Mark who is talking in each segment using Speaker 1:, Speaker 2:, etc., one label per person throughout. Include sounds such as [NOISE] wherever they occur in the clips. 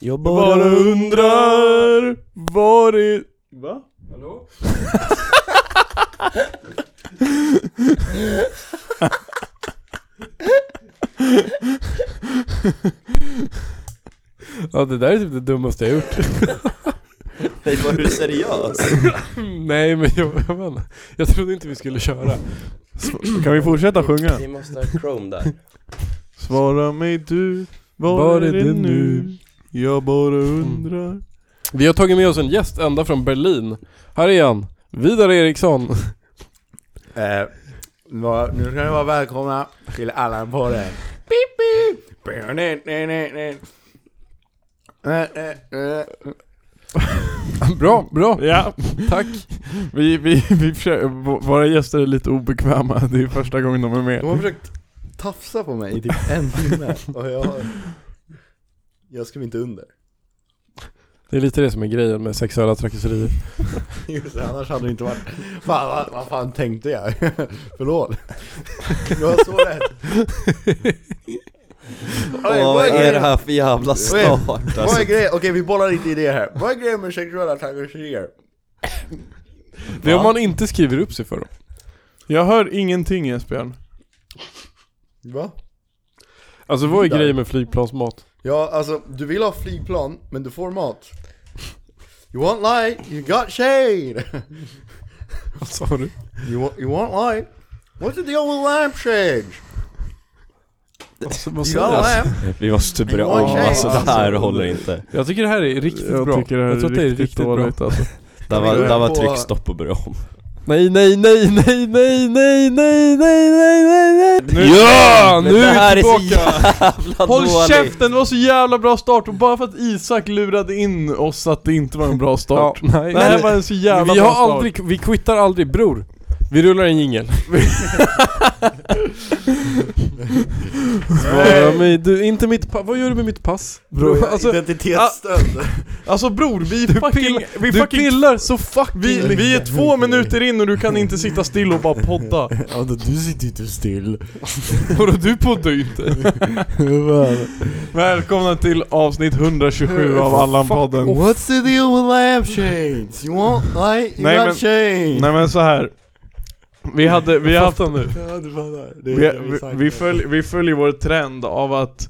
Speaker 1: Jag
Speaker 2: Bara undrar var är... Va?
Speaker 3: Hallå?
Speaker 2: Ja det där är typ det dummaste jag gjort.
Speaker 1: Nej, var du seriös?
Speaker 2: [LAUGHS] Nej men jag, jag vet inte. Jag trodde inte vi skulle köra.
Speaker 4: Kan vi fortsätta sjunga?
Speaker 1: Vi måste ha Chrome där.
Speaker 4: Svara mig du, var,
Speaker 2: Var
Speaker 4: är det nu? Mm. Jag bara undrar.
Speaker 2: Vi har tagit med oss en gäst ända från Berlin. Här är han. Vidar Eriksson.
Speaker 5: Eh, va- nu ska ni vara välkomna till Allan-podden. Pip, pip. Eh, eh, eh.
Speaker 2: Bra, bra.
Speaker 4: Ja,
Speaker 2: Tack.
Speaker 4: vi, vi, vi försöker, v- våra gäster är lite obekväma, det är första gången de är med.
Speaker 5: De har försökt tafsa på mig i typ en timme och jag Jag skrev inte under.
Speaker 2: Det är lite det som är grejen med sexuella trakasserier.
Speaker 5: Just det, annars hade det inte varit... Fan, vad, vad fan tänkte jag? [LAUGHS] Förlåt. Jag var så rädd. Oj,
Speaker 1: Åh,
Speaker 5: vad
Speaker 1: vad är det
Speaker 5: grejen-
Speaker 1: här för jävla start
Speaker 5: Vad
Speaker 1: alltså?
Speaker 5: är grejen? Okej, vi bollar lite idéer här. Vad är grejen med sexuella trakasserier?
Speaker 2: Det är om man inte skriver upp sig för dem.
Speaker 4: Jag hör ingenting Esbjörn.
Speaker 5: Va?
Speaker 2: Alltså vad är grejen med flygplansmat?
Speaker 5: Ja, alltså du vill ha flygplan, men du får mat. You want light, you got shade!
Speaker 2: Vad sa du?
Speaker 5: You want, you want light? What's the deal with lampshades?
Speaker 2: Alltså, vad
Speaker 5: You
Speaker 2: sa
Speaker 5: got
Speaker 2: du?
Speaker 5: lamp?
Speaker 1: Vi måste börja
Speaker 5: Oj,
Speaker 1: om,
Speaker 5: tjej.
Speaker 1: alltså det här håller inte.
Speaker 2: Jag tycker det här är riktigt
Speaker 4: Jag
Speaker 2: bra.
Speaker 4: tycker det här
Speaker 2: jag tror
Speaker 4: är
Speaker 2: att det är
Speaker 4: riktigt,
Speaker 2: riktigt bra.
Speaker 4: dåligt alltså.
Speaker 1: Där var,
Speaker 5: Vi går
Speaker 1: där var
Speaker 5: på-
Speaker 1: tryckstopp och börja om.
Speaker 2: Nej, nej, nej, nej, nej, nej, nej, nej, nej, nej, nej.
Speaker 4: Nu-
Speaker 2: ja!
Speaker 1: Men
Speaker 2: Nu
Speaker 1: det
Speaker 2: är
Speaker 1: här
Speaker 2: vi
Speaker 1: är så
Speaker 2: tillbaka!
Speaker 1: jävla
Speaker 4: Håll
Speaker 1: dåligt.
Speaker 4: käften, det var så jävla bra start och bara för att Isak lurade in oss att det inte var en bra start.
Speaker 2: Ja, nej,
Speaker 4: Det här
Speaker 2: nej.
Speaker 4: var en så jävla
Speaker 2: vi
Speaker 4: bra
Speaker 2: har
Speaker 4: start.
Speaker 2: aldrig, vi quittar aldrig bror. Vi rullar
Speaker 4: [LAUGHS]
Speaker 2: en jingel. Svara mig, du, inte mitt pass, vad gör du med mitt pass?
Speaker 5: Bror,
Speaker 2: alltså,
Speaker 5: identitetsstöld.
Speaker 4: Alltså bror, vi fucking...
Speaker 2: ping-
Speaker 4: vi
Speaker 2: du
Speaker 4: fucking
Speaker 2: pillar så fucking
Speaker 4: vi, vi är två minuter in och du kan inte sitta still och bara [LAUGHS] podda.
Speaker 5: Ja, då, du sitter inte [LAUGHS] still.
Speaker 2: Vadå du poddar ju inte?
Speaker 4: Välkomna till avsnitt 127 av Allan-podden.
Speaker 5: What's the deal with lampshades? You want light, you
Speaker 4: Nej,
Speaker 5: got
Speaker 4: men-
Speaker 5: shade!
Speaker 4: Nej men så här. Vi hade, vi har haft nu.
Speaker 5: [LAUGHS] Ja, du fattar. Det är
Speaker 4: Vi,
Speaker 5: det
Speaker 4: vi,
Speaker 5: sagt.
Speaker 4: vi, följ, vi följer vår trend av att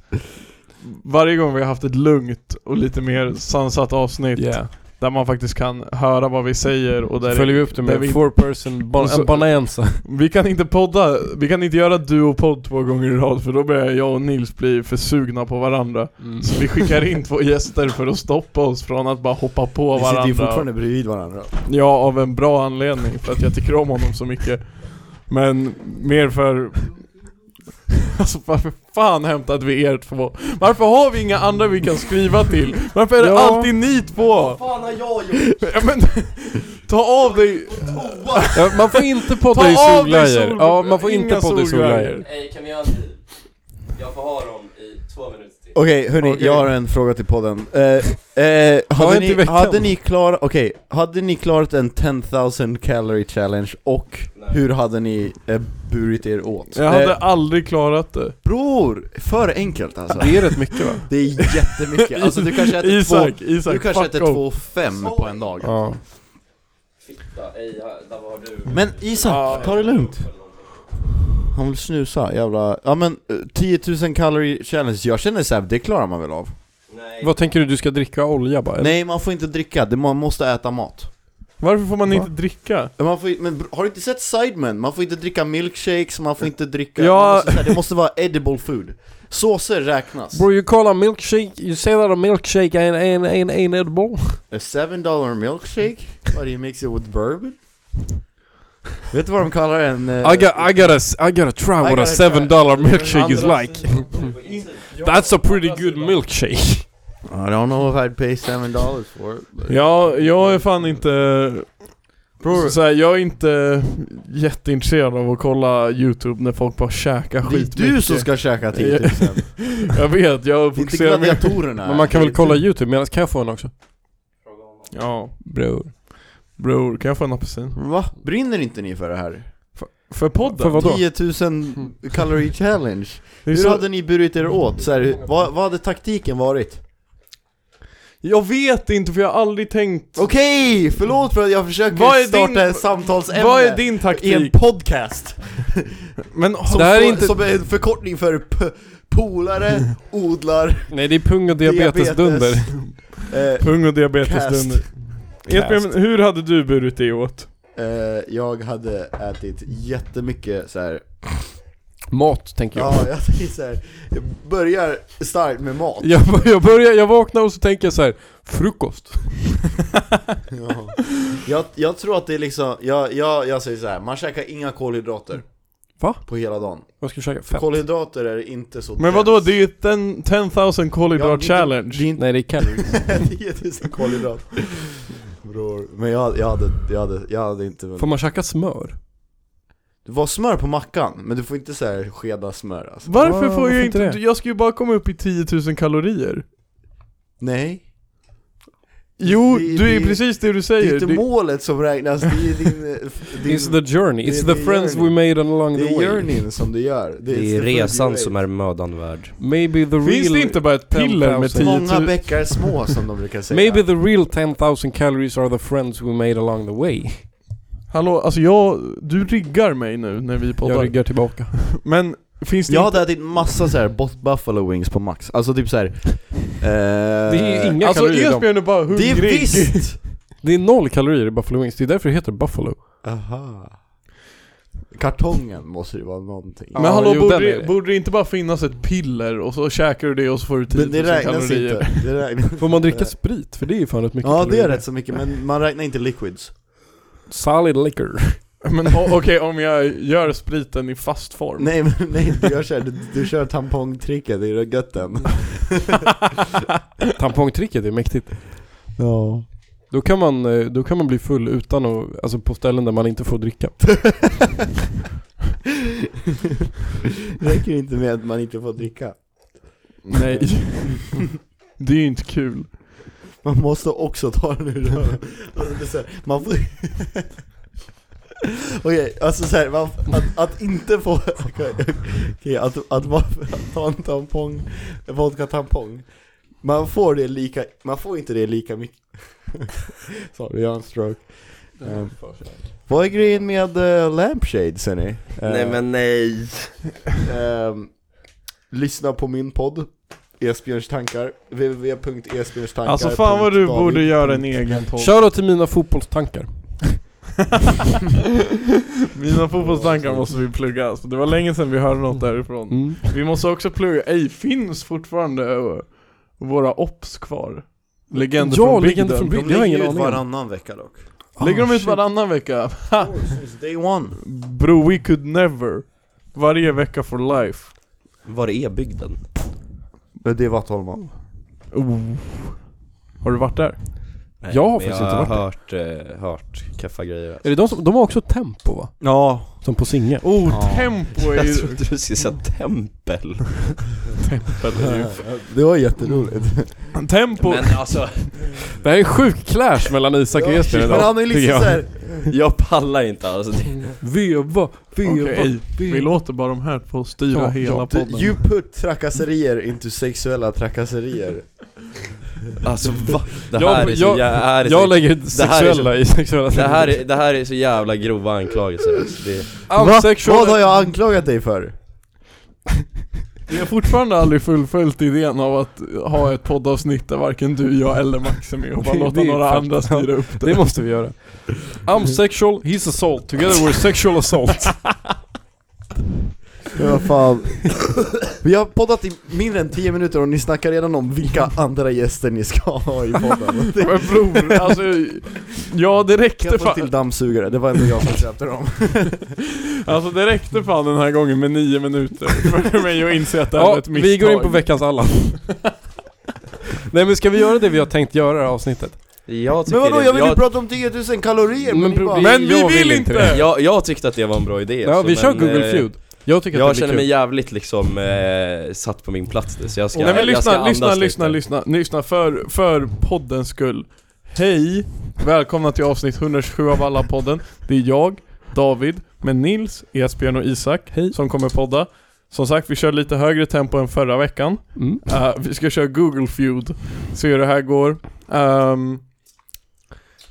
Speaker 4: varje gång vi har haft ett lugnt och lite mer sansat avsnitt
Speaker 2: Yeah.
Speaker 4: där man faktiskt kan höra vad vi säger och där
Speaker 2: Följer vi upp
Speaker 4: där
Speaker 2: det med
Speaker 4: vi-
Speaker 2: four person ban-
Speaker 4: Så-
Speaker 2: en bonanza.
Speaker 4: vi kan inte podda, vi kan inte göra duopodd två gånger i rad för då börjar jag och Nils bli för sugna på varandra. Så vi skickar in två gäster för att stoppa oss från att bara hoppa på
Speaker 5: Vi sitter ju
Speaker 4: varandra.
Speaker 5: fortfarande bredvid varandra.
Speaker 4: Ja, av en bra anledning, för att jag tycker om honom så mycket. Men mer för... Alltså varför fan hämtade vi er två? Varför har vi inga andra vi kan skriva till? Varför är det
Speaker 2: Ja.
Speaker 4: alltid ni två?
Speaker 5: fan har jag gjort?
Speaker 4: Ja, men, [LAUGHS] ta av dig...
Speaker 2: Ja, man får
Speaker 4: Ta
Speaker 2: inte podda i
Speaker 4: av dig
Speaker 2: solglajjor.
Speaker 4: sol-
Speaker 2: Ja, man får
Speaker 4: inga
Speaker 2: inte podda i
Speaker 4: solglajjor.
Speaker 2: solglajjor.
Speaker 3: Ey, kan vi göra en deal? Jag får ha dem i två minuter till.
Speaker 5: Okej hörni,
Speaker 4: Okej.
Speaker 5: jag har en fråga till podden. Eh,
Speaker 4: [LAUGHS]
Speaker 5: eh, hade,
Speaker 2: inte i
Speaker 5: ni,
Speaker 2: veckan.
Speaker 5: hade ni klarat, okej, hade ni klarat en 10,000 calorie challenge och
Speaker 3: Nej.
Speaker 5: hur hade ni eh, burit er åt?
Speaker 4: Jag hade
Speaker 5: Eh,
Speaker 4: aldrig klarat det.
Speaker 5: bror, för enkelt alltså.
Speaker 2: Det är rätt mycket va?
Speaker 5: Det är jättemycket, alltså du kanske äter två,
Speaker 4: Isak, Isak,
Speaker 5: du kanske
Speaker 4: fuck
Speaker 5: äter
Speaker 4: off.
Speaker 5: två fem på en dag.
Speaker 2: Ja.
Speaker 3: Fitta, ey, ja, där var du.
Speaker 5: Men Isak,
Speaker 4: Ja.
Speaker 5: ta det lugnt. Han vill snusa, jävla, ja men eh, 10 000 calorie challenge, jag känner såhär, det klarar man väl av?
Speaker 3: Nej.
Speaker 2: Vad tänker du, du ska dricka olja bara? eller?
Speaker 5: Nej man får inte dricka, det, man måste äta mat.
Speaker 4: Varför får man
Speaker 2: Va?
Speaker 4: inte dricka?
Speaker 5: Men Man får, ju- men br- har du inte sett Sidemen? Man får inte dricka milkshakes, man får inte dricka...
Speaker 2: Ja.
Speaker 5: Man måste, så här, det måste vara edible food. Såser räknas.
Speaker 2: Bro, you call a milkshake, you say that a milkshake ain't, ain't, ain't, ain't edible?
Speaker 5: A seven dollar milkshake? What do you mix it with bourbon? Vet du vad de kallar en... eh,
Speaker 2: I, got, I, gotta, s- I gotta try what
Speaker 5: gotta
Speaker 2: a seven dollar milkshake is
Speaker 4: Andra
Speaker 2: like.
Speaker 4: sidan.
Speaker 2: That's a pretty good milkshake.
Speaker 5: I don't know if I'd pay seven dollars for it. but-
Speaker 4: Ja, jag är fan inte...
Speaker 5: Bror,
Speaker 4: Så här, jag är inte jätteintresserad av att kolla youtube när folk bara käkar
Speaker 5: det är
Speaker 4: skitmycket
Speaker 5: du som ska käka typ, 10 000.
Speaker 2: [LAUGHS]
Speaker 4: Jag vet, jag
Speaker 5: Det är inte
Speaker 4: fokuserar mer
Speaker 5: gladiatorerna.
Speaker 2: Men man kan väl
Speaker 5: Det är
Speaker 2: kolla
Speaker 5: du.
Speaker 2: youtube medan kan jag få en också?
Speaker 3: Fråga honom.
Speaker 4: Ja,
Speaker 2: Bror.
Speaker 4: bror, kan jag få en apelsin?
Speaker 5: Va? Brinner inte ni för det här?
Speaker 4: För podden?
Speaker 2: För vadå?
Speaker 5: 10
Speaker 2: [LAUGHS]
Speaker 5: 000 calorie challenge.
Speaker 4: Det är
Speaker 5: Hur
Speaker 4: så,
Speaker 5: hade ni burit er åt? Så här, vad, vad hade taktiken varit?
Speaker 4: Jag vet inte för jag har aldrig tänkt...
Speaker 5: Okej, förlåt för att jag försöker
Speaker 4: Vad är
Speaker 5: starta
Speaker 4: din-
Speaker 5: ett samtalsämne
Speaker 4: Vad är din
Speaker 5: i en
Speaker 4: taktik?
Speaker 5: podcast.
Speaker 4: [LAUGHS] Men
Speaker 5: Som,
Speaker 2: Det här är
Speaker 5: står-
Speaker 2: inte-
Speaker 5: som är en förkortning för p- polare, odlar,
Speaker 2: Nej det är pung och [LAUGHS]
Speaker 4: [LAUGHS]
Speaker 2: diabetesdunder.
Speaker 5: diabetes. Eh,
Speaker 4: Pung och diabetesdunder. Edvin, hur hade du burit det åt?
Speaker 5: eh, jag hade ätit jättemycket så här.
Speaker 2: Mat tänker jag.
Speaker 5: ja jag tänker så här. jag börjar starkt med mat.
Speaker 2: Jag, bör- jag börjar, jag vaknar och så tänker jag så här. frukost.
Speaker 5: Ja. [LAUGHS] Jag, jag tror att det är liksom, jag, jag, jag säger så här. man käkar inga kolhydrater.
Speaker 2: Va?
Speaker 5: På hela dagen.
Speaker 2: Vad ska jag käka? Fett?
Speaker 5: Kolhydrater är inte så
Speaker 4: Men vadå, det är ju ten- 10,000
Speaker 5: Ja,
Speaker 4: kolhydrat
Speaker 5: det-
Speaker 4: challenge.
Speaker 5: det är [LAUGHS] inte
Speaker 2: Nej det är calories.
Speaker 5: 10 kolhydrat. Bror. Men jag, jag, hade, jag, hade, jag hade inte
Speaker 2: Får man käka smör?
Speaker 5: Det var smör på mackan, men du får inte så här skeda smör alltså.
Speaker 4: Varför
Speaker 2: Wow,
Speaker 4: får
Speaker 2: varför
Speaker 4: jag
Speaker 2: inte
Speaker 4: inte...
Speaker 2: det?
Speaker 4: Jag ska ju bara komma upp i 10 000 kalorier.
Speaker 5: Nej.
Speaker 4: Jo,
Speaker 5: Det-
Speaker 4: du är
Speaker 5: det-
Speaker 4: precis det du
Speaker 5: Det är
Speaker 4: säger.
Speaker 5: inte
Speaker 4: Det-
Speaker 5: målet som räknas, det är din... eh, f- din
Speaker 2: It's the journey,
Speaker 5: det-
Speaker 2: it's
Speaker 5: det
Speaker 2: the
Speaker 5: är
Speaker 2: friends we
Speaker 5: journey.
Speaker 2: made along
Speaker 5: det
Speaker 2: the
Speaker 5: är
Speaker 2: way.
Speaker 5: journeyn som du gör.
Speaker 1: Det är resan som är mödan värd.
Speaker 2: Maybe the real...
Speaker 4: Finns det inte bara ett piller med 10 000?
Speaker 5: Många bäckar små som de brukar säga.
Speaker 2: Maybe the real 10,000 calories are the friends we made along the way.
Speaker 4: Hallå, alltså jag... Du riggar mig nu när vi
Speaker 2: Jag
Speaker 4: poddar.
Speaker 2: ryggar tillbaka.
Speaker 4: Men finns det
Speaker 5: Jag
Speaker 4: inte...
Speaker 5: hade ätit massa så här bot- buffalo wings på max, alltså typ så här. Eh,
Speaker 2: Det är inga
Speaker 4: Alltså
Speaker 2: kalorier i dem.
Speaker 4: Esbjörn är bara
Speaker 5: Det
Speaker 4: hungrig.
Speaker 5: är visst!
Speaker 2: Det är noll kalorier i Buffalo Wings, det är därför det heter Buffalo.
Speaker 5: Aha. Kartongen måste ju vara någonting.
Speaker 4: Men
Speaker 2: Ja,
Speaker 4: hallå,
Speaker 2: jo,
Speaker 4: borde,
Speaker 2: den är
Speaker 4: det,
Speaker 2: det.
Speaker 4: borde det inte bara finnas ett piller och så käkar du det och så får du 10
Speaker 5: Men
Speaker 4: 000
Speaker 5: det räknas
Speaker 4: kalorier?
Speaker 5: inte. Det räknas.
Speaker 2: [LAUGHS] Får man dricka sprit? För det är ju fan rätt mycket
Speaker 5: Eh. Ja det
Speaker 2: kalorier.
Speaker 5: är rätt så mycket, men man räknar inte liquids.
Speaker 2: Solid liquor.
Speaker 4: [LAUGHS] Men o- okej, om jag gör spriten i fast form.
Speaker 5: Nej men [LAUGHS] nej, du gör såhär, du, du kör tampongtricket i
Speaker 2: [LAUGHS]
Speaker 5: rödgötten.
Speaker 2: Tampongtricket är mäktigt.
Speaker 5: Ja.
Speaker 2: Då kan, man, eh, då kan man bli full utan att, alltså på ställen där man inte får dricka.
Speaker 5: Räcker inte med att man inte får dricka.
Speaker 2: [LAUGHS]
Speaker 4: Nej. Det är ju inte kul.
Speaker 5: Man måste också ta den ur röven. Alltså, det är så här, Man får... [LAUGHS] Okej, alltså såhär, att, att inte få... Okej, okej, att, att, man- att ta en tampong, en vodka-tampong. Man får det lika, man får inte det lika mycket. [LAUGHS] Sorry, jag har en stroke.
Speaker 2: Mm.
Speaker 5: Ehm, vad är grejen med uh, lampshades ser ni?
Speaker 1: Eh.
Speaker 3: Nej
Speaker 5: Ehm,
Speaker 3: men nej.
Speaker 5: Ehm, lyssna på min podd, Esbjörns tankar, www.esbjörnstankar
Speaker 4: Alltså fan vad du borde göra en egen podd.
Speaker 2: Shoutout till mina fotbollstankar.
Speaker 4: [LAUGHS] Mina fotbollstankar måste vi plugga alltså. Det var länge sedan vi hörde något därifrån.
Speaker 2: Mm.
Speaker 4: Vi måste också plugga, ej finns fortfarande ö, våra ops kvar? Legender
Speaker 2: Ja,
Speaker 4: från
Speaker 2: Legender
Speaker 4: bygden.
Speaker 2: från Det
Speaker 5: De
Speaker 2: har jag ingen
Speaker 5: ligger ut
Speaker 2: aning om.
Speaker 5: varannan vecka dock
Speaker 4: Lägger de ut
Speaker 2: Ah, shit.
Speaker 4: varannan vecka? [LAUGHS] Ha!
Speaker 5: Since Day one
Speaker 4: Bro, we could never. Varje vecka for life.
Speaker 1: Var är bygden?
Speaker 5: Det är Vattholma
Speaker 4: Oh. Har du varit där?
Speaker 1: Nej,
Speaker 2: Jag har
Speaker 1: men
Speaker 2: faktiskt
Speaker 1: jag
Speaker 2: inte varit
Speaker 1: har hört, eh, hört kaffa grejer.
Speaker 2: Är det de som, de har också tempo va?
Speaker 5: Ja
Speaker 2: Som på Singe.
Speaker 4: Oh,
Speaker 5: Ja.
Speaker 1: [LAUGHS]
Speaker 4: tempo är
Speaker 1: Jag
Speaker 4: ju...
Speaker 1: trodde du skulle säga tempel.
Speaker 5: Det var jätteroligt
Speaker 4: Mm. [LAUGHS] Tempo!
Speaker 1: Men alltså,
Speaker 2: Det här är en sjuk clash mellan Isak och Jesper
Speaker 5: [LAUGHS] Men han är
Speaker 2: tycker
Speaker 5: liksom
Speaker 2: jag.
Speaker 5: såhär
Speaker 1: [LAUGHS] jag pallar inte alls. Det-
Speaker 2: Veva, veva,
Speaker 4: Okej, Vi
Speaker 2: veva.
Speaker 4: låter bara de här få styra
Speaker 2: Ja, ja,
Speaker 4: hela
Speaker 2: du-
Speaker 4: podden.
Speaker 5: You put trakasserier into sexuella trakasserier
Speaker 1: Alltså va? Det
Speaker 2: Jag-
Speaker 1: här är så
Speaker 2: jag-
Speaker 1: jag, är så-
Speaker 2: Jag lägger
Speaker 1: Det här är så-
Speaker 2: sexuella i sexuella
Speaker 1: det här, är, det här är så jävla grova anklagelser alltså. det,
Speaker 5: Va?
Speaker 2: Unsexual-
Speaker 5: Vad har jag anklagat dig för?
Speaker 4: Vi har fortfarande aldrig fullföljt idén av att ha ett poddavsnitt där varken du, jag eller Max är med och bara
Speaker 2: Det-
Speaker 4: låta
Speaker 2: det är
Speaker 4: några
Speaker 2: klart.
Speaker 4: andra styra upp det.
Speaker 2: Det måste vi göra. I'm sexual, he's assault. Together we're sexual assault.
Speaker 5: Men vad fan [LAUGHS] Vi har poddat i mindre än 10 minuter och ni snackar redan om vilka andra gäster ni ska ha
Speaker 4: [LAUGHS]
Speaker 5: i podden Det-
Speaker 4: [LAUGHS] Men bror, alltså, ja det räckte
Speaker 5: Jag får
Speaker 4: fan.
Speaker 5: till dammsugare, det var ändå jag som köpte dem
Speaker 4: Alltså det räckte fan den här gången med nio minuter för mig att inse att det här var
Speaker 2: ja,
Speaker 4: ett misstag.
Speaker 2: vi går in på veckans Allan.
Speaker 4: [LAUGHS]
Speaker 2: Nej men ska vi göra det vi har tänkt göra i det här avsnittet?
Speaker 1: jag tycker
Speaker 5: Men vadå,
Speaker 1: det,
Speaker 5: jag vill ju prata om 10 000 kalorier men,
Speaker 2: Men
Speaker 5: ni
Speaker 2: bro,
Speaker 5: bara,
Speaker 2: det-
Speaker 4: Men vi
Speaker 2: Jag
Speaker 4: vill
Speaker 2: vill
Speaker 4: inte!
Speaker 2: inte
Speaker 1: jag, jag tyckte att det var en bra idé
Speaker 2: Ja,
Speaker 1: alltså,
Speaker 2: vi kör
Speaker 1: men,
Speaker 2: Google
Speaker 1: eh,
Speaker 2: Feud. Jag tycker att
Speaker 1: Jag
Speaker 2: det blir
Speaker 1: känner
Speaker 2: kul.
Speaker 1: mig jävligt liksom eh, satt på min plats nu så jag ska,
Speaker 4: Nej men
Speaker 1: jag ska
Speaker 4: lyssna,
Speaker 1: andas
Speaker 4: lyssna,
Speaker 1: lite.
Speaker 4: lyssna, lyssna, lyssna för, för poddens skull. Hej, välkomna till avsnitt 127 av alla podden. Det är jag, David, med Nils, Esbjörn och Isak
Speaker 2: Hej.
Speaker 4: som kommer podda. Som sagt, vi kör lite högre tempo än förra veckan.
Speaker 2: Mm.
Speaker 4: Eh, vi ska köra Google Feud. Se hur det här går. Ehm,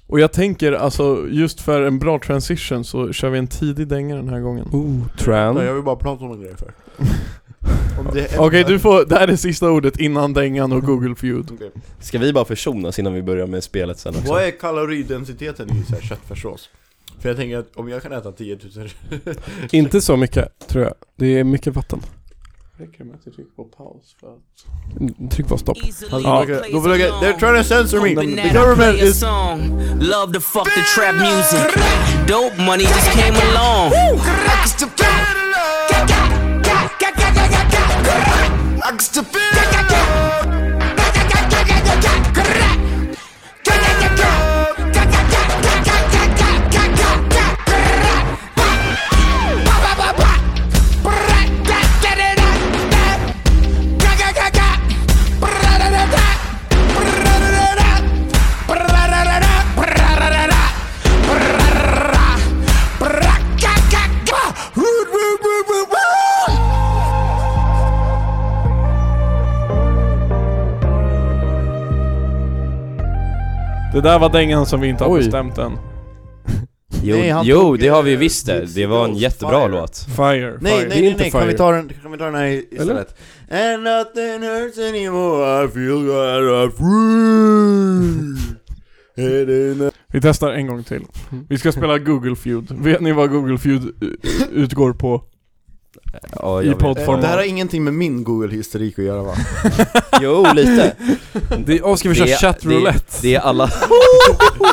Speaker 4: och jag tänker alltså, just för en bra transition så kör vi en tidig dänga den här gången.
Speaker 2: Ooh,
Speaker 5: Nej, jag
Speaker 2: tran.
Speaker 5: vill bara prata om en grej för. [LAUGHS] Om det är-
Speaker 4: Okej, du får, det här är sista ordet innan dängan och Google Feud.
Speaker 5: Okej.
Speaker 1: Ska vi bara försonas innan vi börjar med spelet sen också?
Speaker 5: Vad är kaloridensiteten i så här köttfärssås? För jag tänker att om jag kan äta 10 000
Speaker 2: Inte så mycket, tror jag. Det är mycket vatten.
Speaker 4: Räcker med att jag trycker på paus för att...
Speaker 2: Tryck på stopp.
Speaker 5: Ja,
Speaker 6: Ja.
Speaker 5: okay. då försöker, they're trying to censor me! The
Speaker 6: Banana
Speaker 5: government
Speaker 6: play a
Speaker 5: is...
Speaker 6: song. Love to fuck the trap music. Dope money just came along.
Speaker 4: Det där var dängan som vi inte har
Speaker 2: Oj.
Speaker 4: bestämt än.
Speaker 1: Jo,
Speaker 5: Nej, han
Speaker 1: jo
Speaker 5: tog,
Speaker 1: det har vi
Speaker 5: eh,
Speaker 1: visst det.
Speaker 5: It's
Speaker 1: Det var en
Speaker 5: Rose
Speaker 1: jättebra
Speaker 5: Fire.
Speaker 1: låt.
Speaker 4: Fire,
Speaker 5: Nej,
Speaker 4: fire.
Speaker 5: nej,
Speaker 2: Det är
Speaker 5: nej,
Speaker 2: inte
Speaker 5: nej, kan vi
Speaker 2: fire.
Speaker 5: ta den, kan vi ta den här i- istället? And nothing hurts anymore, I feel that I'm free! It ain't a-
Speaker 4: Vi testar en gång till. Vi ska spela Google Feud. Vet ni vad Google Feud eh, utgår på?
Speaker 1: Ja,
Speaker 4: I
Speaker 1: jag vet.
Speaker 4: poddformat.
Speaker 2: [LAUGHS]
Speaker 5: Eh, Det här har ingenting med min Google-historik att göra va?
Speaker 1: Jo, lite.
Speaker 2: Det, åh, ska vi köra
Speaker 1: Det-
Speaker 2: chat
Speaker 1: det-
Speaker 2: roulette?
Speaker 1: Det
Speaker 2: [LAUGHS]
Speaker 1: är alla...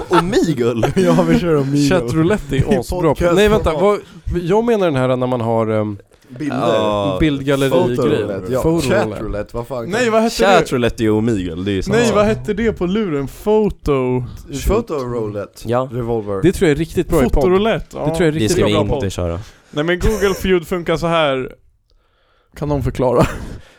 Speaker 5: Omegle! ja, vi kör Omegle.
Speaker 2: Chat
Speaker 1: [LAUGHS]
Speaker 2: roulette
Speaker 5: Det är
Speaker 2: är asbra.
Speaker 5: podcast-
Speaker 2: Nej vänta, vad, jag menar den här när man har ehm,
Speaker 5: Bilder.
Speaker 2: bildgalleri-grejen.
Speaker 5: Fotorulett, ja.
Speaker 2: Photo roulette.
Speaker 5: Chatroulette, vad fan?
Speaker 4: Nej vad hette det?
Speaker 1: Chat roulette är ju omegle, det är ju samma
Speaker 4: Nej
Speaker 1: sak.
Speaker 4: vad hette det på luren? Foto...
Speaker 5: Fotorulette,
Speaker 1: Ja.
Speaker 5: revolver.
Speaker 2: Det tror jag är riktigt bra i podd.
Speaker 4: Fotorulett? Ja.
Speaker 2: Det tror jag är
Speaker 1: Det
Speaker 2: riktigt
Speaker 1: ska
Speaker 4: bra
Speaker 1: vi
Speaker 4: podd.
Speaker 1: inte köra.
Speaker 4: Nej men Google Feud funkar så här. Kan någon förklara?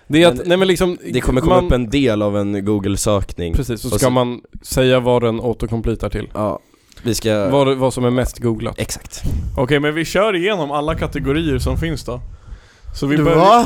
Speaker 2: Det är att,
Speaker 1: Men-
Speaker 2: nej men liksom
Speaker 1: Det kommer komma
Speaker 2: man,
Speaker 1: upp en del av en google-sökning.
Speaker 2: Precis, så
Speaker 1: och
Speaker 2: ska
Speaker 1: så-
Speaker 2: man säga vad den autocompletar till.
Speaker 1: Ja, vi ska...
Speaker 2: Vad, vad som är mest googlat.
Speaker 1: Exakt.
Speaker 4: Okej men vi kör igenom alla kategorier som finns då. Så vi
Speaker 5: Du,
Speaker 4: börjar...
Speaker 5: va?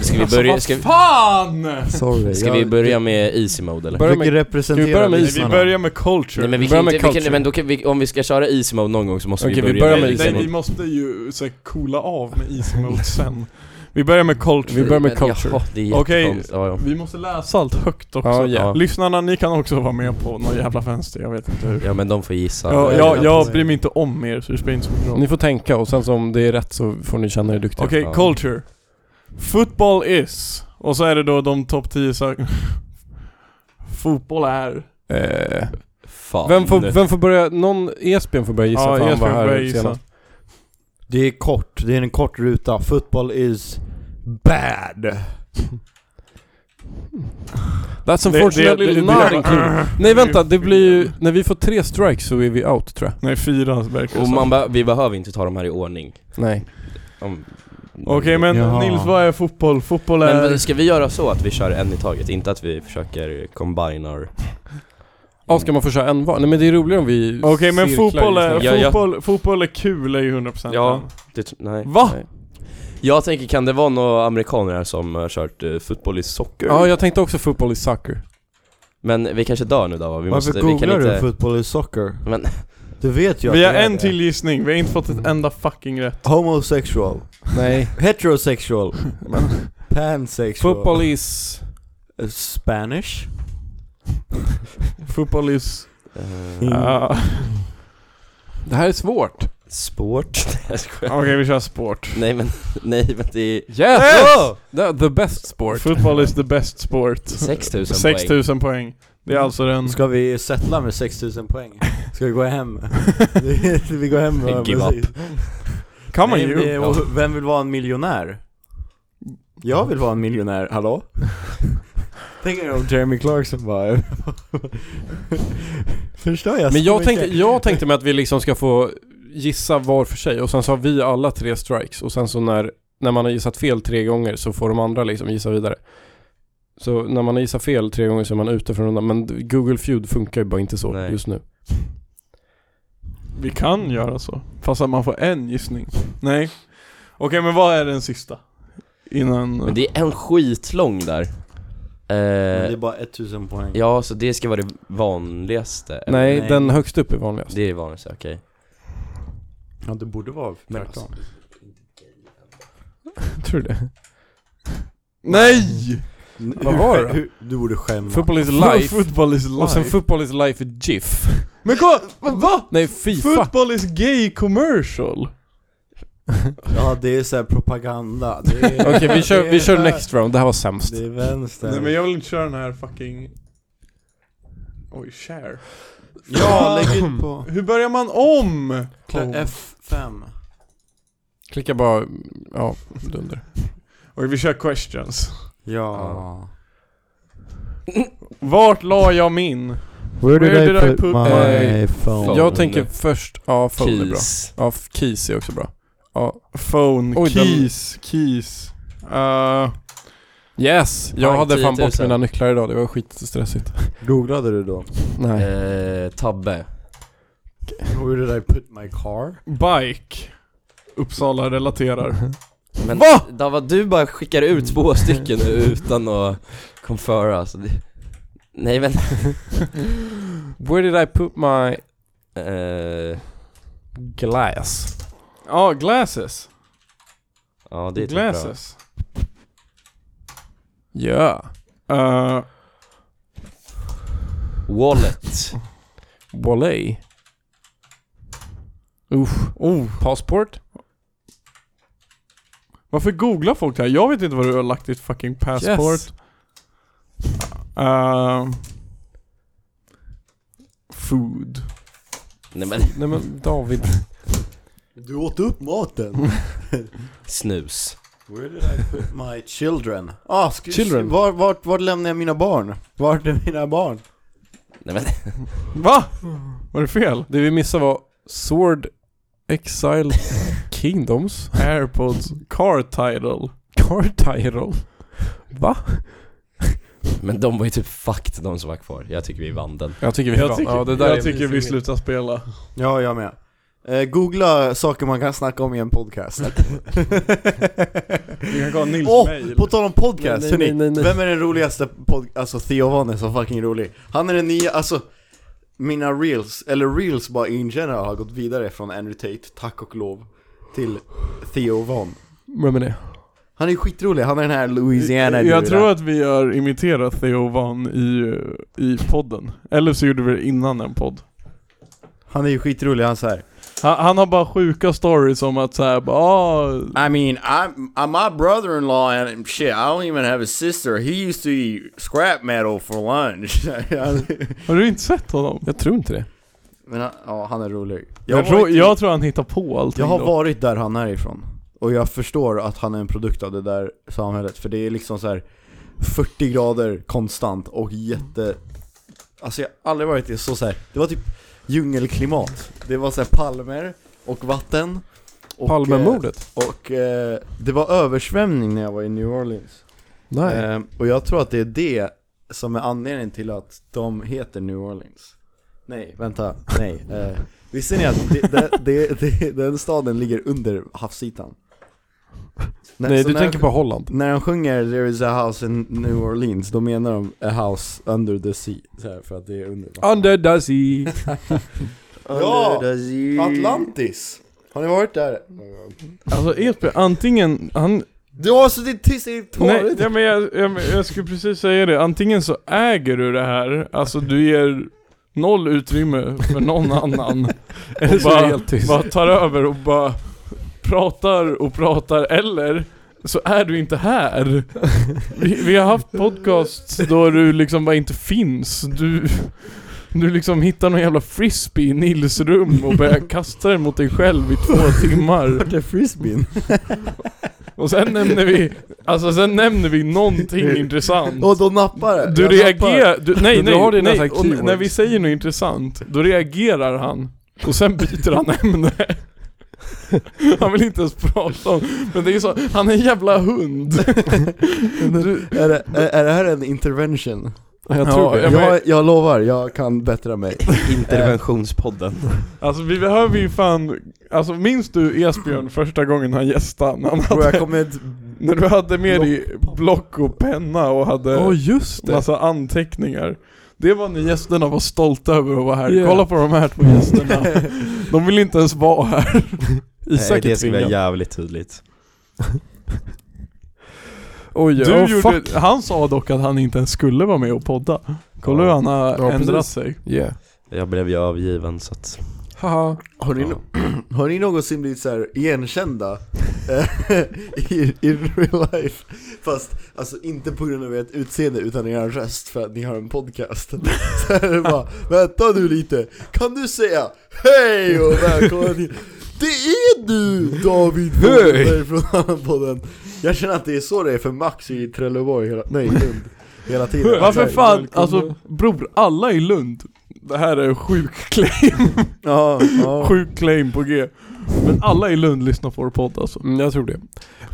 Speaker 1: Ska vi börja, ska, vi-
Speaker 4: Fan!
Speaker 5: Sorry,
Speaker 1: ska vi börja med easy mode eller?
Speaker 2: Börja
Speaker 5: Börja
Speaker 2: med-
Speaker 5: med,
Speaker 2: ska
Speaker 5: representera
Speaker 2: vi börja med
Speaker 4: Nej, vi
Speaker 5: lyssnarna.
Speaker 4: börjar med culture.
Speaker 1: Nej men vi
Speaker 2: Börja
Speaker 1: kan
Speaker 2: med
Speaker 1: inte, vi
Speaker 2: culture.
Speaker 1: kan, men då kan vi, om vi ska köra easy mode någon gång så måste
Speaker 2: Okej,
Speaker 1: vi börja
Speaker 2: vi börjar
Speaker 1: med
Speaker 2: med
Speaker 4: Nej,
Speaker 2: easy
Speaker 1: easy
Speaker 4: nej,
Speaker 2: mode.
Speaker 4: vi måste ju så här, coola av med easy mode sen. Vi börjar med culture.
Speaker 2: Vi börjar med
Speaker 1: Men
Speaker 2: culture.
Speaker 1: Jaha, det är
Speaker 4: Okej.
Speaker 1: jättekonstigt. Ja, ja.
Speaker 4: Vi måste läsa allt högt också.
Speaker 2: Ja, ja.
Speaker 4: Lyssnarna, ni kan också vara med på någon jävla fönster, jag vet inte hur.
Speaker 1: ja men de får gissa.
Speaker 4: Ja,
Speaker 5: det är
Speaker 4: jag,
Speaker 5: det.
Speaker 4: jag bryr mig inte om er, så det spelar inte så mycket roll.
Speaker 2: Ni får tänka och sen så om det är rätt så får ni känna er duktiga.
Speaker 4: Okej,
Speaker 1: Ja.
Speaker 4: culture. Football is. Och så är det då de topp 10 sakerna. [LAUGHS] Fotboll är.
Speaker 2: Eh,
Speaker 1: Fan.
Speaker 2: vem, får, vem får börja? Någon, Esbjörn får börja gissa
Speaker 4: Ja,
Speaker 2: för han
Speaker 4: Esbjörn
Speaker 2: var
Speaker 4: får
Speaker 2: här
Speaker 4: börja gissa.
Speaker 2: senast.
Speaker 5: Det är kort, det är en kort ruta. Football is bad.
Speaker 2: That's
Speaker 4: Det-
Speaker 2: unfortunately
Speaker 4: det- det- det- [LAUGHS]
Speaker 2: not
Speaker 4: det-
Speaker 2: included. Nej vänta, det blir ju, när vi får tre strikes så är vi out tror jag.
Speaker 4: Nej, fyra verkar det
Speaker 1: Och
Speaker 4: som.
Speaker 1: man be- vi behöver inte ta de här i ordning.
Speaker 2: Nej.
Speaker 1: Om-
Speaker 4: Okej, men
Speaker 5: Jaha.
Speaker 4: Nils, vad är fotboll? Fotboll är...
Speaker 1: Men ska vi göra så att vi kör en i taget? Inte att vi försöker combine our...
Speaker 2: Ja, ska man få köra en var? Nej men det är roligare om vi
Speaker 4: Okej, men
Speaker 2: cirklar
Speaker 4: fotboll
Speaker 2: just
Speaker 4: är,
Speaker 2: nu.
Speaker 1: Ja, ja.
Speaker 4: Fotboll, fotboll är kul är ju 100%
Speaker 1: Ja. Det, tr- nej.
Speaker 4: Va?
Speaker 1: Nej. Jag tänker, kan det vara några amerikaner här som har kört eh, fotboll i socker?
Speaker 2: Ja, jag tänkte också fotboll i soccer.
Speaker 1: Men vi kanske dör nu då va? Vi
Speaker 5: Varför
Speaker 1: måste, vi
Speaker 5: googlar
Speaker 1: kan
Speaker 5: du
Speaker 1: inte...
Speaker 5: football is soccer?
Speaker 1: Men,
Speaker 5: Du vet ju att
Speaker 4: Vi
Speaker 5: det
Speaker 4: har
Speaker 5: är
Speaker 4: en
Speaker 5: det.
Speaker 4: till gissning, vi har inte fått ett enda fucking rätt.
Speaker 5: Homosexual.
Speaker 2: Nej.
Speaker 5: Heterosexual. Pansexual. Eh,
Speaker 2: Fotboll is...
Speaker 5: Spanish.
Speaker 4: Fotboll is...
Speaker 1: eh,
Speaker 5: Mm.
Speaker 4: Ah,
Speaker 2: Det här är svårt.
Speaker 1: sport? [LAUGHS] Nej, jag skojar.
Speaker 4: Okej, vi kör sport.
Speaker 1: nej men, nej men det är...
Speaker 2: Yes!
Speaker 4: Yes!
Speaker 2: The, the best sport.
Speaker 4: Fotboll is the best sport.
Speaker 1: 6000 poäng.
Speaker 4: 6000 poäng. Det är alltså den...
Speaker 5: Mm. Ska vi settla med 6000 poäng? Ska vi
Speaker 4: [LAUGHS]
Speaker 5: gå hem? Vi- vi går hem med
Speaker 1: Give up.
Speaker 4: Come on
Speaker 5: Nej, det
Speaker 4: you!
Speaker 5: är- och Vem vill vara en miljonär? Jag vill vara en miljonär, hallå? [LAUGHS] Tänk er om Jeremy Clarkson bara... [LAUGHS] Förstår jag
Speaker 2: Men
Speaker 5: så
Speaker 2: jag
Speaker 5: mycket?
Speaker 2: tänkte, jag tänkte med att vi liksom ska få gissa var för sig och sen så har vi alla tre strikes och sen så när, när man har gissat fel tre gånger så får de andra liksom gissa vidare. Så när man har gissat fel tre gånger så är man ute från rundan. Men Google Feud funkar ju bara inte så
Speaker 1: Nej.
Speaker 2: just nu.
Speaker 4: Vi kan göra så. Fast att man får en gissning. Nej. Okej, men vad är den sista? Innan...
Speaker 1: Men det är en skitlång där.
Speaker 5: Men det
Speaker 1: Eh,
Speaker 5: är bara 1000 poäng.
Speaker 1: ja, så det ska vara det vanligaste? eller?
Speaker 2: Nej,
Speaker 5: Nej.
Speaker 2: den högst upp är
Speaker 1: [LAUGHS]
Speaker 2: vanligast.
Speaker 1: Det är det vanligaste, okej.
Speaker 5: Ja, det borde vara
Speaker 1: Men
Speaker 5: tvärtom.
Speaker 2: Tror du det?
Speaker 4: Nej!
Speaker 5: N-
Speaker 2: Vad
Speaker 5: hur-
Speaker 2: var det då?
Speaker 5: hur- Du borde skämma.
Speaker 2: Football is life.
Speaker 4: Football is life.
Speaker 2: Och sen football is life GIF.
Speaker 4: Men kolla! Va? va?
Speaker 2: Nej, FIFA.
Speaker 4: Football is gay commercial.
Speaker 5: Ja, det är så här propaganda. Det
Speaker 2: [LAUGHS]
Speaker 5: är-
Speaker 2: Okej, vi kör,
Speaker 5: det
Speaker 2: vi
Speaker 5: är
Speaker 2: kör
Speaker 5: vä-
Speaker 2: next round. Det här var sämst.
Speaker 5: Det är vänster.
Speaker 2: eh,
Speaker 4: Nej men jag vill inte köra den här fucking... Oj, share.
Speaker 5: Ja, lägg
Speaker 4: [LAUGHS]
Speaker 5: ut på
Speaker 4: Hur börjar man om?
Speaker 5: F5.
Speaker 2: Klicka bara, ja,
Speaker 4: [LAUGHS]
Speaker 2: dunder.
Speaker 4: Okej, vi kör questions.
Speaker 5: Ja.
Speaker 4: Vart la jag min?
Speaker 5: Where
Speaker 4: did Where I did I put put
Speaker 2: my
Speaker 5: phone?
Speaker 2: Jag tänker först, ja, phone är bra.
Speaker 1: Keys.
Speaker 2: Ja, f- keys är också bra. Ja.
Speaker 4: Phone,
Speaker 2: Oj, den-
Speaker 4: keys, keys. Uh,
Speaker 2: Yes! Jag
Speaker 1: Pang,
Speaker 2: hade fan
Speaker 1: 10 000.
Speaker 2: bort mina nycklar idag, det var skitstressigt.
Speaker 5: Googlade du då?
Speaker 2: Nej.
Speaker 1: Eh, tabbe.
Speaker 5: Where did I put my car?
Speaker 4: bike. Uppsala
Speaker 2: [LAUGHS]
Speaker 4: relaterar.
Speaker 1: Men
Speaker 4: Va?
Speaker 1: Dava, du bara skickar ut två stycken nu utan att konföra alltså. det- Nej men,
Speaker 2: Where did I put my
Speaker 1: eh,
Speaker 2: glass?
Speaker 4: Ja, glasses.
Speaker 1: ja det är typ bra.
Speaker 4: Glasses.
Speaker 2: Yeah.
Speaker 4: Uh,
Speaker 1: Wallet.
Speaker 2: Wallay. Uff. Oh. Passport?
Speaker 4: varför googlar folk det här? Jag vet inte vad du har lagt ditt fucking passport.
Speaker 2: Yes.
Speaker 4: Ehm, food.
Speaker 1: Nej men,
Speaker 2: Nej men David.
Speaker 5: Du åt upp maten.
Speaker 1: snus.
Speaker 5: Where did I put my children? Ah, sk-
Speaker 2: Children.
Speaker 5: Var, vart, vart lämnar jag mina barn? Vart är mina barn?
Speaker 1: Nej men,
Speaker 4: Va?
Speaker 2: Mm.
Speaker 4: Var det fel?
Speaker 2: Det vi missade var Sword Exile Kingdoms.
Speaker 4: [LAUGHS] Airpods, car title.
Speaker 2: Car Tyrol. Va?
Speaker 1: men de var ju typ fucked de som var kvar. Jag tycker vi vann den.
Speaker 2: Jag tycker vi
Speaker 4: Jag tycker,
Speaker 2: ja, det där
Speaker 4: jag
Speaker 2: är-
Speaker 4: tycker vi slutar spela.
Speaker 5: Ja, jag med. Eh, googla saker man kan snacka om i en podcast.
Speaker 4: Vi kan gå Nils
Speaker 5: Åh,
Speaker 4: mail.
Speaker 5: på tal om podcast,
Speaker 2: Nej, nej,
Speaker 5: hörni,
Speaker 2: nej, nej, nej.
Speaker 5: vem är den roligaste pod- Alltså Theo Von är så fucking rolig Han är den nya, alltså Mina reels, eller reels bara in general har gått vidare från Andrew Tate, tack och lov Till Theo Von
Speaker 2: Vem är det?
Speaker 5: Han är skitrolig, han är den här Louisiana
Speaker 4: Jag tror att vi har imiterat Theo Van i, i podden. Eller så gjorde vi det innan en podd.
Speaker 5: Han är ju skitrolig, han säger
Speaker 4: Han, han har bara sjuka stories om att såhär bara ah,
Speaker 5: I mean, I'm, I'm my brother-in-law and shit, I don't even have a sister He used to eat scrap metal for lunch [LAUGHS]
Speaker 4: Har du inte sett honom?
Speaker 2: Jag tror inte det.
Speaker 5: Men han- ja, han är rolig
Speaker 4: Jag,
Speaker 5: har
Speaker 4: tror,
Speaker 5: varit i-
Speaker 4: jag tror han hittar på allting
Speaker 5: Jag har
Speaker 4: då.
Speaker 5: varit där han är ifrån Och jag förstår att han är en produkt av det där samhället För det är liksom så här 40 grader konstant och jätte Alltså jag har aldrig varit i så, så här. Det var typ djungelklimat Det var så här palmer och vatten och,
Speaker 2: Palmemordet?
Speaker 5: eh, Och eh, det var översvämning när jag var i New Orleans
Speaker 2: Nej.
Speaker 5: eh, Och jag tror att det är det som är anledningen till att de heter New Orleans Nej, vänta, nej eh, Visste ni att det, det, det, det, den staden ligger under havsytan? När-
Speaker 2: Nej,
Speaker 5: så
Speaker 2: du
Speaker 5: när
Speaker 2: tänker
Speaker 5: de,
Speaker 2: på Holland.
Speaker 5: När de sjunger 'There is a house in New Orleans' Då menar de 'a house under the sea' så här, För att det är under vatten.
Speaker 2: Under the sea.
Speaker 5: Ja!
Speaker 6: Under the sea.
Speaker 5: Atlantis! Har ni varit där?
Speaker 4: Alltså Epe, antingen han...
Speaker 5: Du har suttit tyst i ditt
Speaker 4: Nej,
Speaker 5: hår!
Speaker 4: nej men jag, jag, jag skulle precis säga det. Antingen så äger du det här, alltså du ger noll utrymme för någon [LAUGHS] annan.
Speaker 2: Eller så är
Speaker 4: bara-
Speaker 2: det helt tyst.
Speaker 4: bara tar över och bara pratar och pratar eller så är du inte här. Vi, vi har haft podcasts då du liksom bara inte finns. Du, du liksom hittar någon jävla frisbee i Nils rum och börjar kasta den mot dig själv i två timmar.
Speaker 5: Vart är frisbeen?
Speaker 4: Och sen nämner vi, alltså sen nämner vi någonting intressant.
Speaker 5: [LAUGHS] Och då nappar det.
Speaker 4: Du
Speaker 5: Jag nappar.
Speaker 4: reagerar, du, nej
Speaker 2: Du
Speaker 4: nej,
Speaker 2: har dina så
Speaker 4: nej.
Speaker 2: här
Speaker 4: Och n- när vi
Speaker 2: keywords.
Speaker 4: säger något intressant, då reagerar han. Och sen byter han
Speaker 2: [LAUGHS]
Speaker 4: ämne. Han vill inte ens prata om, men det är så, han är en jävla
Speaker 2: [LAUGHS]
Speaker 4: hund. Du,
Speaker 5: Är det, är, är det här en intervention?
Speaker 2: Jag
Speaker 4: Ja,
Speaker 2: tror det.
Speaker 5: Jag,
Speaker 4: men-
Speaker 5: jag, lovar, jag kan
Speaker 4: [LAUGHS]
Speaker 5: bättra mig
Speaker 1: [LAUGHS] [LAUGHS] Interventionspodden.
Speaker 4: alltså vi behöver ju fan, alltså minns du Esbjörn första gången han gästade? när Han
Speaker 5: Bror jag
Speaker 4: hade,
Speaker 5: kommer
Speaker 4: När du hade med dig block och penna och hade
Speaker 2: Åh just det!
Speaker 4: massa anteckningar. Det var när gästerna var stolta över att vara här.
Speaker 2: Yeah.
Speaker 4: Kolla på de här två gästerna.
Speaker 2: [LAUGHS]
Speaker 4: de vill inte ens vara här.
Speaker 1: Nej,
Speaker 2: Isak är
Speaker 1: det skulle vara
Speaker 2: tvingad.
Speaker 1: jävligt tydligt.
Speaker 2: Oj,
Speaker 4: Du
Speaker 2: ja,
Speaker 4: gjorde,
Speaker 2: fuck!
Speaker 4: Han sa dock att han inte ens skulle vara med och podda. Kolla hur han har
Speaker 2: Ja,
Speaker 4: ändrat
Speaker 2: precis.
Speaker 4: sig.
Speaker 2: Yeah.
Speaker 1: Jag blev ju övergiven så att...
Speaker 2: Haha.
Speaker 5: Har ni,
Speaker 1: Ja.
Speaker 5: har ni någonsin blivit så här igenkända eh, [LAUGHS] i, i real life? Fast alltså inte på grund av ert utseende utan er röst för att ni har en podcast. [LAUGHS] Så är det bara, vänta nu lite, kan du säga hej och välkommen till Det är du David
Speaker 2: Hej!
Speaker 5: Holmberg från Hallonpodden! Jag känner att det är så det är för Max i Trelleborg, hela, nej Lund, hela tiden.
Speaker 4: Varför
Speaker 5: Nej.
Speaker 4: fan,
Speaker 2: välkomna.
Speaker 4: alltså bror, alla i Lund. Det här är en sjuk claim,
Speaker 5: Ja, ja.
Speaker 4: sjuk claim på G. Men alla i Lund lyssnar på vår podd alltså.
Speaker 2: Mm, jag tror det.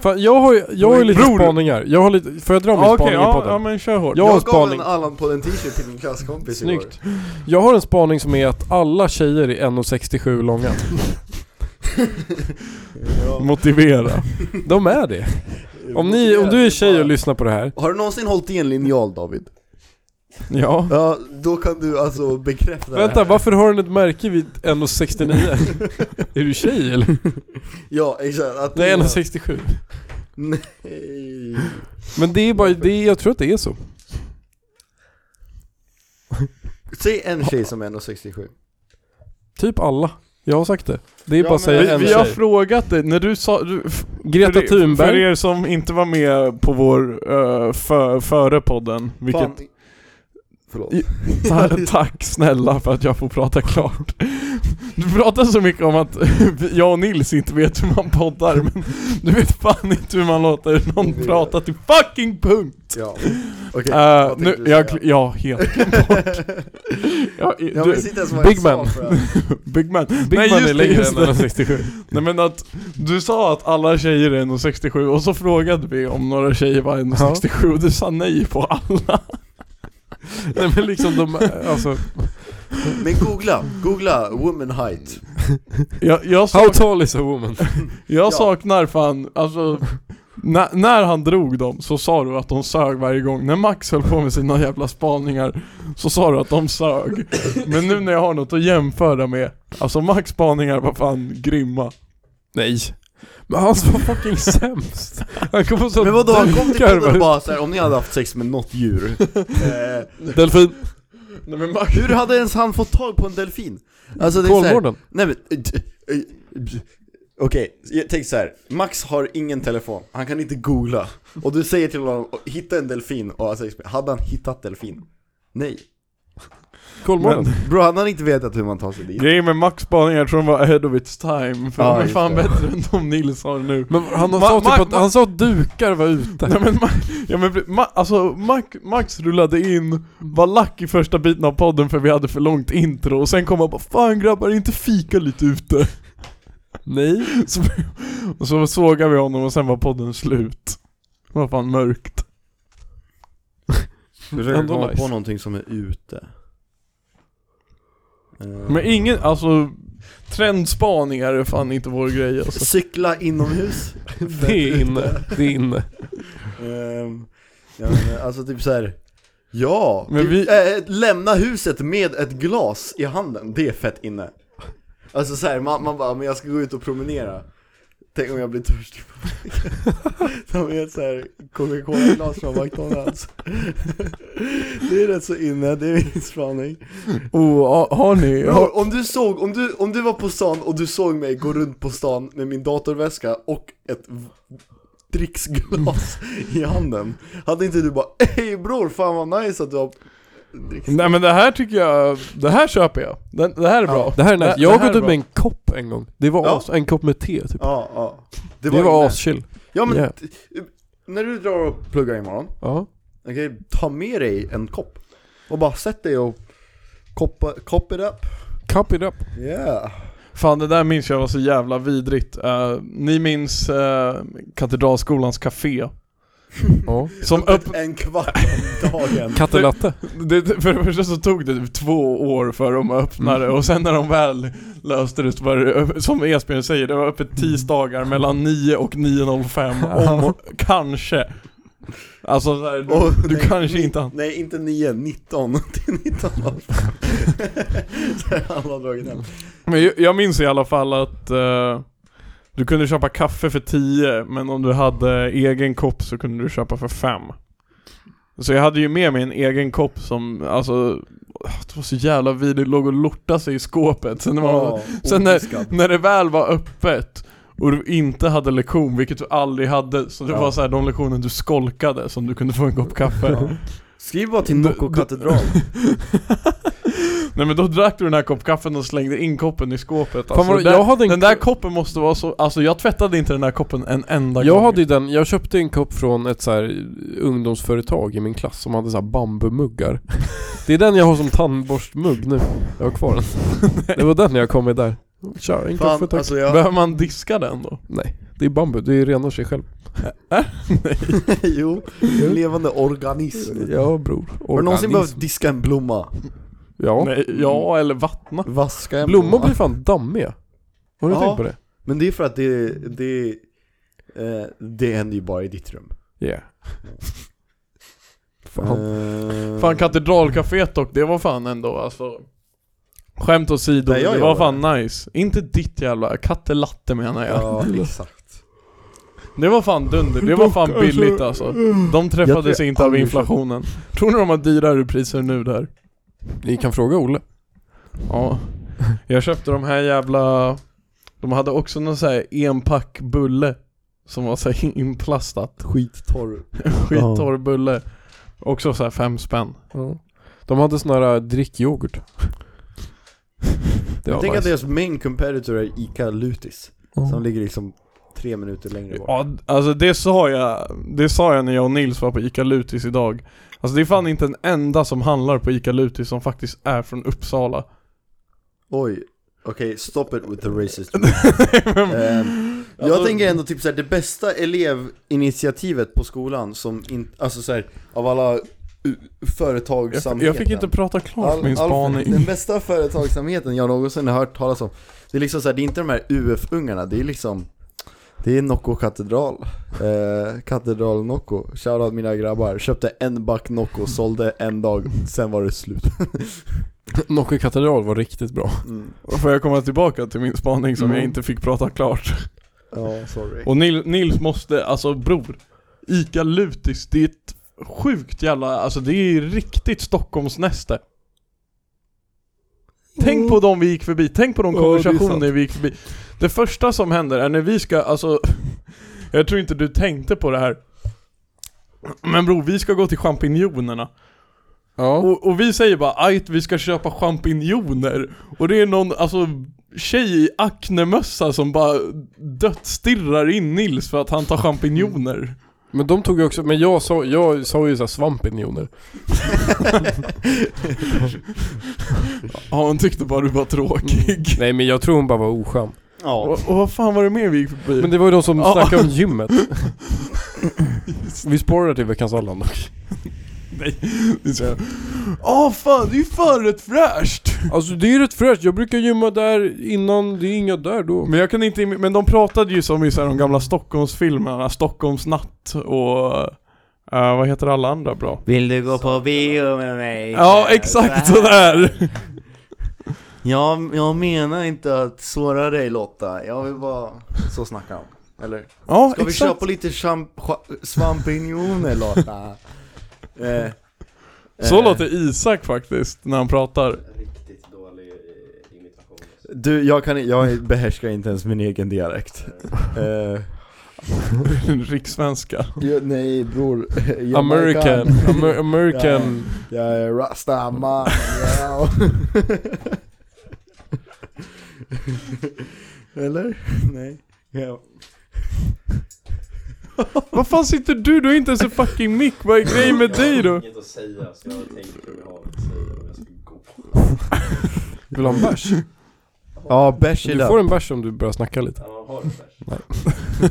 Speaker 2: Fan, jag har ju, jag har ju lite
Speaker 4: Bror.
Speaker 2: spaningar. Jag har lite, får jag dra min
Speaker 4: Ja,
Speaker 2: spaning i
Speaker 4: ja,
Speaker 2: podden?
Speaker 4: ja men kör hårt.
Speaker 2: Jag har
Speaker 5: Jag
Speaker 2: en
Speaker 5: gav
Speaker 2: spaning.
Speaker 5: en Allan-podden t-shirt till min klasskompis i år.
Speaker 2: Snyggt. Jag har en spaning som är att alla tjejer är 1,67 långa.
Speaker 4: Motivera.
Speaker 2: De är det. Om, ni, om du är tjej och lyssnar på det här.
Speaker 5: Har du någonsin hållit i en linjal David?
Speaker 2: Ja.
Speaker 5: Ja, då kan du alltså bekräfta det
Speaker 2: Vänta,
Speaker 5: här.
Speaker 2: varför har den ett märke vid 1,69? är du tjej eller?
Speaker 5: Ja, exakt. Att
Speaker 2: Nej, 1,67.
Speaker 5: Nej.
Speaker 2: Men det är bara, det är, jag tror att det är så.
Speaker 5: Säg en tjej som är 1,67.
Speaker 2: Typ alla. Jag har sagt det. Det är
Speaker 5: Ja,
Speaker 2: bara att
Speaker 5: men-
Speaker 2: säga
Speaker 4: Vi,
Speaker 2: en
Speaker 4: vi har
Speaker 2: tjej.
Speaker 4: frågat dig, när du sa... Du, f-
Speaker 2: Greta
Speaker 4: för er- För
Speaker 2: Thunberg.
Speaker 4: er som inte var med på vår eh, fö, före podden, vilket...
Speaker 5: Fan. Förlåt.
Speaker 4: I- Ta, tack snälla för att jag får prata klart. Du pratar så mycket om att [LAUGHS] jag och Nils inte vet hur man poddar, men du vet fan inte hur man låter någon prata till fucking punkt!
Speaker 5: Ja. Okej,
Speaker 4: Eh,
Speaker 5: vad tänkte
Speaker 4: nu,
Speaker 5: du
Speaker 4: jag,
Speaker 5: säga?
Speaker 4: ja, helt.
Speaker 5: [LAUGHS]
Speaker 4: Ja, i-
Speaker 5: Jag
Speaker 4: du,
Speaker 5: minns inte ens vad jag
Speaker 2: Big
Speaker 5: sa
Speaker 2: man.
Speaker 5: för att-
Speaker 4: Big man.
Speaker 2: Big
Speaker 4: Nej,
Speaker 2: Man
Speaker 4: just
Speaker 2: är
Speaker 4: det,
Speaker 2: längre än
Speaker 4: just det.
Speaker 2: 1,67.
Speaker 4: Nej men att du sa att alla tjejer är 1,67 och så frågade vi om några tjejer var 1,67 och du sa nej på alla.
Speaker 2: Nej men liksom de, alltså.
Speaker 5: Men googla, googla woman height.
Speaker 4: Jag, jag,
Speaker 2: How
Speaker 4: sak,
Speaker 2: tall is a woman?
Speaker 4: jag
Speaker 5: Ja.
Speaker 4: saknar fan, alltså när, när han drog dem så sa du att de sög varje gång. När Max höll på med sina jävla spaningar så sa du att de sög. Men nu när jag har något att jämföra med, alltså Max spaningar var fan grymma.
Speaker 2: Nej. Men han var fucking sämst. Han kom på sån [LAUGHS]
Speaker 5: Men vadå, han kom till podden och
Speaker 2: dunkar.
Speaker 5: bara såhär, om ni hade haft sex med
Speaker 2: [LAUGHS]
Speaker 5: något djur. Eh,
Speaker 2: Delfin.
Speaker 4: Nej men Max,
Speaker 5: hur hade ens han fått tag på en delfin? Alltså det är såhär,
Speaker 2: Kolmården.
Speaker 5: Nej men, eh, t- eh, b- okej, jag tänk så här. Max har ingen telefon, han kan inte googla. Och du säger till honom, hitta en delfin, och han säger, hade han hittat delfin? Nej.
Speaker 2: Kolmården.
Speaker 5: Bro, han har inte vetat hur man tar sig dit.
Speaker 4: grejen med Max spaningar jag tror de var ahead of its time. För
Speaker 5: Ja,
Speaker 4: de är
Speaker 5: just
Speaker 4: fan
Speaker 5: det.
Speaker 4: bättre än de Nils har nu.
Speaker 2: Men han
Speaker 4: Ma-
Speaker 2: sa
Speaker 4: ma-
Speaker 2: typ att,
Speaker 4: ma-
Speaker 2: han sa att dukar var ute.
Speaker 4: Nej, men, Ma- ja, men, ma, alltså, Max, Max rullade in, var lack i första biten av podden för vi hade för långt intro och sen kom han bara 'Fan grabbar, inte fika lite ute'
Speaker 2: Nej.
Speaker 4: så, Och så sågade vi honom och sen var podden slut Det var fan mörkt
Speaker 5: Du försöker
Speaker 2: Ändå
Speaker 5: komma
Speaker 2: nice.
Speaker 5: på någonting som är ute. Eh,
Speaker 4: Men ingen, alltså Trendspaningar är fan inte vår grej alltså.
Speaker 5: Cykla inomhus.
Speaker 2: Det är inne. Det är inne.
Speaker 5: Ehm, ja, men, alltså typ så här. Ja,
Speaker 4: Men
Speaker 5: typ,
Speaker 4: vi-
Speaker 5: eh, lämna huset med ett glas i handen, det är fett inne. Alltså så här, man, man bara, men jag ska gå ut och promenera. Tänk om jag blir törstig på vägen. Som är ett så här Coca-Cola-glas från McDonalds. det är rätt så inne, det är min spaning.
Speaker 4: Oh, ha- har ni?
Speaker 5: Bro, om du såg, om du, om du var på stan och du såg mig gå runt på stan med min datorväska och ett v- dricksglas i handen Hade inte du bara Ej bror, fan vad nice att du har dricks
Speaker 4: Nej men det här tycker jag, det här köper jag. Det, det här är bra.
Speaker 2: Det här är
Speaker 4: Det-
Speaker 2: nice.
Speaker 4: det
Speaker 2: Jag har
Speaker 4: här är
Speaker 2: gått ut
Speaker 4: bra.
Speaker 2: med en kopp en gång. Det var
Speaker 5: Ja.
Speaker 2: as, en kopp med te typ.
Speaker 5: Ja, ja
Speaker 2: Det var,
Speaker 5: inne.
Speaker 2: aschill.
Speaker 5: Ja men,
Speaker 2: yeah.
Speaker 5: t- när du drar och pluggar imorgon,
Speaker 2: Ja.
Speaker 5: okej, ta med dig en kopp Och bara sätt dig och koppa, cop it up
Speaker 2: Cup it up.
Speaker 5: Yeah
Speaker 4: Fan det där minns jag var så jävla vidrigt. Eh, ni minns eh, Katedralskolans café?
Speaker 2: Ja.
Speaker 4: Som upp...
Speaker 5: En kvart om dagen.
Speaker 2: Kattelatte.
Speaker 4: Det, det- för det första så tog det typ två år för dem att öppna
Speaker 5: Mm.
Speaker 4: det och sen när de väl löste det så var det, ö- som Esbjörn säger, det var
Speaker 5: Mm.
Speaker 4: öppet tisdagar mellan 9 och 9.05 om och, kanske. Alltså så här, du,
Speaker 5: Och
Speaker 4: du
Speaker 5: nej,
Speaker 4: kanske inte hann.
Speaker 5: Nej, inte 9, [LAUGHS] 19. Till 19 [LAUGHS] Så alla har dragit hem.
Speaker 4: Men jag, jag minns i alla fall att eh, du kunde köpa kaffe för 10 men om du hade egen kopp så kunde du köpa för 5. Så jag hade ju med mig en egen kopp som, alltså, det var så jävla vidrigt, låg och lortade sig i skåpet. Sen när man,
Speaker 5: Ja,
Speaker 4: sen när-
Speaker 5: ofiskad.
Speaker 4: När det väl var öppet och du inte hade lektion, vilket du aldrig hade, så det
Speaker 5: Ja.
Speaker 4: var så här de lektioner du skolkade som du kunde få en kopp kaffe.
Speaker 5: Skriv bara till Nocco katedral.
Speaker 4: Nej men då drack du den här kopp kaffen och slängde in koppen i skåpet. Alltså,
Speaker 2: vad-
Speaker 4: den,
Speaker 2: jag hade en-
Speaker 4: den där koppen måste vara så, alltså jag tvättade inte den där koppen en enda
Speaker 2: Jag
Speaker 4: gång.
Speaker 2: hade ju den, jag köpte en kopp från ett så här ungdomsföretag i min klass som hade så här bambumuggar. Det är den jag har som tandborstmugg nu. Jag har kvar den.
Speaker 5: [LAUGHS]
Speaker 2: Det var den jag kom med där. Kör, en kopp
Speaker 5: Fan,
Speaker 2: för tack.
Speaker 5: alltså jag...
Speaker 4: Behöver man diska den då?
Speaker 2: Nej, det är bambu, det renar sig själv.
Speaker 5: [LAUGHS] jo, en levande organism.
Speaker 2: Ja bror.
Speaker 5: Har du någonsin
Speaker 2: Organism.
Speaker 5: behövt diska en blomma?
Speaker 2: Ja.
Speaker 4: Nej, ja, eller vattna.
Speaker 5: Vaska en
Speaker 2: Blommor blir fan dammiga. Har du
Speaker 5: Ja.
Speaker 2: tänkt på det?
Speaker 5: Men det är för att det, det, eh, det händer ju bara i ditt rum.
Speaker 2: Ja. Fan.
Speaker 5: Eh,
Speaker 4: Fan katedralcaféet dock, det var fan ändå alltså Skämt åsido,
Speaker 5: Där jag
Speaker 4: det var
Speaker 5: jobbar.
Speaker 4: fan nice. Inte ditt jävla, kattelatte menar jag.
Speaker 5: Ja, exakt.
Speaker 4: Det var fan dunder, det var fan billigt alltså. De
Speaker 5: Jag
Speaker 4: träffades
Speaker 5: tror jag
Speaker 4: inte av
Speaker 5: aldrig
Speaker 4: inflationen. Tror ni de har dyrare priser nu där?
Speaker 2: Ni kan fråga Olle.
Speaker 4: Ja. Jag köpte de här jävla... De hade också någon sån här enpack bulle. Som var så här [LAUGHS] inplastat.
Speaker 5: Skittorr.
Speaker 4: Skittorr bulle. Också så här fem spänn.
Speaker 2: Ja. De hade sån här äh, drickyoghurt. Det
Speaker 5: Jag
Speaker 2: var
Speaker 5: tänker att
Speaker 2: nice.
Speaker 5: deras main competitor är Ica Lutis. Som ligger liksom tre minuter längre bort.
Speaker 4: Ja, alltså det sa jag, det sa jag när jag och Nils var på Ica Lutis idag. Alltså det är fan inte en enda som handlar på Ica Lutis som faktiskt är från Uppsala.
Speaker 5: Oj. Okej, stop it with the racist.
Speaker 4: [LAUGHS] Men- Alltså-
Speaker 5: Ehm, jag tänker ändå typ såhär, det bästa elevinitiativet på skolan som inte, alltså såhär, av alla uh,
Speaker 4: jag,
Speaker 5: företagsamheten.
Speaker 4: jag fick inte prata klart min spaning.
Speaker 5: Den bästa företagsamheten jag någonsin har hört talas om, det är liksom såhär, det är inte de här UF-ungarna, det är liksom det är Nocco katedral, eh, katedral Nocco, shoutout mina grabbar, köpte en back Nocco, sålde en dag, sen var
Speaker 4: [LAUGHS]
Speaker 5: det slut.
Speaker 2: Nocke katedral var riktigt bra.
Speaker 5: Mm.
Speaker 4: Får jag komma tillbaka till min spaning som
Speaker 2: Mm.
Speaker 4: jag inte fick prata klart?
Speaker 5: Ja, sorry.
Speaker 4: Och Nil, Nils måste, alltså bror, Ica Lutis, det är ett sjukt jävla, alltså det är riktigt Stockholmsnäste. Tänk på dem vi gick förbi, tänk på de
Speaker 2: Mm. Ja, det är sant.
Speaker 4: konversationer vi gick förbi. Det första som händer är när vi ska, alltså, [LAUGHS] jag tror inte du tänkte på det här. Men bror, vi ska gå till champinjonerna.
Speaker 2: Ja.
Speaker 4: Och, och vi säger bara ajt vi ska köpa champinjoner Och det är någon, alltså tjej i aknemössa som bara dödsstirrar in Nils för att han tar champinjoner
Speaker 2: Men de tog ju också, men jag sa, jag sa ju såhär svampinjoner.
Speaker 4: Ja hon tyckte bara du var tråkig
Speaker 2: [LAUGHS] Mm. Nej men jag tror hon bara var oskön.
Speaker 5: Ja.
Speaker 4: och, och vad fan var det mer vi gick förbi?
Speaker 2: Men det var ju de som
Speaker 4: Ja.
Speaker 2: snackade om [LAUGHS] gymmet. Vi sparar det till veckans Allan dock.
Speaker 4: det är så här, Åh fan, det är ju fan rätt fräscht!
Speaker 2: Alltså det är ju rätt fräscht, jag brukar gymma där innan, det är inga där då.
Speaker 4: Men jag kan inte, men de pratade ju som i så här, de gamla Stockholmsfilmerna, Stockholmsnatt och eh, vad heter alla andra bra?
Speaker 6: Vill du gå på bio med mig?
Speaker 4: Ja exakt
Speaker 6: Så här.
Speaker 4: sådär!
Speaker 6: [LAUGHS]
Speaker 5: Jag, jag menar inte att såra dig Lotta, jag vill bara... Så snackar de. Eller? Ska
Speaker 4: Ja
Speaker 5: vi
Speaker 4: exakt!
Speaker 5: köpa lite champ- cha- svampinjoner Lotta? eh,
Speaker 4: Så
Speaker 5: eh,
Speaker 4: låter Isak faktiskt när han pratar. [LAUGHS]
Speaker 3: Riktigt dålig eh, imitation.
Speaker 5: Du, jag, kan, jag behärskar inte ens min egen dialekt. Eh,
Speaker 4: Rikssvenska.
Speaker 5: jag- nej bror, Jamaican.
Speaker 2: American,
Speaker 5: [LAUGHS]
Speaker 2: Amer- American.
Speaker 5: Jag är rastaman, ja. [LAUGHS] Eller? Nej. Ja.
Speaker 4: Vad fan sitter du? Du har inte ens en fucking mick. Vad är grejen med dig
Speaker 3: Jag
Speaker 4: då?
Speaker 1: [LAUGHS]
Speaker 3: har inget att säga så jag tänker om jag har något att säga om jag ska gå.
Speaker 2: Vill du ha en [LAUGHS] bärs?
Speaker 5: Ja, bärs i
Speaker 2: Du
Speaker 5: den.
Speaker 2: får en bärs om du börjar snacka lite.
Speaker 3: Ja, man har det där.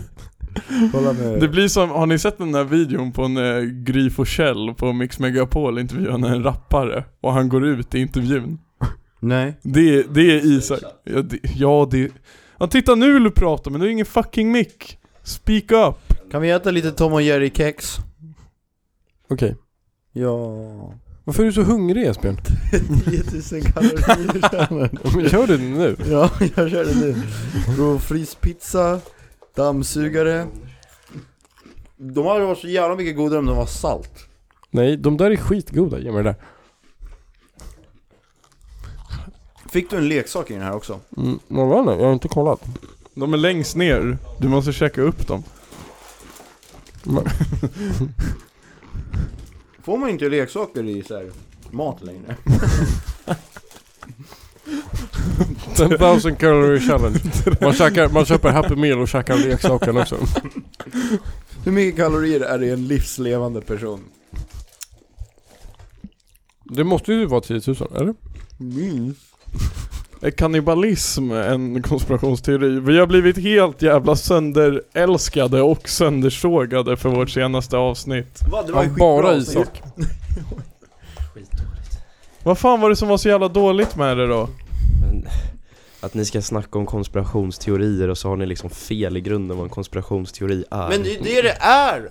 Speaker 5: Kolla nu.
Speaker 4: Det blir som, har ni sett den där videon på en eh, Gry Forssell på Mix Megapol intervjuar när en rappare och han går ut i intervjun?
Speaker 5: Nej.
Speaker 4: Det, är- det är Isak. Ja det, ja, det ja, titta nu vill du prata men du har ingen fucking mick. Speak up.
Speaker 5: Kan vi äta lite Tom och Jerry-kex?
Speaker 2: Okej.
Speaker 5: [LAUGHS] Ja.
Speaker 2: Varför är du så hungrig [LAUGHS] Esbjörn?
Speaker 5: 10 000 kalorier känner jag.
Speaker 2: Gör du det nu?
Speaker 5: [LAUGHS] Ja, jag kör det nu. Bro, fryspizza, dammsugare. De hade varit så jävla mycket godare om de var salt.
Speaker 2: Nej, de där är skitgoda. Ge mig det där.
Speaker 5: Fick du en leksak i den här också?
Speaker 2: Mm, men vad är det? jag har inte kollat. [LAUGHS]
Speaker 4: De är längst ner. Du måste käka upp dem.
Speaker 5: Får man inte leksaker i så här, mat längre? [LAUGHS]
Speaker 2: 10,000 calorie challenge. Man, käkar, man köper Happy Meal och käkar leksaken också.
Speaker 5: Hur mycket kalorier är det i en livslevande person?
Speaker 2: Det måste ju vara 10 000, eller?
Speaker 5: Minst.
Speaker 4: Är kannibalism en konspirationsteori? Vi har blivit helt jävla sönderälskade och söndersågade för vårt senaste avsnitt.
Speaker 5: Va, det var ju
Speaker 2: Ja,
Speaker 5: skitbra
Speaker 2: bara
Speaker 5: avsnitt.
Speaker 2: Isak.
Speaker 4: Vad fan var det som var så jävla dåligt med det då?
Speaker 1: Men, att ni ska snacka om konspirationsteorier och så har ni liksom fel i grunden vad en konspirationsteori är.
Speaker 5: Men det är det det är!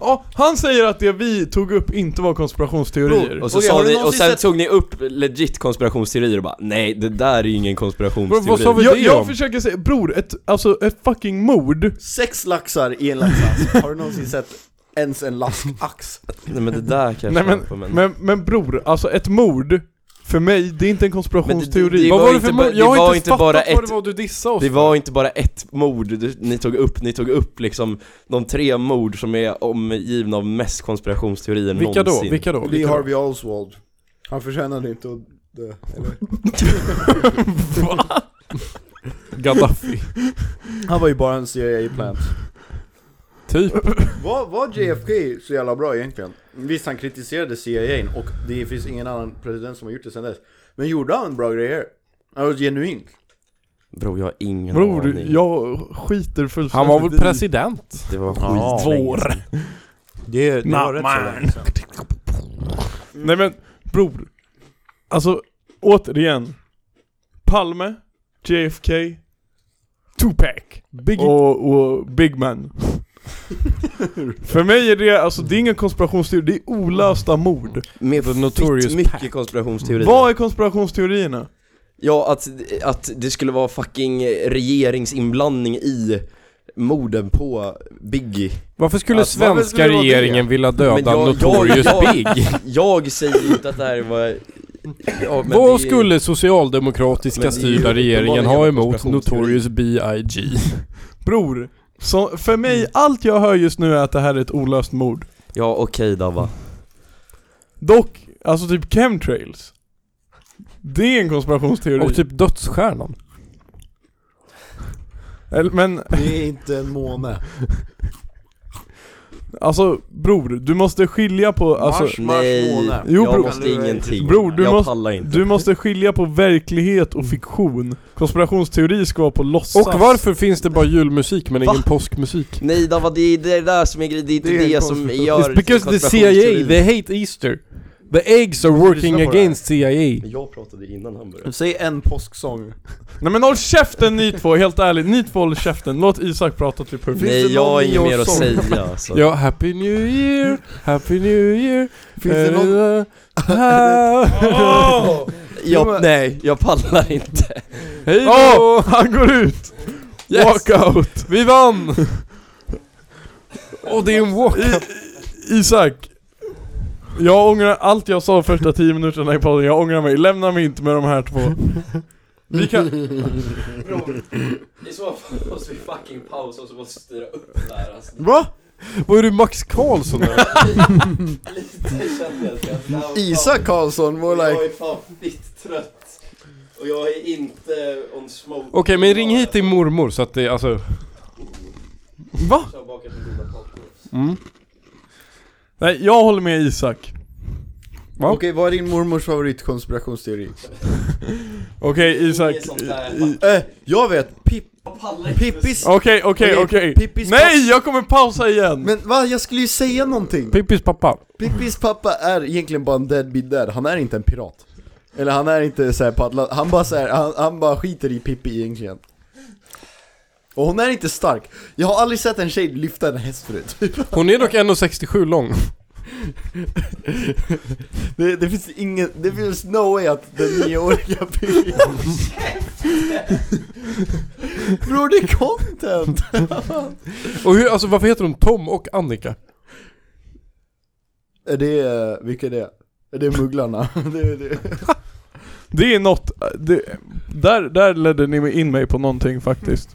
Speaker 4: Ja, han säger att det vi tog upp inte var konspirationsteorier.
Speaker 1: och, så
Speaker 5: Okej,
Speaker 1: sa
Speaker 5: har du
Speaker 1: ni, och
Speaker 5: någonsin
Speaker 1: sen
Speaker 5: sett-
Speaker 1: tog ni upp legit konspirationsteorier och bara nej det där är ju ingen konspirationsteori.
Speaker 2: Vad- vad sa vi-
Speaker 4: jag
Speaker 2: det
Speaker 4: jag
Speaker 2: om?
Speaker 4: försöker säga, bror, ett, alltså ett fucking mord.
Speaker 5: Sex laxar i en laxask. Har du någonsin sett ens en laskax?
Speaker 1: Nej men det där kan jag
Speaker 4: Nej
Speaker 1: köpa,
Speaker 4: men, men, men bror, alltså ett mord, för mig, det är inte en konspirationsteori.
Speaker 1: Det
Speaker 2: Vad
Speaker 1: var
Speaker 2: var det
Speaker 1: inte
Speaker 2: för
Speaker 1: ba-
Speaker 2: mord?
Speaker 1: det
Speaker 2: Jag har
Speaker 1: var
Speaker 2: inte
Speaker 1: inte
Speaker 2: fattat
Speaker 1: bara
Speaker 2: vad
Speaker 1: ett-
Speaker 2: det var du dissade oss
Speaker 1: Det
Speaker 2: för.
Speaker 1: var inte bara ett mord du, ni tog upp, ni tog upp liksom de tre mord som är omgivna av mest konspirationsteorier
Speaker 2: Vilka då?
Speaker 1: någonsin.
Speaker 2: Vilka då?
Speaker 5: Lee
Speaker 2: Vilka då?
Speaker 5: Harvey Oswald. Han förtjänade inte att dö,
Speaker 2: [LAUGHS]
Speaker 5: eller?
Speaker 2: Gaddafi.
Speaker 5: Han var ju bara en CIA-plant.
Speaker 2: typ.
Speaker 5: Var, var JFK så jävla bra egentligen? Visst han kritiserade CIA n och det finns ingen annan president som har gjort det sen dess. Men gjorde han bra grejer? Alltså genuint?
Speaker 1: Bro jag har ingen
Speaker 4: Bror,
Speaker 1: aning.
Speaker 4: jag skiter fullständigt
Speaker 2: Han var väl
Speaker 4: i-
Speaker 2: president?
Speaker 1: Det var
Speaker 5: Ja.
Speaker 1: skitlänge
Speaker 4: Vår.
Speaker 1: sedan.
Speaker 5: Det,
Speaker 4: det var rätt så länge Nej men, bror. Alltså, återigen. Palme, JFK, Tupac
Speaker 2: Big...
Speaker 4: och, och Big
Speaker 1: [LAUGHS]
Speaker 4: Man. För mig är det, alltså det är ingen konspirationsteori, det är olösta mord.
Speaker 1: Med
Speaker 2: The Notorious
Speaker 1: fitt mycket
Speaker 2: Pack.
Speaker 1: konspirationsteorier.
Speaker 4: Vad är konspirationsteorierna?
Speaker 1: Ja, att, att det skulle vara fucking regeringsinblandning i morden på Biggie.
Speaker 2: Varför skulle
Speaker 1: Alltså,
Speaker 5: varför
Speaker 2: svenska
Speaker 5: skulle det vara det?
Speaker 2: regeringen vilja döda
Speaker 1: Men jag-
Speaker 2: Notorious
Speaker 1: jag- jag-
Speaker 2: Big?
Speaker 1: Jag säger inte att det här var... Ja, [LAUGHS] men
Speaker 2: Vad
Speaker 1: det-
Speaker 2: skulle socialdemokratiska
Speaker 1: Men det är ju
Speaker 2: styrda regeringen ha
Speaker 1: uppenbarligen
Speaker 2: emot
Speaker 1: konspirationsteori.
Speaker 2: Notorious B.I.G?
Speaker 4: Bror, så för mig,
Speaker 2: Mm.
Speaker 4: allt jag hör just nu är att det här är ett olöst mord.
Speaker 1: Ja, okej Dabba.
Speaker 4: Dock, alltså typ chemtrails. Det är en konspirationsteori.
Speaker 2: Och typ Dödsstjärnan?
Speaker 4: Eller, Men
Speaker 5: Det är inte en måne.
Speaker 4: alltså bror, du måste skilja på, alltså,
Speaker 5: Mars, måne.
Speaker 4: Jo,
Speaker 1: jag
Speaker 4: bro-
Speaker 1: måste ingenting.
Speaker 4: Bror, du
Speaker 1: jag
Speaker 4: måste-
Speaker 1: pallar inte.
Speaker 4: du måste skilja på verklighet och fiktion. Konspirationsteori ska vara på låtsas.
Speaker 2: Mm. Och varför finns det bara julmusik men
Speaker 1: Va?
Speaker 2: ingen påskmusik?
Speaker 1: Nej Dabba, det är det är det där som är grejen, det är inte
Speaker 5: Det är
Speaker 1: det,
Speaker 5: en
Speaker 1: som
Speaker 5: konspiration-
Speaker 1: gör
Speaker 2: It's because the CIA, they hate Easter. The eggs are
Speaker 5: lyssna
Speaker 2: working
Speaker 5: på det här.
Speaker 2: against CIA.
Speaker 1: Jag pratade innan han började.
Speaker 5: Säg en påsksång.
Speaker 4: Nej men håll käften ni två, helt ärligt. Ni två håller käften. Låt Isak prata typ till punkt.
Speaker 5: Finns det
Speaker 1: Nej, jag
Speaker 5: någon
Speaker 1: har inget mer att
Speaker 5: nyårssång?
Speaker 1: säga alltså.
Speaker 2: Ja, happy new year, happy new year.
Speaker 5: Finns det
Speaker 2: Eh.
Speaker 5: någon...
Speaker 1: Jag, nej, jag pallar inte.
Speaker 2: Hej
Speaker 4: Åh!
Speaker 2: då!
Speaker 4: Han går ut!
Speaker 2: Yes!
Speaker 4: Walkout!
Speaker 2: Vi vann! Och det är en walkout.
Speaker 4: Isak! Jag ångrar allt jag sa första tio minuterna i podden, jag ångrar mig. Lämna mig inte med de här två. Vi
Speaker 2: [LAUGHS]
Speaker 4: kan...
Speaker 3: I så fall måste vi fucking pausa och så måste vi styra upp det här alltså.
Speaker 2: Va? Var är du Max Karlsson eller?
Speaker 3: Lite känner jag att jag- det här var fan-
Speaker 5: Isak Karlsson, more
Speaker 3: Jag
Speaker 5: like...
Speaker 3: är fan fitt trött. Och jag är inte on smoke.
Speaker 2: Okej, men ring hit din mormor så att det, alltså...
Speaker 4: Va?
Speaker 3: Jag har bakat en goda popcorn.
Speaker 4: Nej, jag håller med Isak.
Speaker 2: Va?
Speaker 5: Okej, vad är din mormors favoritkonspirationsteori?
Speaker 4: Okej Isak,
Speaker 3: Inget sånt där.
Speaker 4: i-
Speaker 5: Eh, jag vet! Pippa
Speaker 3: Jag pallar inte.
Speaker 5: Pippis...
Speaker 4: Okej, okej,
Speaker 5: Okej,
Speaker 4: okej.
Speaker 5: Pippis
Speaker 4: Nej, jag kommer pausa igen!
Speaker 5: Men va? Jag skulle ju säga någonting!
Speaker 2: Pippis pappa.
Speaker 5: Pippis pappa är egentligen bara en deadbeat där, han är inte en pirat. Eller han är inte såhär på Atlant- han bara såhär, han, han bara skiter i Pippi egentligen. Och hon är inte stark. Jag har aldrig sett en tjej lyfta en häst förut. [LAUGHS]
Speaker 2: Hon är dock 1,67 lång.
Speaker 5: [LAUGHS] Det, det finns ingen, det finns no way att den nioåriga Pippi...
Speaker 4: [LAUGHS]
Speaker 5: Bror det är content!
Speaker 2: Och hur, alltså varför heter hon Tom och Annika?
Speaker 5: Är det, eh, vilka är det? Är det Mugglarna? [LAUGHS] Det är det.
Speaker 4: Det är något, det, där, där ledde ni in mig på någonting
Speaker 2: [LAUGHS]
Speaker 4: faktiskt.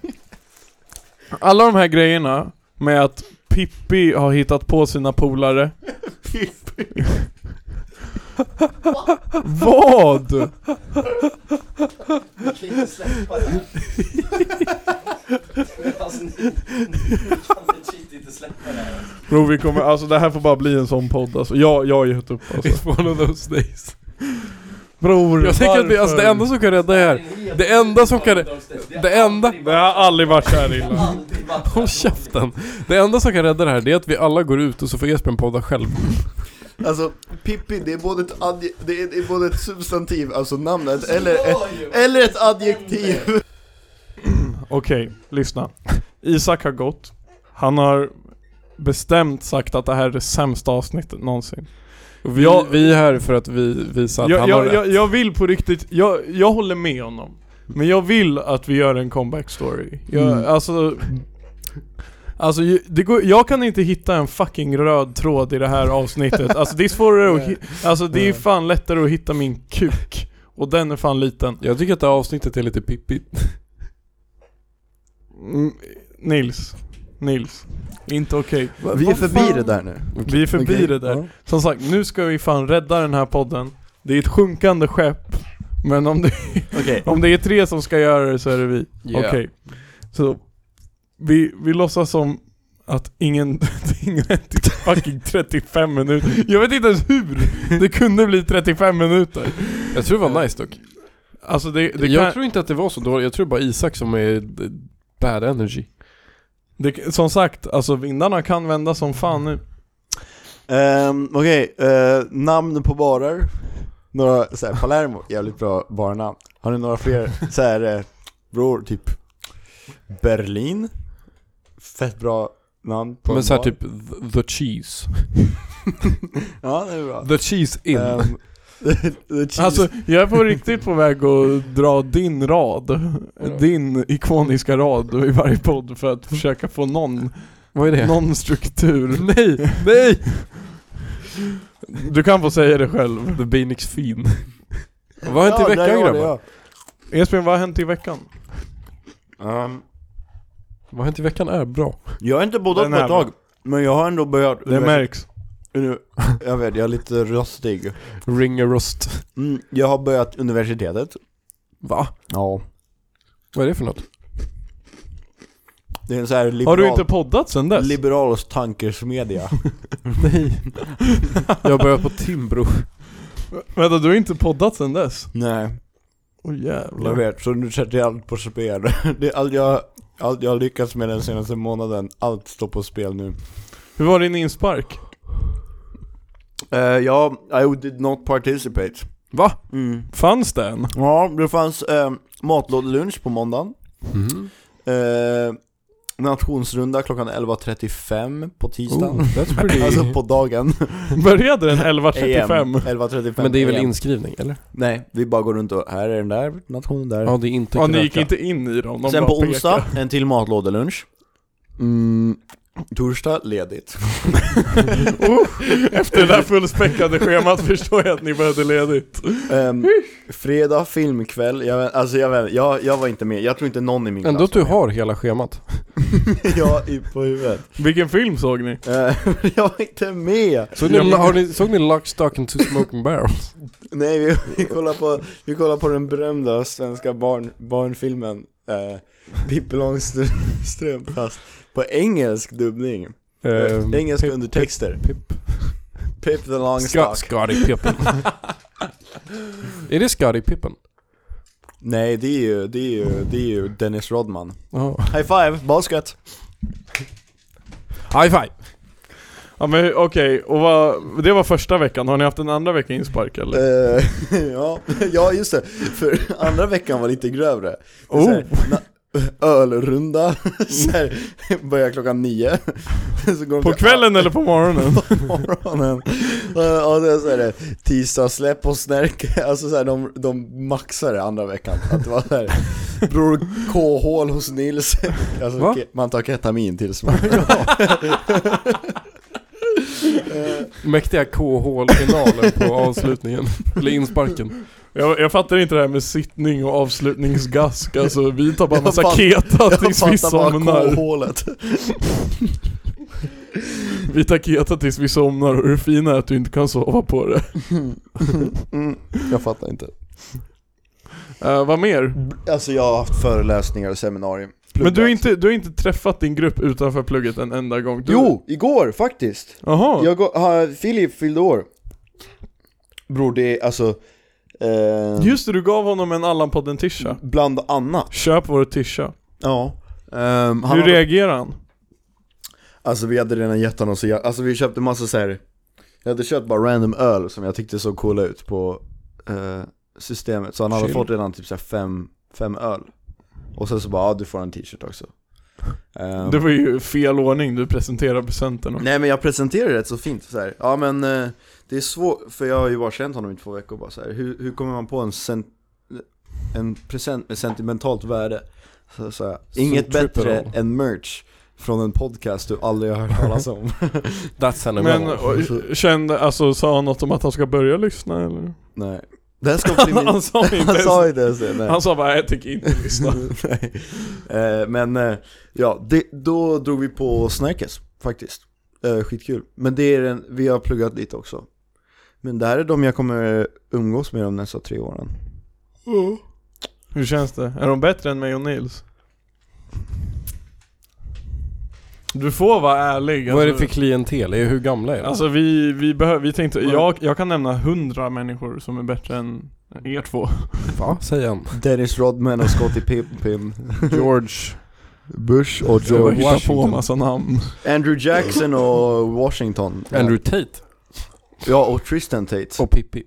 Speaker 4: Alla de här grejerna med att Pippi har hittat på sina polare. Pippi? [LAUGHS] Vad?
Speaker 3: Jag kan inte släppa
Speaker 2: [LAUGHS]
Speaker 3: det här. alltså, ni, ni, kan legit inte släppa det här.
Speaker 4: Bro, vi kommer, alltså det här får bara bli en sån podd alltså. Jag, jag har gett upp alltså.
Speaker 2: It's one of those days.
Speaker 4: Bror,
Speaker 2: Jag tänker att det, alltså, det
Speaker 4: varför?
Speaker 2: enda som kan rädda er här, det enda som kan- det enda-
Speaker 4: Det har aldrig varit så här illa.
Speaker 2: håll käften. Det enda som kan rädda det här det är att vi alla går ut och så får Jesper en podda själv.
Speaker 5: Alltså Pippi, det är både ett, adje, det är, det är både ett substantiv, alltså namnet, eller ett, eller ett adjektiv.
Speaker 4: Okej, lyssna. Isak har gått. Han har bestämt sagt att det här är det sämsta avsnittet någonsin.
Speaker 2: Och vi,
Speaker 4: Jag-
Speaker 2: vi är här för att vi visar att
Speaker 4: Jag,
Speaker 2: han har
Speaker 4: jag,
Speaker 2: rätt.
Speaker 4: jag, jag vill på riktigt, jag, jag håller med honom. Men jag vill att vi gör en comeback story. Jag,
Speaker 2: Mm.
Speaker 4: Alltså, alltså ju- det går, jag kan inte hitta en fucking röd tråd i det här avsnittet. Alltså det är svårare att
Speaker 2: [LAUGHS]
Speaker 5: Nej.
Speaker 4: hi- Alltså det är
Speaker 2: Mm.
Speaker 4: fan lättare att hitta min kuk. Och den är fan liten.
Speaker 2: Jag tycker att det här avsnittet är lite pippigt.
Speaker 4: Mm, Nils. Nils. Inte okej.
Speaker 5: Vi är
Speaker 4: Vad
Speaker 5: förbi
Speaker 4: fan?
Speaker 5: det där nu.
Speaker 4: Vi är förbi
Speaker 5: Okej,
Speaker 4: det där.
Speaker 5: ja.
Speaker 4: Som sagt, nu ska vi fan rädda den här podden. Det är ett sjunkande skepp. Men om det, [LAUGHS] om det är tre som ska göra det så är det vi.
Speaker 2: Yeah.
Speaker 4: Okej. Så vi, vi låtsas som att ingen, [LAUGHS] ingen i fucking 35 minuter. Jag vet inte ens hur det kunde bli 35 minuter.
Speaker 2: Jag tror det var nice dock.
Speaker 4: Alltså det, det,
Speaker 2: jag
Speaker 4: kan,
Speaker 2: tror inte att det var så dåligt, jag tror bara Isak som är d- bad energy.
Speaker 4: det, som sagt, alltså vindarna kan vända som fan nu.
Speaker 5: Ehm, Okej, eh, namn på barer. Några, såhär, Palermo, jävligt bra barnamn. Har ni några fler, såhär, eh, bror, typ Berlin? Fett bra namn på
Speaker 2: Men
Speaker 5: en
Speaker 2: såhär
Speaker 5: bar.
Speaker 2: typ th- the cheese.
Speaker 5: Ja, det är bra.
Speaker 2: The cheese in.
Speaker 5: Ehm, [LAUGHS] the, the cheese-
Speaker 4: Alltså jag är på riktigt på väg att dra din rad, din ikoniska rad i varje podd för att försöka få någon,
Speaker 2: Vad är det?
Speaker 4: någon struktur.
Speaker 2: Nej, nej!
Speaker 4: Du kan få säga det själv.
Speaker 2: The Benix fin. Vad har hänt
Speaker 5: ja,
Speaker 2: i
Speaker 5: där
Speaker 2: veckan
Speaker 5: var det,
Speaker 2: grabbar?
Speaker 4: Esbjörn, vad har hänt i veckan?
Speaker 5: ja. Ehm,
Speaker 2: Vad har hänt i veckan är bra.
Speaker 5: Jag har inte bodde
Speaker 4: Den
Speaker 5: på
Speaker 4: här
Speaker 5: ett tag, men jag har ändå börjat
Speaker 4: Det märks.
Speaker 5: Nu- Jag vet, jag är lite röstig.
Speaker 2: Ringer rost.
Speaker 5: Mm, jag har börjat universitetet.
Speaker 2: Va?
Speaker 5: Ja.
Speaker 2: Vad är det för [LAUGHS] något?
Speaker 5: Det är en sån här
Speaker 4: Har
Speaker 5: liberal,
Speaker 4: du inte poddat sen dess?
Speaker 5: liberal tankersmedja.
Speaker 2: Nej. Jag har börjat på Timbro.
Speaker 4: Vänta, du har inte poddat sen dess?
Speaker 5: Nej,
Speaker 4: Åh
Speaker 5: jag
Speaker 4: jävlar.
Speaker 5: vet. Så nu sätter jag allt på spel. [LAUGHS] Det är allt jag, allt jag har lyckats med den senaste månaden, allt står på spel nu.
Speaker 4: Hur var din inspark?
Speaker 5: Eh, ja, I did not participate.
Speaker 4: Va?
Speaker 5: Mm.
Speaker 4: Fanns det [LAUGHS] en?
Speaker 5: Ja, det fanns eh, matlådelunch på måndagen.
Speaker 2: Mhm.
Speaker 5: Eh, nationsrunda klockan 11.35 på tisdagen.
Speaker 2: Oh, that's pretty...
Speaker 5: [LAUGHS] Alltså på dagen.
Speaker 4: Började den
Speaker 5: AM,
Speaker 4: [LAUGHS] 11.35?
Speaker 5: 11.35
Speaker 2: Men det är väl
Speaker 5: AM.
Speaker 2: inskrivning, eller?
Speaker 5: Nej, vi bara går runt och här är den där nationen där.
Speaker 2: Ja, det är inte
Speaker 4: Ja, ni gick
Speaker 2: kröka.
Speaker 4: inte in i dem? De
Speaker 5: Sen
Speaker 4: bara
Speaker 5: på
Speaker 4: pekade. [LAUGHS]
Speaker 5: onsdag, en till matlådelunch. Mm, torsdag, ledigt.
Speaker 4: Efter det där fullspäckade schemat förstår jag att ni började ledigt.
Speaker 5: Ehm, fredag, filmkväll. Jag, vet- alltså jag, vet, jag, jag var inte med, jag tror inte någon i min
Speaker 2: Ändå att
Speaker 5: klass
Speaker 2: du
Speaker 5: var med.
Speaker 2: har hela schemat.
Speaker 5: [LAUGHS] jag i på huvudet.
Speaker 4: Vilken film såg ni?
Speaker 5: Ehm, [LAUGHS] jag var inte med!
Speaker 2: [LAUGHS] Såg ni, har ni, såg ni Lock, Stock and Two Smoking [LAUGHS] Barrels?
Speaker 5: Nej, vi, vi, kollar på, vi kollar på den berömda svenska barn, barnfilmen uh, Pippi Långstrump fast på engelsk dubbning.
Speaker 2: Ehm,
Speaker 5: engelska
Speaker 2: Pip-
Speaker 5: undertexter.
Speaker 2: Pip.
Speaker 5: Pip the
Speaker 4: [LAUGHS]
Speaker 5: Longstock.
Speaker 2: Ska, Scotty Pippen. är det Scotty Pippen?
Speaker 5: Nej, det är ju, det är ju, det är ju Dennis Rodman.
Speaker 4: Ja.
Speaker 5: High five, basket!
Speaker 2: High five!
Speaker 4: Ja men okej, och vad, det var första veckan, har ni haft en andra vecka inspark eller?
Speaker 5: Eh, [LAUGHS] ja, ja, just det. För andra veckan var lite grövre. Det är så här,
Speaker 4: Oh.
Speaker 5: na- ölrunda, [LAUGHS] så här, börjar klockan nio. [LAUGHS] Så går de
Speaker 4: På
Speaker 5: till-
Speaker 4: kvällen eller på morgonen?
Speaker 5: på [LAUGHS] morgonen. Ja, det är så här, det, tisdagssläpp och snärke, [LAUGHS] alltså så här, de, de maxade det andra veckan. Att det var
Speaker 4: [LAUGHS]
Speaker 5: så här, Bror K-hål hos Nils. Alltså,
Speaker 2: Va?
Speaker 5: ke- man tar ketamin
Speaker 4: [LAUGHS]
Speaker 5: tills man...
Speaker 2: Mäktiga K-hål-finalen på [LAUGHS] avslutningen. Eller insparken.
Speaker 4: Jag, jag fattar inte det här med sittning och avslutningsgask, alltså vi tar bara
Speaker 5: Jag
Speaker 4: massa
Speaker 5: fatt-
Speaker 4: keta
Speaker 5: [LAUGHS] Jag
Speaker 4: tills vi
Speaker 5: fattar bara
Speaker 4: somnar.
Speaker 5: K-hålet.
Speaker 4: Vi tar keta tills vi somnar och det fina är att du inte kan sova på det.
Speaker 5: Jag fattar inte.
Speaker 4: Eh, vad mer?
Speaker 5: Alltså jag har haft föreläsningar och seminarier.
Speaker 4: Men du har, inte, du har inte träffat din grupp utanför plugget en enda gång? Du...
Speaker 5: Jo, igår faktiskt.
Speaker 4: Jaha,
Speaker 5: Jag går, ha, Filip fyllde år. Bror det är alltså... Eh,
Speaker 4: just det du gav honom en Allan-podden tisha.
Speaker 5: Bland annat.
Speaker 4: Köp vår tisha.
Speaker 5: Ja. Ehm, han
Speaker 4: Hur
Speaker 5: hade,
Speaker 4: reagerar han?
Speaker 5: alltså vi hade redan gett honom så jag, alltså vi köpte massa så här. Jag hade köpt bara random öl som jag tyckte såg coola ut på eh, systemet. Så han hade
Speaker 2: Chill.
Speaker 5: fått redan typ så här fem, fem öl. Och sen så bara, ja du får en t-shirt också. Ehm,
Speaker 4: Det var ju fel ordning du presenterade presenterna.
Speaker 5: Nej men jag presenterade rätt så fint så här. Ja men eh, det är svårt, för jag har ju bara känt honom i två veckor bara så här. Hur, hur kommer man på en, sen, en present med sentimentalt värde? Så, så här,
Speaker 2: Så
Speaker 5: inget
Speaker 2: triple
Speaker 5: bättre
Speaker 2: O.
Speaker 5: än merch från en podcast du aldrig har hört talas om
Speaker 2: That's an
Speaker 4: Men
Speaker 2: amount.
Speaker 4: och, kände, alltså sa han något om att han ska börja lyssna eller?
Speaker 5: Nej Det här
Speaker 4: [LAUGHS]
Speaker 5: ska bli min...
Speaker 4: Han sa inte
Speaker 5: Han
Speaker 4: ens,
Speaker 5: sa inte ens det, nej
Speaker 4: han sa bara jag tänker inte lyssna.
Speaker 5: [LAUGHS] Nej. Eh, men eh, ja, det, då drog vi på Snärkes faktiskt. Eh, skitkul. Men det är den, vi har pluggat lite också. Men det här är de jag kommer umgås med de nästa tre åren.
Speaker 4: Hur känns det? Är de bättre än mig och Nils? Du får vara ärlig.
Speaker 2: Vad är det
Speaker 4: alltså.
Speaker 2: för klientel? Är- Hur gamla är de?
Speaker 4: Alltså vi, vi behöver, vi tänkte, jag, jag kan nämna hundra människor som är bättre än er två.
Speaker 2: Va? Säger han.
Speaker 5: Dennis Rodman och Scottie Pimpin.
Speaker 4: George.
Speaker 5: Bush och
Speaker 4: Jag bara
Speaker 5: George.
Speaker 4: hittar på massa namn.
Speaker 5: Andrew Jackson och Washington.
Speaker 2: Andrew Tate.
Speaker 5: Ja, och Tristan Tate.
Speaker 2: Och Pippi.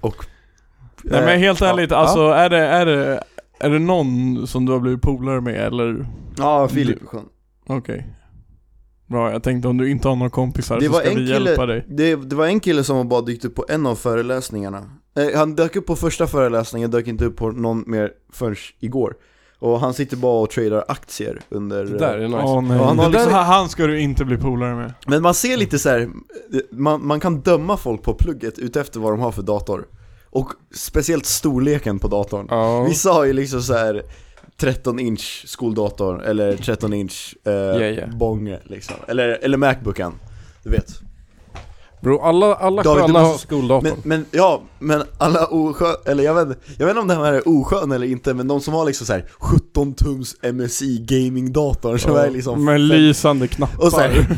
Speaker 5: Och...
Speaker 4: Nej men helt
Speaker 5: ja,
Speaker 4: ärligt,
Speaker 5: ja.
Speaker 4: alltså är det, är det, är det någon som du har blivit polare med eller?
Speaker 5: Ja, Filip.
Speaker 4: Okej. Bra, jag tänkte om du inte har några kompisar
Speaker 5: Det
Speaker 4: så
Speaker 5: var
Speaker 4: ska
Speaker 5: en
Speaker 4: vi
Speaker 5: kille-
Speaker 4: hjälpa dig.
Speaker 5: Det, det var en kille som bara dykt upp på en av föreläsningarna. Eh, han dök upp på första föreläsningen, dök inte upp på någon mer förrän igår. Och han sitter bara och tradar aktier under... eh,
Speaker 2: Det där är nice.
Speaker 4: Åh nej.
Speaker 5: Ja, han
Speaker 4: han,
Speaker 5: har liksom-
Speaker 4: han ska du inte bli polare med.
Speaker 5: Men man ser lite så här, eh, man, man kan döma folk på plugget utefter vad de har för dator. Och speciellt storleken på datorn.
Speaker 2: Ja.
Speaker 5: Vissa har ju liksom så här 13 inch skoldator eller 13 inch eh,
Speaker 2: yeah.
Speaker 5: bång liksom. Eller, eller Macbooken, du vet.
Speaker 2: Bro, alla, alla
Speaker 5: David, du
Speaker 2: sköna
Speaker 5: måste-
Speaker 2: har skoldatorn.
Speaker 5: Men, men ja, men alla oskön, eller jag vet, inte- jag vet inte om det här är oskön eller inte, men de som har liksom så här 17 tums MSI gaming-datorn som är liksom
Speaker 4: Med lysande knappar.
Speaker 5: och så här, [LAUGHS]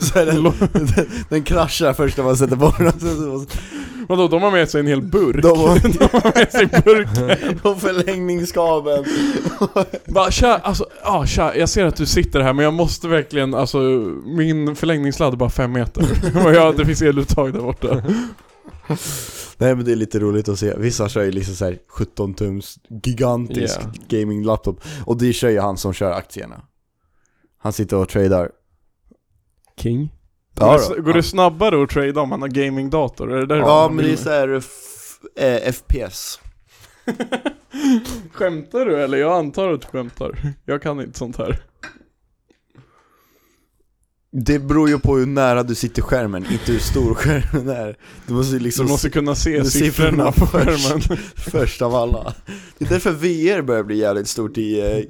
Speaker 5: så här den, den, den kraschar först när man sätter på den, och sen så-
Speaker 4: Vadå, de har med sig en hel burk? [LAUGHS]
Speaker 5: de har
Speaker 4: De har med sig burken.
Speaker 5: de förlängningskabeln.
Speaker 4: Bara tja, alltså, ja tja, jag ser att du sitter här men jag måste verkligen, alltså min förlängningssladd är bara fem meter. [LAUGHS] Och jag, det finns eluttag där borta.
Speaker 5: Nej men det är lite roligt att se, vissa kör ju liksom så här 17 tums gigantisk
Speaker 2: Ja.
Speaker 5: gaming-laptop och det kör ju han som kör aktierna. Han sitter och tradar.
Speaker 2: King.
Speaker 5: Ja,
Speaker 4: Men
Speaker 5: då.
Speaker 4: Går det snabbare att trada om man har gamingdator? Är det där
Speaker 5: Ja men det är såhär eh, FPS
Speaker 4: Skämtar du eller? Jag antar att du skämtar. Jag kan inte sånt här.
Speaker 5: Det beror ju på hur nära du sitter skärmen, inte hur stor skärmen är Du måste ju
Speaker 4: Du
Speaker 5: liksom
Speaker 4: måste kunna se
Speaker 5: se
Speaker 4: siffrorna
Speaker 5: siffrorna
Speaker 4: på
Speaker 5: först.
Speaker 4: skärmen.
Speaker 5: först av alla Det är därför VR börjar bli jävligt stort i, eh,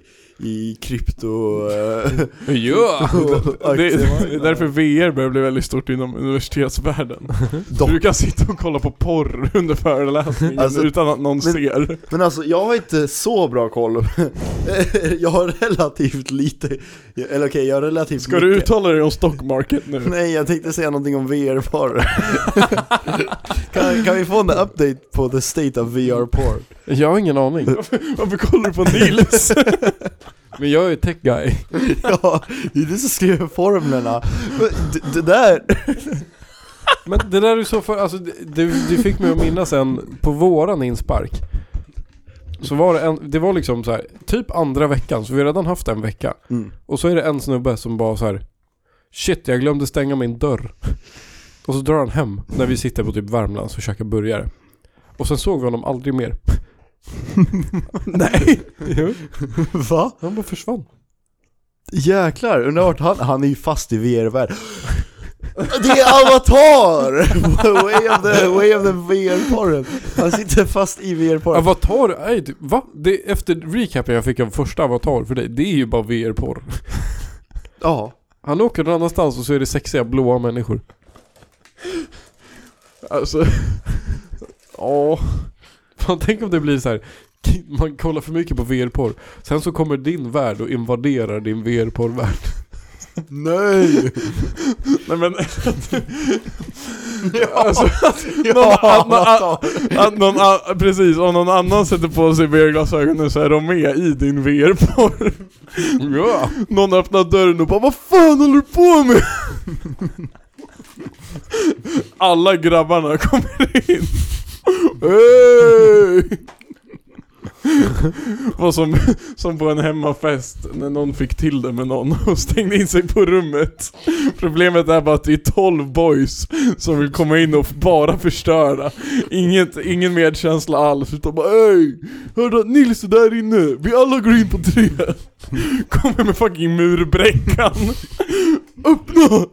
Speaker 5: i krypto... eh,
Speaker 4: Ja! Det,
Speaker 5: Och
Speaker 4: det är [LAUGHS]
Speaker 5: aktiemarknaden.
Speaker 4: därför VR börjar bli väldigt stort inom universitetsvärlden.
Speaker 5: dock.
Speaker 4: Du kan sitta och kolla på porr under föreläsningen
Speaker 5: Alltså,
Speaker 4: utan att någon
Speaker 5: men-
Speaker 4: ser.
Speaker 5: Men alltså jag har inte så bra koll [LAUGHS] jag har relativt lite, eller okej jag har relativt
Speaker 4: Ska du
Speaker 5: mycket.
Speaker 4: uttala dig om stock market nu?
Speaker 5: Nej, jag tänkte säga någonting om VR-porr. [LAUGHS] kan, kan vi få en update på the state of VR-porr?
Speaker 2: Jag har ingen aning.
Speaker 4: Varför kollar du på Nils?
Speaker 2: Men jag är ju tech guy.
Speaker 5: [LAUGHS] ja, det är du som skriver formlerna. Men d- Det där,
Speaker 2: Men det där är så för, alltså det- du, du fick mig att minnas en, på våran inspark. Så var det en, det var liksom så här, typ andra veckan, så vi har redan haft en vecka.
Speaker 5: Mm.
Speaker 2: Och så är det en snubbe som bara så här, shit jag glömde stänga min dörr. Och så drar han hem när vi sitter på typ Värmlands och käkar burgare. Och sen såg vi honom aldrig mer.
Speaker 5: nej,
Speaker 2: Jo,
Speaker 5: va?
Speaker 2: han bara försvann.
Speaker 5: Jäklar, undrar vart han, han är ju fast i VR-värld. Det är Avatar! [LAUGHS] way of the, way of the VR-porren. Han sitter fast i VR-porren.
Speaker 2: Avatar, nej du, va? Det, efter recapen jag fick av första Avatar för dig, det är ju bara VR-porr.
Speaker 5: Ja.
Speaker 2: Han åker någon annanstans och så är det sexiga blåa människor.
Speaker 4: Alltså,
Speaker 2: [LAUGHS] Ja. Fan tänk om det blir så här. man kollar för mycket på VR-porr. Sen så kommer din värld och invaderar din VR-porrvärld.
Speaker 5: Nej!
Speaker 4: nej men
Speaker 5: Alltså,
Speaker 4: någon-
Speaker 5: ja, Avatar.
Speaker 4: att någon, a- precis, om någon annan sätter på sig VR-glasögonen så är de med i din VR-porr.
Speaker 2: Ja.
Speaker 4: Någon öppnar dörren och bara Vad fan håller du på med? Alla grabbarna kommer in. Hey! Var som, som på en hemmafest när någon fick till det med någon och stängde in sig på rummet. Problemet är bara att det är 12 boys som vill komma in och bara förstöra. Inget, ingen medkänsla alls utan bara Öj! Hörde att Nils är där inne, vi alla går in på tre. [LAUGHS] Kommer med fucking murbräckan. [LAUGHS] Öppna!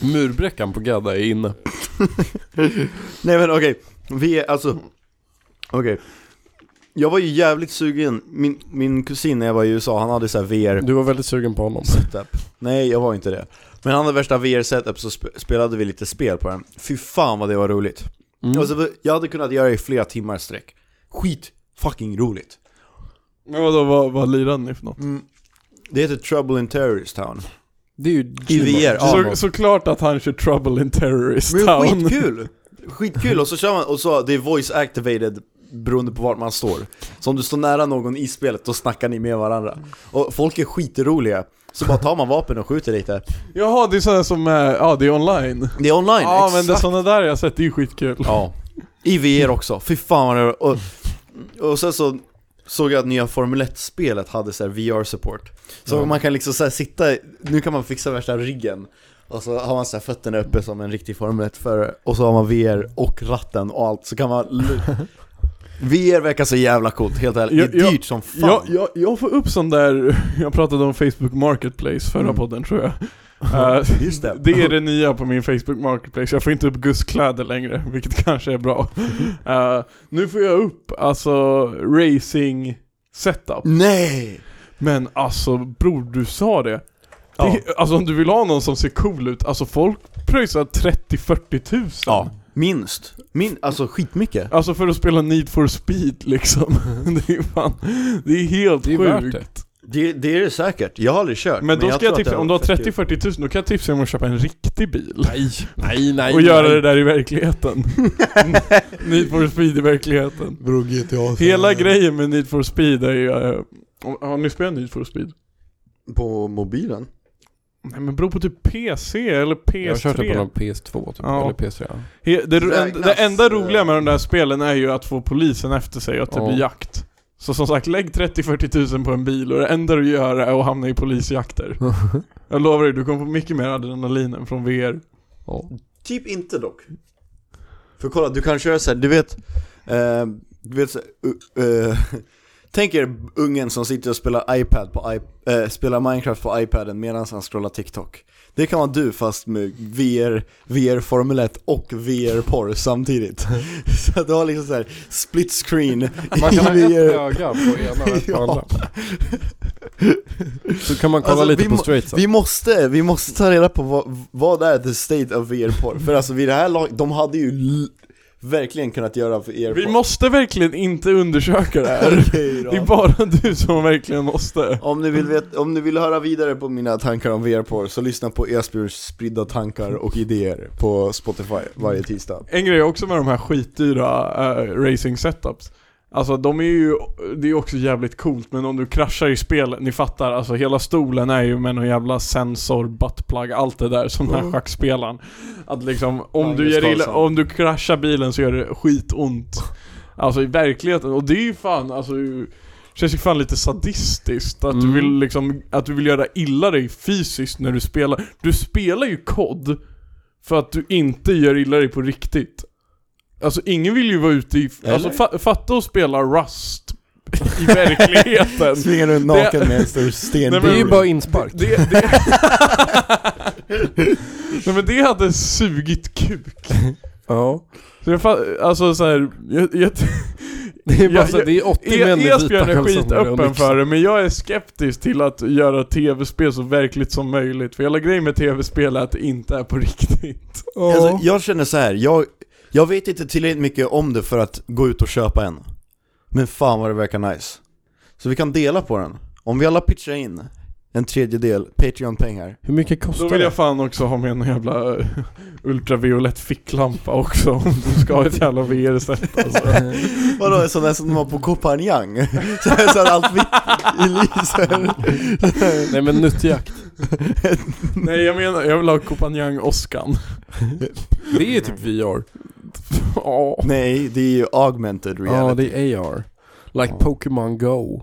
Speaker 2: Murbräckan på Gadda är inne.
Speaker 5: Nej men okej, vi är alltså, okej. Jag var ju jävligt sugen, min, min kusin när jag var i USA, han hade så här VR
Speaker 2: Du var väldigt sugen på honom.
Speaker 5: setup. Nej jag var inte det. Men han hade värsta VR setup så sp- spelade vi lite spel på den. Fy fan vad det var roligt.
Speaker 4: Mm.
Speaker 5: Alltså, jag hade kunnat göra det i flera timmar i sträck. Skit fucking roligt.
Speaker 4: Men vadå, vad, vad lirade ni för något?
Speaker 5: Det heter Trouble in Terrorist Town.
Speaker 2: Det är ju
Speaker 5: I VR, ja.
Speaker 4: Så, såklart att han kör trouble in terrorist
Speaker 5: Men
Speaker 4: town. [LAUGHS]
Speaker 5: skitkul! Skitkul, och så kör man, och så, det är voice activated beroende på vart man står. Så om du står nära någon i spelet, då snackar ni med varandra. Och folk är skitroliga. Så bara tar man vapen och skjuter lite.
Speaker 4: Jaha, det är sådana som, eh, ja det är online.
Speaker 5: Det är online,
Speaker 4: Ja
Speaker 5: exakt.
Speaker 4: men det är sådana där jag har sett, det är ju skitkul.
Speaker 5: Ja. I VR också, fy fan vad det var. Och, och sen så såg jag att nya Formel 1-spelet hade så här VR-support. Så man kan liksom så här sitta, nu kan man fixa värsta ryggen. Och så har man så här fötterna uppe som en riktig Formel 1-förare. Och så har man VR och ratten och allt, så kan man...
Speaker 4: [LAUGHS]
Speaker 5: l- VR verkar så jävla coolt, helt ärligt. Det
Speaker 4: Jag-
Speaker 5: är
Speaker 4: jag-
Speaker 5: dyrt som fan.
Speaker 4: Jag, jag, jag får upp sån där, [LAUGHS] jag pratade om Facebook Marketplace förra
Speaker 5: Mm.
Speaker 4: podden tror
Speaker 5: [LAUGHS]
Speaker 4: jag. Eh,
Speaker 5: Just det.
Speaker 4: det är det nya på min Facebook Marketplace, jag får inte upp gustkläder längre, vilket [LAUGHS] kanske är bra. Eh, nu får jag upp alltså racing setup.
Speaker 5: Mm. Nej!
Speaker 4: Men alltså bror, du sa det.
Speaker 5: Ja.
Speaker 4: det alltså om du vill ha någon som ser cool ut, alltså folk pröjsar 30-40 tusen.
Speaker 5: Ja. Minst. Min, alltså skitmycket.
Speaker 4: Alltså för att spela Need for speed liksom. [LAUGHS] det är fan, det är helt
Speaker 2: Det är
Speaker 4: sjukt.
Speaker 2: värt det.
Speaker 5: Det, det är det säkert, jag har aldrig kört.
Speaker 4: Men då ska
Speaker 5: tror
Speaker 4: jag
Speaker 5: att
Speaker 4: tipsa,
Speaker 5: det
Speaker 4: om du har
Speaker 5: fett kul.
Speaker 4: 30-40 tusen, då kan jag tipsa dig om att köpa en riktig bil.
Speaker 2: Nej, nej, nej.
Speaker 4: och göra
Speaker 2: nej.
Speaker 4: det där i [LAUGHS] verkligheten. Need for speed i verkligheten.
Speaker 5: Bro, GTA,
Speaker 4: Hela grejen med Need for speed är ju... eh, Har ni spelat Need for speed?
Speaker 5: På mobilen?
Speaker 4: Nej men beror på typ PC eller PS3.
Speaker 2: Jag har kört det på någon PS2 typ,
Speaker 4: Ja.
Speaker 2: eller PS3. ja.
Speaker 4: He- Det, det,
Speaker 5: Räknas,
Speaker 4: det enda
Speaker 5: eh,
Speaker 4: roliga med de där spelen är ju att få polisen efter sig och att det
Speaker 2: Ja.
Speaker 4: blir jakt. Så som sagt, lägg 30-40 tusen på en bil och det enda du gör är att hamna i [LAUGHS] polisjakter. Jag lovar dig, du kommer få mycket mer adrenalin än från VR.
Speaker 2: Ja.
Speaker 5: Typ inte dock. För kolla, du kan köra såhär, du vet, eh, du vet så, uh, eh, [LAUGHS] Tänk er ungen som sitter och spelar, iPad på, i- eh, spelar Minecraft på iPaden medan han scrollar TikTok. Det kan vara du fast med VR, VR Formel 1 och VR-porr samtidigt. [LAUGHS] så att du har liksom såhär split screen
Speaker 2: Man kan ha
Speaker 5: i
Speaker 2: ett
Speaker 5: VR.
Speaker 2: öga på [LAUGHS] ena och ett på
Speaker 5: Ja.
Speaker 2: andra. Så kan man kolla
Speaker 5: Alltså, vi
Speaker 2: lite på
Speaker 5: må-
Speaker 2: straight sen.
Speaker 5: Vi måste, vi måste ta reda på vad, vad är the state of VR-porr? För alltså vid det här laget, de hade ju l- verkligen kunnat göra för er
Speaker 4: Vi
Speaker 5: på-
Speaker 4: måste verkligen inte undersöka det här.
Speaker 5: [LAUGHS]
Speaker 4: [LAUGHS]
Speaker 5: Okej då.
Speaker 4: Det är bara du som verkligen måste.
Speaker 5: Om ni, vill vet, om ni vill höra vidare på mina tankar om VR-porr så lyssna på Esbjörns spridda tankar och idéer på Spotify varje tisdag.
Speaker 4: En grej också med de här skitdyra eh, racing setups. Alltså de är ju, det är också jävligt coolt men om du kraschar i spelet, ni fattar, alltså hela stolen är ju med någon jävla sensor, buttplug, allt det där som den här schackspelaren. Att liksom, om du,
Speaker 5: Magnus
Speaker 4: gör illa,
Speaker 5: Carlsson.
Speaker 4: om du kraschar bilen så gör det skitont. Alltså i verkligheten, och det är ju fan alltså ju- Känns ju fan lite sadistiskt att du
Speaker 2: Mm.
Speaker 4: vill liksom, att du vill göra illa dig fysiskt när du spelar. Du spelar ju kod för att du inte gör illa dig på riktigt. Alltså ingen vill ju vara ute i, alltså fa, fatta och spela Rust i
Speaker 5: [LAUGHS]
Speaker 4: verkligheten.
Speaker 5: Svingar runt naken med en stor
Speaker 4: [LAUGHS]
Speaker 5: sten.
Speaker 4: Nej, men-
Speaker 2: Det är ju bara inspark.
Speaker 4: Det, det... Nej men det hade sugit kuk.
Speaker 2: Ja.
Speaker 4: Så jag fa- alltså så här, jag, jag,
Speaker 2: Det är, bara,
Speaker 4: Jag-
Speaker 2: så- det är 80 män i
Speaker 4: E-
Speaker 2: vita
Speaker 4: Esbjörn är
Speaker 2: kalsonger och
Speaker 4: skitöppen
Speaker 2: lyx.
Speaker 4: för det, men jag är skeptisk till att göra tv-spel så verkligt som möjligt. För hela grejen med tv-spel är att det inte är på riktigt.
Speaker 5: Alltså, jag känner så här. Jag, jag vet inte tillräckligt mycket om det för att gå ut och köpa en. Men fan vad det verkar nice. Så vi kan dela på den. Om vi alla pitchar in en tredjedel Patreon-pengar. [LAUGHS]
Speaker 2: Hur mycket
Speaker 4: Då
Speaker 2: kostar
Speaker 4: vill
Speaker 2: det?
Speaker 4: jag fan också ha med en jävla eh, ultraviolett ficklampa också om du ska ha ett jävla VR-set
Speaker 2: [LAUGHS]
Speaker 4: alltså.
Speaker 5: Vadå, en sån där som de har på Kopanjang? [LAUGHS] Så här, så här allt vitt i lyser.
Speaker 2: Nej men nyttjakt.
Speaker 4: Nej jag menar, jag vill ha kompanjang Oskan.
Speaker 2: Det är typ VR.
Speaker 4: Ja.
Speaker 5: [LAUGHS] Nej, det är ju augmented reality.
Speaker 2: Ja, det är AR. Like
Speaker 5: Ja.
Speaker 2: Pokémon Go.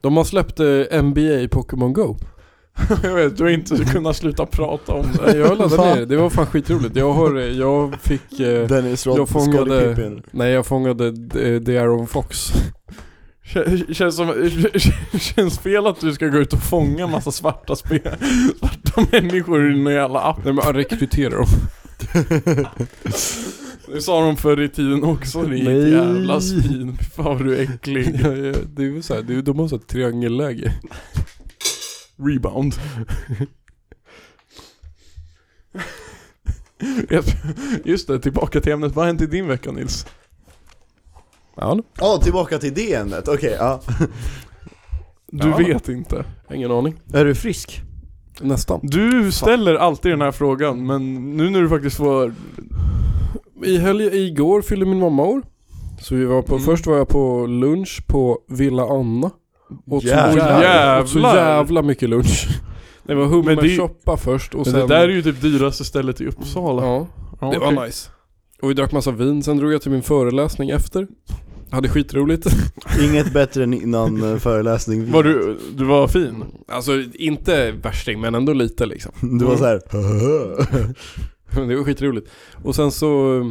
Speaker 2: De har släppt eh, NBA Pokémon Go.
Speaker 4: Jag vet, du har inte kunnat sluta prata om det.
Speaker 2: Nej, Jag laddade
Speaker 5: Fan.
Speaker 2: ner det, det var fan skitroligt. Jag, har, eh, jag fick... Eh,
Speaker 5: Dennis
Speaker 2: jag
Speaker 5: Rod- Scottie
Speaker 2: fångade...
Speaker 5: Pippen.
Speaker 2: Nej, jag fångade eh, The Aaron Fox.
Speaker 4: Kän- Känns, som, känns fel att du ska gå ut och fånga massa svarta, spe, svarta människor i någon jävla app.
Speaker 2: Nej men jag rekryterar dem.
Speaker 4: Det sa de förr i tiden också, det är ett
Speaker 2: Nej.
Speaker 4: jävla svin. Fy Fan vad du är äcklig.
Speaker 2: [LAUGHS] Ja, ja, det är väl såhär, de har såhär triangelläge.
Speaker 4: Rebound. Just det, tillbaka till ämnet. Vad har hänt i din vecka Nils?
Speaker 2: Ja,
Speaker 5: Ja, tillbaka till det ämnet. Okej, ja.
Speaker 4: Du
Speaker 2: Ja.
Speaker 4: vet inte.
Speaker 2: ingen aning.
Speaker 5: Är du frisk?
Speaker 2: Nästan.
Speaker 4: Du ställer alltid den här frågan, men nu när du faktiskt får...
Speaker 2: I helgen, igår fyllde min mamma år. Så vi var på,
Speaker 4: Mm.
Speaker 2: först var jag på lunch på Villa Anna. Och så,
Speaker 5: Jävlar.
Speaker 2: och jävla, och så jävla mycket lunch. Det var
Speaker 4: Men det-
Speaker 2: hummershoppa först och
Speaker 4: Men
Speaker 2: sen...
Speaker 4: det där är ju typ dyraste stället i Uppsala.
Speaker 2: Ja,
Speaker 4: Ja,
Speaker 2: det
Speaker 4: okej.
Speaker 2: var nice. Och vi drack massa vin, sen drog jag till min föreläsning efter. Hade skitroligt.
Speaker 5: Inget bättre än innan eh, föreläsning.
Speaker 4: Var du, du var fin?
Speaker 2: Alltså inte värsting men ändå lite liksom.
Speaker 5: Du var [LAUGHS] såhär
Speaker 2: [LAUGHS] Men Det var skitroligt. Och sen så eh,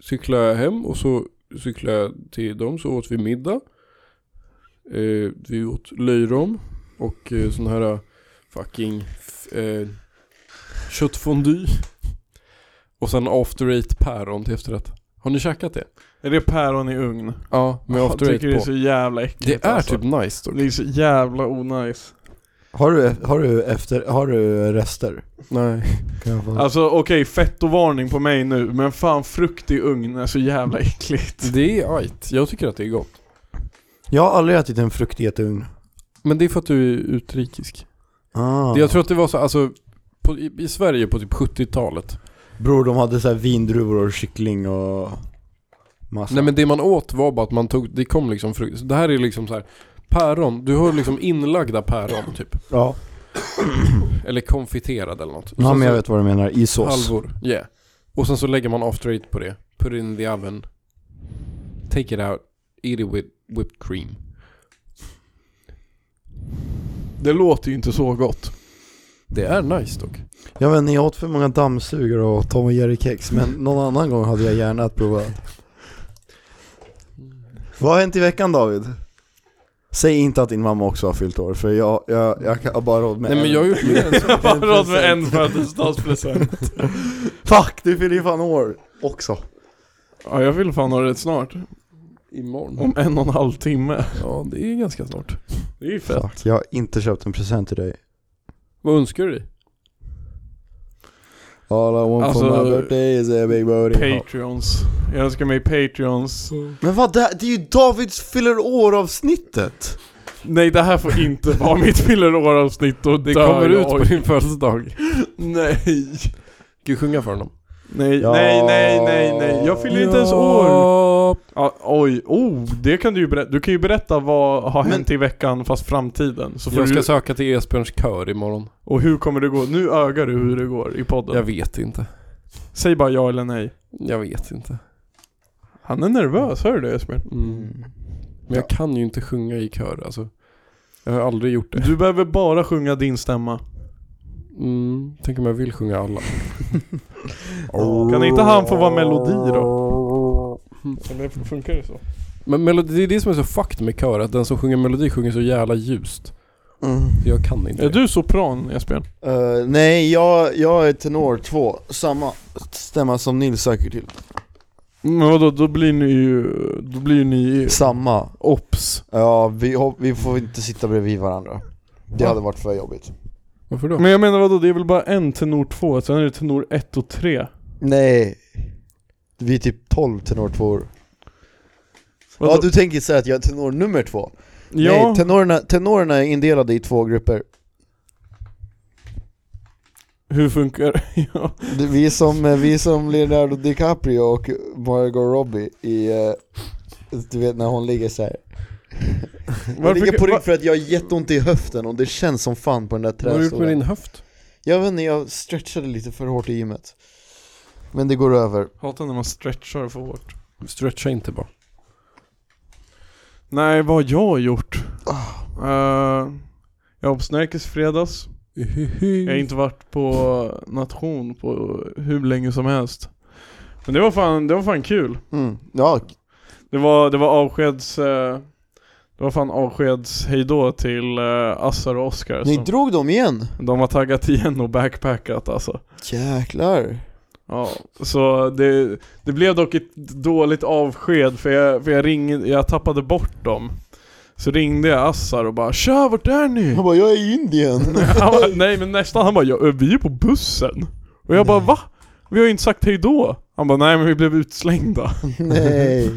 Speaker 2: cyklade jag hem och så cyklade jag till dem så åt vi middag. Eh, vi åt löjrom och eh, sån här eh, fucking f- eh, köttfondue. Och sen after eight päron till efterrätt. Har ni käkat det?
Speaker 4: Är det päron i ugn?
Speaker 2: Ja, med
Speaker 4: jag
Speaker 2: after
Speaker 4: tycker det är
Speaker 2: eight på.
Speaker 4: så jävla äckligt
Speaker 2: Det är
Speaker 4: alltså.
Speaker 2: typ nice dock.
Speaker 4: Det är så jävla onajs.
Speaker 5: har du, har du efter, har du rester?
Speaker 2: Nej.
Speaker 5: Kan jag få?
Speaker 4: Alltså okej, fettovarning på mig nu, men fan frukt i ugn är så jävla äckligt.
Speaker 2: Det är ajt. Jag tycker att det är gott.
Speaker 5: Jag har aldrig ätit en frukt i ett ugn.
Speaker 2: Men det är för att du är utrikisk.
Speaker 5: Ah.
Speaker 2: Det- Jag tror att det var så, alltså på, i, i Sverige på typ 70-talet.
Speaker 5: Bror, de hade så här vindruvor och kyckling och massa.
Speaker 2: Nej men det man åt var bara att man tog, det kom liksom frukt. Så det här är liksom så här. Päron, du har liksom inlagda päron typ.
Speaker 5: Ja,
Speaker 2: Eller konfiterade eller något. Och
Speaker 5: ja
Speaker 2: sen
Speaker 5: men jag
Speaker 2: så-
Speaker 5: vet vad du menar. I sås.
Speaker 2: Halvor, yeah. Och sen så lägger man after eight på det. Put it in the oven. Take it out. Eat it with whipped cream.
Speaker 4: Det låter ju inte så gott.
Speaker 2: Det är nice dock.
Speaker 5: Jag vet inte, jag åt för många dammsugare och Tom och Jerry-kex, [LAUGHS] men någon annan gång hade jag gärna att prova. Vad har hänt i veckan David? Säg inte att din mamma också har fyllt år, för jag, jag, jag har bara råd med
Speaker 2: Nej men jag har
Speaker 5: [LAUGHS]
Speaker 2: gjort mer än så.
Speaker 4: Jag har råd med en födelsedagspresent.
Speaker 5: Fuck, du fyller ju fan år också.
Speaker 4: Ja, jag vill fan ha det rätt snart.
Speaker 2: Imorgon.
Speaker 4: Om en och en halv timme.
Speaker 2: Ja det är ganska snart.
Speaker 4: Det är ju fett.
Speaker 5: Fuck, jag har inte köpt en present till dig.
Speaker 2: Vad önskar du dig?
Speaker 5: All I want for
Speaker 4: Alltså,
Speaker 5: my birthday is a big booty hole.
Speaker 4: Patreons. Jag önskar mig Patreons.
Speaker 5: Men vad, det, det är ju Davids fyller år-avsnittet!
Speaker 4: Nej, det här får inte vara mitt fyller och
Speaker 2: Det
Speaker 4: dör
Speaker 2: kommer ut
Speaker 4: jag.
Speaker 2: på din födelsedag.
Speaker 4: Nej.
Speaker 2: Ska du sjunga för honom?
Speaker 4: Nej,
Speaker 5: Ja.
Speaker 4: nej, nej, nej, nej. Jag fyller inte ens år. Ja, oj, oh, det kan du ju berätta. Du kan ju berätta vad har hänt i veckan fast framtiden. Så får
Speaker 2: Jag
Speaker 4: du,
Speaker 2: ska söka till Esbjörns kör imorgon.
Speaker 4: och hur kommer det gå? Nu ögar du hur det går i podden.
Speaker 2: Jag vet inte.
Speaker 4: Säg bara ja eller nej.
Speaker 2: Jag vet inte.
Speaker 4: Han är nervös, hör du det Esbjörn?
Speaker 2: Mm.
Speaker 5: Mm.
Speaker 2: Men jag kan ju inte sjunga i kör alltså. Jag har aldrig gjort det.
Speaker 4: Du behöver bara sjunga din stämma.
Speaker 2: Mm. Tänk om jag vill sjunga
Speaker 5: [LAUGHS]
Speaker 2: alla.
Speaker 4: Kan inte han få vara melodi då? Eller funkar det så?
Speaker 2: Men melodi, det är det som är så fucked med kör, att den som sjunger melodi sjunger så jävla ljust. Så Jag kan inte.
Speaker 4: Är du sopran Esbjörn?
Speaker 5: Mm. Eh, nej, jag, jag är tenor 2, samma stämma som Nils söker till.
Speaker 4: Men vadå, då blir ni ju... Då blir ni
Speaker 5: Samma.
Speaker 4: ops.
Speaker 5: Ja, vi, hop- vi får inte sitta bredvid varandra. Det hade varit för jobbigt.
Speaker 2: Varför då?
Speaker 4: Men jag menar vadå, det är väl bara en tenor två, sen är det tenor ett och tre.
Speaker 5: Nej. Vi är typ 12 tenor 2
Speaker 4: Vadå?
Speaker 5: Ja, du tänker säga att jag är tenor nummer två? Nej,
Speaker 4: ja,
Speaker 5: tenorerna, tenorerna är indelade i två grupper.
Speaker 4: hur funkar [LAUGHS] det? ja.
Speaker 5: Det- Vi är som, eh, vi är som Leonardo DiCaprio och Margot Robbie i, eh, du vet när hon ligger så här. Jag
Speaker 4: Varför
Speaker 5: ligger på
Speaker 4: kan-
Speaker 5: rygg för att jag har jätteont i höften och det känns som fan på den där
Speaker 2: Vad har du gjort med
Speaker 5: trästolen.
Speaker 2: din höft?
Speaker 5: Jag vet inte, jag stretchade lite för hårt i gymmet. Men det går över.
Speaker 4: Hatar när man stretchar för hårt.
Speaker 2: Stretcha inte bara.
Speaker 4: Nej, vad har jag gjort?
Speaker 5: Ah.
Speaker 4: Eh, jag var på Snärkes i fredags. Jag har inte varit på nation på hur länge som helst. Men det var fan, det var fan kul.
Speaker 5: Mm. Ja,
Speaker 4: Det var, det var avskeds... eh, Det var fan avskeds hejdå till eh, Assar och Oskar.
Speaker 5: ni
Speaker 4: som-
Speaker 2: Alltså.
Speaker 5: drog dem igen!
Speaker 4: De har taggat igen och backpackat alltså.
Speaker 5: Jäklar.
Speaker 4: Ja, så det, det blev dock ett dåligt avsked för jag, för jag ringde, jag tappade bort dem. Så ringde jag Assar och bara 'Tja, vart är ni?'
Speaker 5: Jag bara, jag är i
Speaker 2: [LAUGHS]
Speaker 5: Indien!
Speaker 4: [LAUGHS] Han bara, nej men nästan, han bara ja, eh, 'Vi är ju på bussen' Och jag bara 'Va? Vi har ju inte sagt hejdå' Han bara 'Nej men vi blev utslängda' [LAUGHS]
Speaker 5: Nej.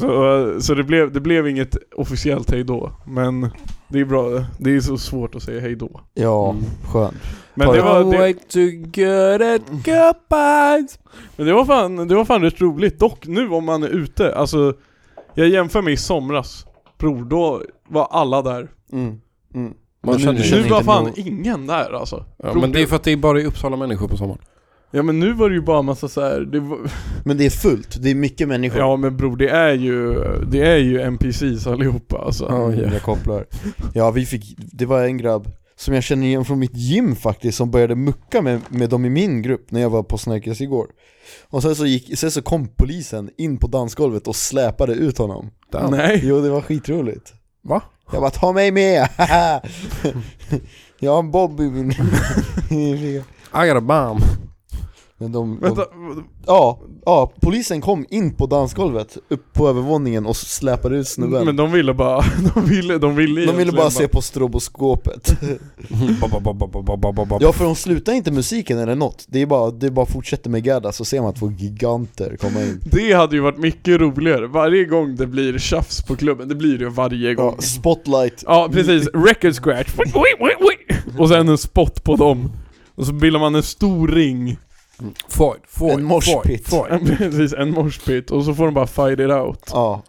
Speaker 4: Så, eh, så det, blev, det blev inget officiellt hejdå, men det är bra, det är så svårt att säga hejdå
Speaker 5: Ja,
Speaker 2: Mm.
Speaker 5: skönt.
Speaker 4: Men det var, det,
Speaker 2: Wait to get it goodbye.
Speaker 4: men det var fan, det var fan rätt roligt, dock nu om man är ute, alltså Jag jämför med i somras, bror då var alla där
Speaker 5: Mm. Mm.
Speaker 2: Man
Speaker 5: Men
Speaker 2: känner
Speaker 5: nu-
Speaker 2: ju...
Speaker 4: Nu
Speaker 5: känner
Speaker 4: var
Speaker 5: inte
Speaker 4: fan
Speaker 5: någon-
Speaker 4: ingen där alltså
Speaker 2: Ja, men det är för att det är bara i Uppsala människor på sommaren.
Speaker 4: Ja men nu var det ju bara massa så här, det var,
Speaker 5: Men det är fullt, det är mycket människor.
Speaker 4: Ja men bror det är ju, det är ju NPCs allihopa alltså
Speaker 2: Ja, ja.
Speaker 5: Jag kopplar. Ja, vi fick, det var en grabb som jag känner igen från mitt gym faktiskt, som började mucka med, med dem i min grupp när jag var på Snärkes igår. Och sen så, gick, sen så kom polisen in på dansgolvet och släpade ut honom.
Speaker 4: Nej,
Speaker 5: Jo, det var skitroligt.
Speaker 2: Va?
Speaker 5: Jag bara, ta mig med! [LAUGHS] jag har en bob
Speaker 2: [LAUGHS]
Speaker 5: i min... i min-
Speaker 2: I got a
Speaker 5: [LAUGHS]
Speaker 2: bomb.
Speaker 5: Men de, de,
Speaker 4: vänta,
Speaker 5: ja, ja, polisen kom in på dansgolvet, upp på övervåningen och släpade ut snubben.
Speaker 4: men de ville bara, [LAUGHS] de ville, de ville
Speaker 5: De ville
Speaker 4: egentligen
Speaker 5: bara se på stroboskopet. Ja för de slutar inte musiken eller något, det är bara, det är bara fortsätter med gadda så ser man två giganter komma in
Speaker 4: Det hade ju varit mycket roligare, varje gång det blir tjafs på klubben, det blir det ju varje gång
Speaker 5: ja, Spotlight,
Speaker 4: Ja precis, record scratch, Oi, oi, oi, oi. och sen en spot på dem Och så bildar man en stor ring,
Speaker 2: Foid, foid,
Speaker 5: En
Speaker 2: foid,
Speaker 5: moshpit.
Speaker 2: foid.
Speaker 4: En- [LAUGHS] precis en morspit, och så får de bara fight it out
Speaker 5: ja,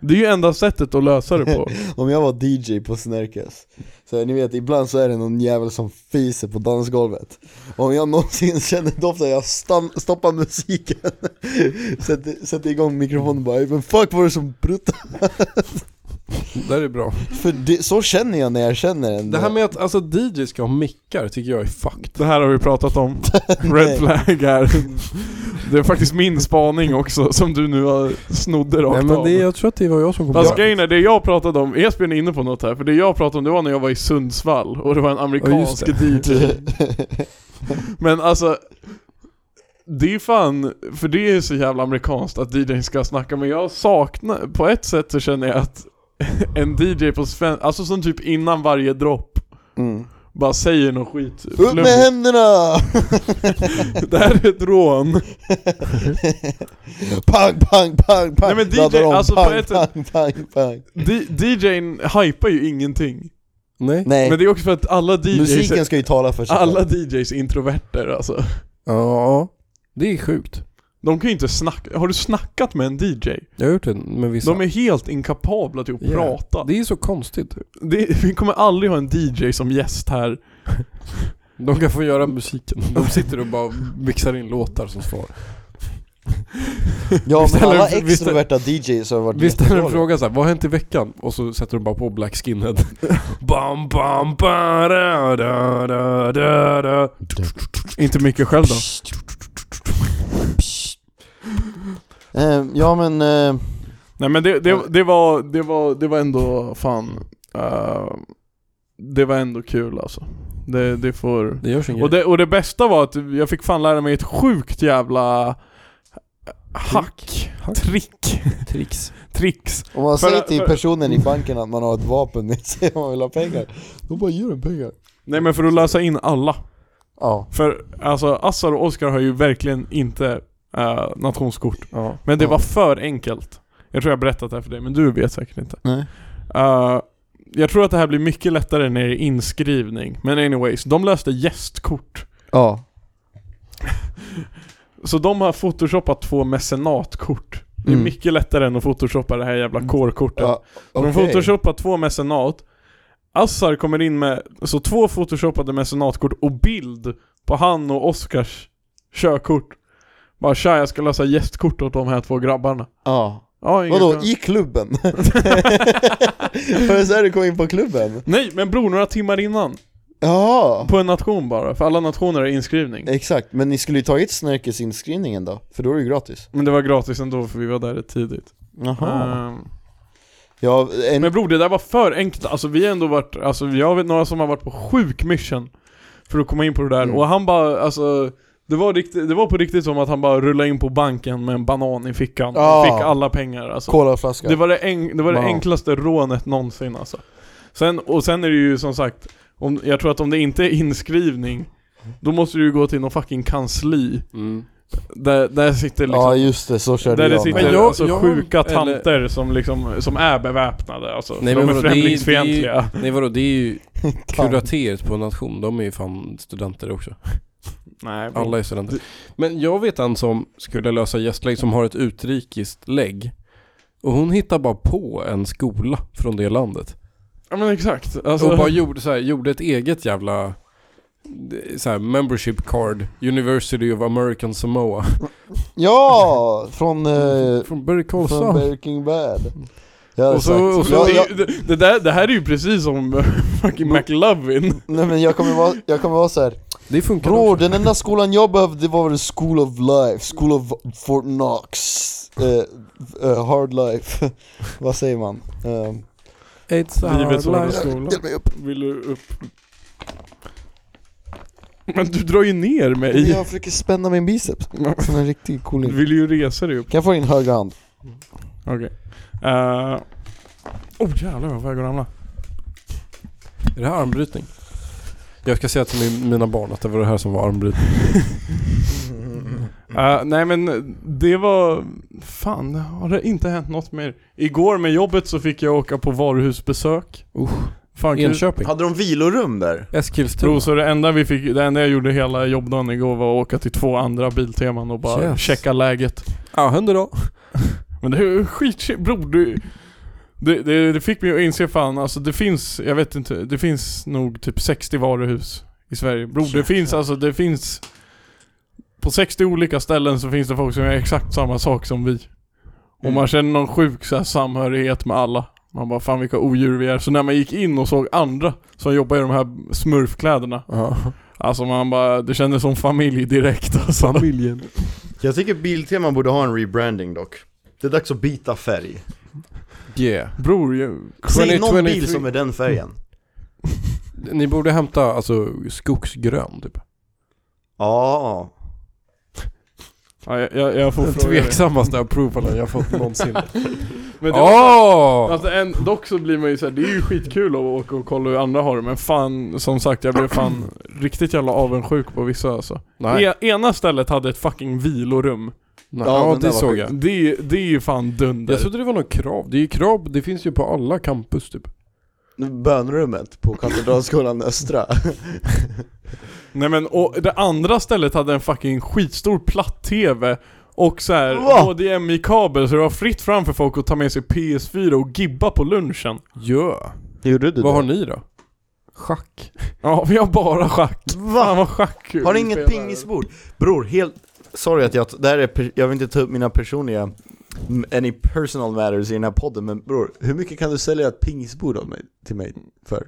Speaker 4: Det är ju enda sättet att lösa det
Speaker 5: [LAUGHS]
Speaker 4: på
Speaker 5: om jag var DJ på Snärkes Så här, ni vet, ibland så är det någon jävel som fiser på dansgolvet Om jag någonsin [LAUGHS] känner doften, jag stann, stoppar musiken [LAUGHS] sätter, sätter igång mikrofonen och bara men fuck var det som pruttar?
Speaker 2: Det här är bra.
Speaker 5: För det, så känner jag när jag känner en
Speaker 2: Det här med att alltså, DJ ska ha mickar tycker jag är fucked.
Speaker 4: Det här har vi pratat
Speaker 2: [LAUGHS]
Speaker 4: om, red flag här Det är faktiskt min spaning också, som du nu har snodde rakt
Speaker 2: Nej, men
Speaker 4: av
Speaker 2: det, jag tror att det var jag som kom
Speaker 4: Fast
Speaker 2: på det.
Speaker 4: grejen är, det jag pratade om, Esbjörn är inne på något här, för det jag pratade om det var när jag var i Sundsvall och det var en amerikansk
Speaker 2: Ja,
Speaker 4: DJ
Speaker 2: [LAUGHS]
Speaker 4: Men alltså det är fan, för det är så jävla amerikanskt att DJn ska snacka men jag saknar, på ett sätt [LAUGHS] så känner jag att en DJ på svenska, alltså som typ innan varje dropp
Speaker 5: mm.
Speaker 4: Bara säger någon skit
Speaker 5: Upp med
Speaker 4: flummigt.
Speaker 5: händerna! [LAUGHS]
Speaker 4: Det här är ett rån
Speaker 5: [LAUGHS] Pang, pang, pang, pang!
Speaker 4: Nej, men DJ,
Speaker 5: Laddar om,
Speaker 4: alltså, på
Speaker 5: pang,
Speaker 4: ett sätt-
Speaker 5: pang, pang, pang.
Speaker 4: D- DJn hypar ju ingenting
Speaker 2: Nej?
Speaker 5: Nej,
Speaker 4: Men det är också för att alla DJs
Speaker 5: musiken ska ju tala för sig själv.
Speaker 4: Alla DJs är introverter alltså
Speaker 2: Ja. Det är sjukt.
Speaker 4: De kan ju inte snacka, har du snackat med en DJ?
Speaker 2: Jag har gjort det med vissa.
Speaker 4: De är helt inkapabla till att
Speaker 2: Ja.
Speaker 4: prata
Speaker 2: Det är så konstigt.
Speaker 4: det, Vi kommer aldrig ha en DJ som gäst här
Speaker 2: De kan få göra musiken. De sitter och bara mixar in låtar som svar.
Speaker 5: Ja
Speaker 2: Vi
Speaker 5: men
Speaker 2: ställer-
Speaker 5: alla
Speaker 2: vi ställer-
Speaker 5: extroverta DJs har varit
Speaker 2: Vi ställer en
Speaker 5: jättedåliga.
Speaker 2: fråga så här, vad har hänt i veckan? Och så sätter de bara på Black Skinhead. bam, bam, ba, da, da, da, da, da.
Speaker 4: Inte mycket själv då
Speaker 5: Eh, Ja men, eh,
Speaker 4: Nej men det, det, det, var, det, var, det var ändå fan eh, Det var ändå kul alltså Det, det får
Speaker 2: Det görs inget.
Speaker 4: och det, och det bästa var att jag fick fan lära mig ett sjukt jävla Hack,
Speaker 2: Hack.
Speaker 4: trick,
Speaker 2: tricks.
Speaker 4: [LAUGHS] tricks
Speaker 5: om man
Speaker 4: För-
Speaker 5: säger till
Speaker 4: för-
Speaker 5: personen i banken att man har ett vapen [LAUGHS] med sig om man vill ha pengar, då bara ger den pengar.
Speaker 4: Nej men för att lösa in alla
Speaker 5: Ja.
Speaker 4: För alltså Assar och Oscar har ju verkligen inte eh, nationskort
Speaker 2: Ja.
Speaker 4: Men det
Speaker 5: Ja.
Speaker 4: var för enkelt Jag tror jag har berättat det här för dig, men du vet säkert inte
Speaker 5: Nej.
Speaker 4: Eh, Jag tror att det här blir mycket lättare när det är inskrivning Men anyways, de löste gästkort
Speaker 5: Ja.
Speaker 4: Så de har photoshopat två mecenatkort Det är
Speaker 5: Mm.
Speaker 4: mycket lättare än att photoshoppa det här jävla kårkortet
Speaker 5: ja.
Speaker 4: Så de
Speaker 5: okej.
Speaker 4: photoshoppar två mecenat Assar kommer in med, så två photoshoppade mecenatkort och bild på han och Oscars körkort Bara tja, jag ska lösa gästkort åt de här två grabbarna
Speaker 5: Ja.
Speaker 4: ja, inga
Speaker 5: Vadå,
Speaker 4: problem. [LAUGHS]
Speaker 5: i klubben? [LAUGHS] Var det så här du kom in på klubben?
Speaker 4: Nej men bror, några timmar innan
Speaker 5: Jaha!
Speaker 4: På en nation bara, för alla nationer är inskrivning
Speaker 5: Exakt, men ni skulle ju tagit Snärkesinskrivningen då, för då är det ju gratis.
Speaker 4: Men det var gratis ändå för vi var där rätt tidigt
Speaker 5: Ah.
Speaker 4: Ehm,
Speaker 5: Ja, en...
Speaker 4: Men bror det där var för enkelt, alltså vi har ändå varit, alltså jag vet några som har varit på sjuk mission För att komma in på det där,
Speaker 5: Mm.
Speaker 4: och han bara alltså det var, riktigt, det var på riktigt som att han bara rullade in på banken med en banan i fickan
Speaker 5: Ja.
Speaker 4: och fick alla pengar alltså.
Speaker 5: colaflaska.
Speaker 4: Det var det, en, det, var det
Speaker 5: Wow.
Speaker 4: enklaste rånet någonsin alltså sen, Och sen är det ju som sagt, om, jag tror att om det inte är inskrivning Då måste du ju gå till någon fucking kansli
Speaker 2: Mm.
Speaker 4: Där, där sitter liksom
Speaker 5: Ja just det, så körde
Speaker 4: Där det
Speaker 5: jag
Speaker 4: sitter
Speaker 5: med.
Speaker 2: Men jag-
Speaker 4: alltså
Speaker 2: jag-
Speaker 4: sjuka
Speaker 2: eller-
Speaker 4: tanter som liksom, som är beväpnade alltså.
Speaker 2: Nej,
Speaker 4: de
Speaker 2: men
Speaker 4: är
Speaker 2: vadå, det är-
Speaker 4: främlingsfientliga.
Speaker 2: Nej vadå, det är ju
Speaker 5: Fan.
Speaker 2: kurateriet på en nation. De är ju fan studenter också.
Speaker 4: Nej, bro.
Speaker 2: Alla är studenter. Men jag vet en som skulle lösa gästlägg som har ett utrikiskt lägg. Och hon hittar bara på en skola från det landet.
Speaker 4: Ja men exakt. Alltså,
Speaker 2: Och bara gjorde, så här, gjorde ett eget jävla eh, så här, membership card. University of
Speaker 7: [LAUGHS]
Speaker 2: American Samoa.
Speaker 5: Ja! Från, eh,
Speaker 2: Från Burry
Speaker 5: från
Speaker 2: Karlsson.
Speaker 5: Breaking Bad. Ja,
Speaker 4: och så, och så,
Speaker 5: jag, jag,
Speaker 4: det, det, där, det här är ju precis som [LAUGHS] fucking McLovin.
Speaker 5: nej men jag kommer vara, jag kommer vara så här.
Speaker 2: Det funkar
Speaker 5: Bror,
Speaker 2: också.
Speaker 5: den enda skolan jag behövde var väl School of Life, School of Fort Knox, eh, eh, Hard Life, [LAUGHS] vad säger man? Eh,
Speaker 2: It's a
Speaker 4: Livets
Speaker 2: hard
Speaker 4: hårda
Speaker 2: life.
Speaker 4: skola.
Speaker 5: hjälp mig upp!
Speaker 4: Vill du upp? Men du drar ju ner mig.
Speaker 5: Jag försöker spänna min biceps, som en riktig
Speaker 4: Du [LAUGHS]
Speaker 5: cooling.
Speaker 4: vill ju resa dig upp.
Speaker 5: Kan jag få din högra hand?
Speaker 4: Okej. Eh, oh jävlar vad jag går och ramla.
Speaker 2: Är det här armbrytning? Jag ska säga till min, mina barn att det var det här som var armbrytning. Mm.
Speaker 4: Eh, nej men det var... Fan, har det inte hänt något mer? Igår med jobbet så fick jag åka på varuhusbesök.
Speaker 2: Usch.
Speaker 4: Fan kul.
Speaker 2: Enköping.
Speaker 7: Hade de vilorum där?
Speaker 2: Eskilstuna.
Speaker 4: Bro, så det enda vi fick, det enda jag gjorde hela jobbdagen igår var att åka till två andra bilteman och bara
Speaker 2: Yes.
Speaker 4: checka läget.
Speaker 2: Ja, händer då.
Speaker 4: Men det är skit, bror du... Det, det, det fick mig att inse fan, alltså det finns, jag vet inte, det finns nog typ 60 varuhus i Sverige. Bror det finns alltså, det finns... På 60 olika ställen så finns det folk som gör exakt samma sak som vi. Och man känner någon sjuk så här samhörighet med alla. Man bara fan vilka odjur vi är. Så när man gick in och såg andra som jobbar i de här smurfkläderna. Alltså man bara, det kändes som familj direkt alltså. Familjen.
Speaker 7: Jag tycker Biltema borde ha en rebranding dock. Det är dags att byta färg.
Speaker 2: Yeah.
Speaker 4: Bror, jag,
Speaker 7: Säg någon
Speaker 2: 2023.
Speaker 7: bil som är den färgen.
Speaker 2: Ni borde hämta alltså skogsgrön typ.
Speaker 7: Ja.
Speaker 4: Ja, jag, jag, jag får
Speaker 2: Den
Speaker 4: fråga dig.
Speaker 2: tveksammaste approvalen
Speaker 4: [LAUGHS]
Speaker 2: jag fått någonsin.
Speaker 4: Men det var-
Speaker 2: Åh!
Speaker 4: Alltså en, dock så blir man ju såhär, det är ju skitkul att åka och kolla hur andra har det men fan, som sagt jag blev fan riktigt jävla avundsjuk på vissa alltså.
Speaker 2: Nej.
Speaker 4: E, ena stället hade ett fucking vilorum.
Speaker 2: Nej,
Speaker 1: Ja,
Speaker 2: ja,
Speaker 1: den där
Speaker 2: det
Speaker 1: var
Speaker 2: såg
Speaker 1: sjuk.
Speaker 2: jag.
Speaker 4: Det, är ju- det är ju fan dunder.
Speaker 2: Jag trodde det var något krav. Det är ju krav, det finns ju på alla campus typ.
Speaker 5: Bönrummet på Katedralskolan Östra.
Speaker 4: Nej men och det andra stället hade en fucking skitstor platt-tv och så här
Speaker 5: Va?
Speaker 4: HDMI-kabel så det var fritt fram för folk att ta med sig PS4 och gibba på lunchen.
Speaker 2: Ja.
Speaker 5: Gjorde
Speaker 4: Typ.
Speaker 5: du
Speaker 2: Vad har ni då? Schack.
Speaker 4: Ja, vi har bara schack. Fan
Speaker 5: Va?
Speaker 4: vad schack
Speaker 5: Har ni inget pingisbord? Bror, helt... Sorry att jag... Det här är... per- Jag vill inte ta upp mina personliga... Any personal matters i den här podden, men bror, hur mycket kan du sälja ett pingisbord av mig, till mig för?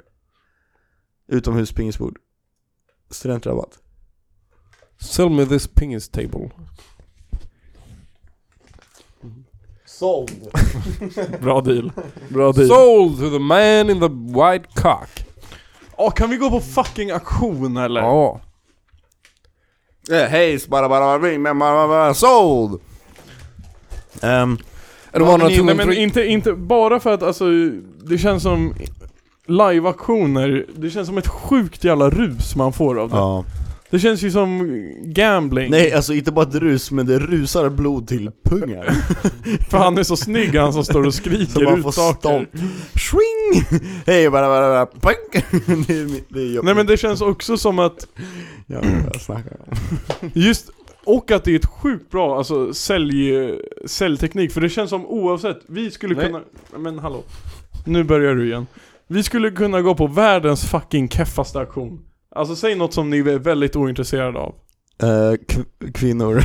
Speaker 5: Utomhuspingisbord. Studentrabatt.
Speaker 2: Sell me this pingis table.
Speaker 5: Såld!
Speaker 4: Bra deal. Bra deal.
Speaker 2: Sold to the man in the white cock.
Speaker 4: Ja, kan vi gå på fucking auktion eller?
Speaker 2: Ja.
Speaker 5: Eh, Hej, bara bara ring, men bara bara sold! Ehm,
Speaker 2: De andra
Speaker 4: Nej,
Speaker 2: tog
Speaker 4: men
Speaker 2: en
Speaker 4: inte, inte bara för att alltså, det känns som live-auktioner, det känns som ett sjukt jävla rus man får av det.
Speaker 5: ja.
Speaker 4: Det känns ju som gambling.
Speaker 5: [LAUGHS] Nej, alltså inte bara ett rus, men det rusar blod till
Speaker 4: [LAUGHS]
Speaker 5: pungar.
Speaker 4: För han är så snygg han som står och
Speaker 5: [LAUGHS] Så
Speaker 4: skriker
Speaker 5: man
Speaker 4: ut
Speaker 5: får
Speaker 4: saker.
Speaker 5: stånd. Swing! [LAUGHS] Hej, bara bara bara pang! [LAUGHS] Det är mitt- det är jobbigt.
Speaker 4: Nej men det känns också som att,
Speaker 5: Jag vet vad jag snackar om.
Speaker 4: just, och att det är ett sjukt bra alltså, sälj, säljteknik, för det känns som oavsett, vi skulle
Speaker 2: Nej.
Speaker 4: kunna, Nej, men hallå, nu börjar du igen. Vi skulle kunna gå på världens fucking keffaste auktion. Alltså säg något som ni är väldigt ointresserade av.
Speaker 5: Eh, kv- kvinnor.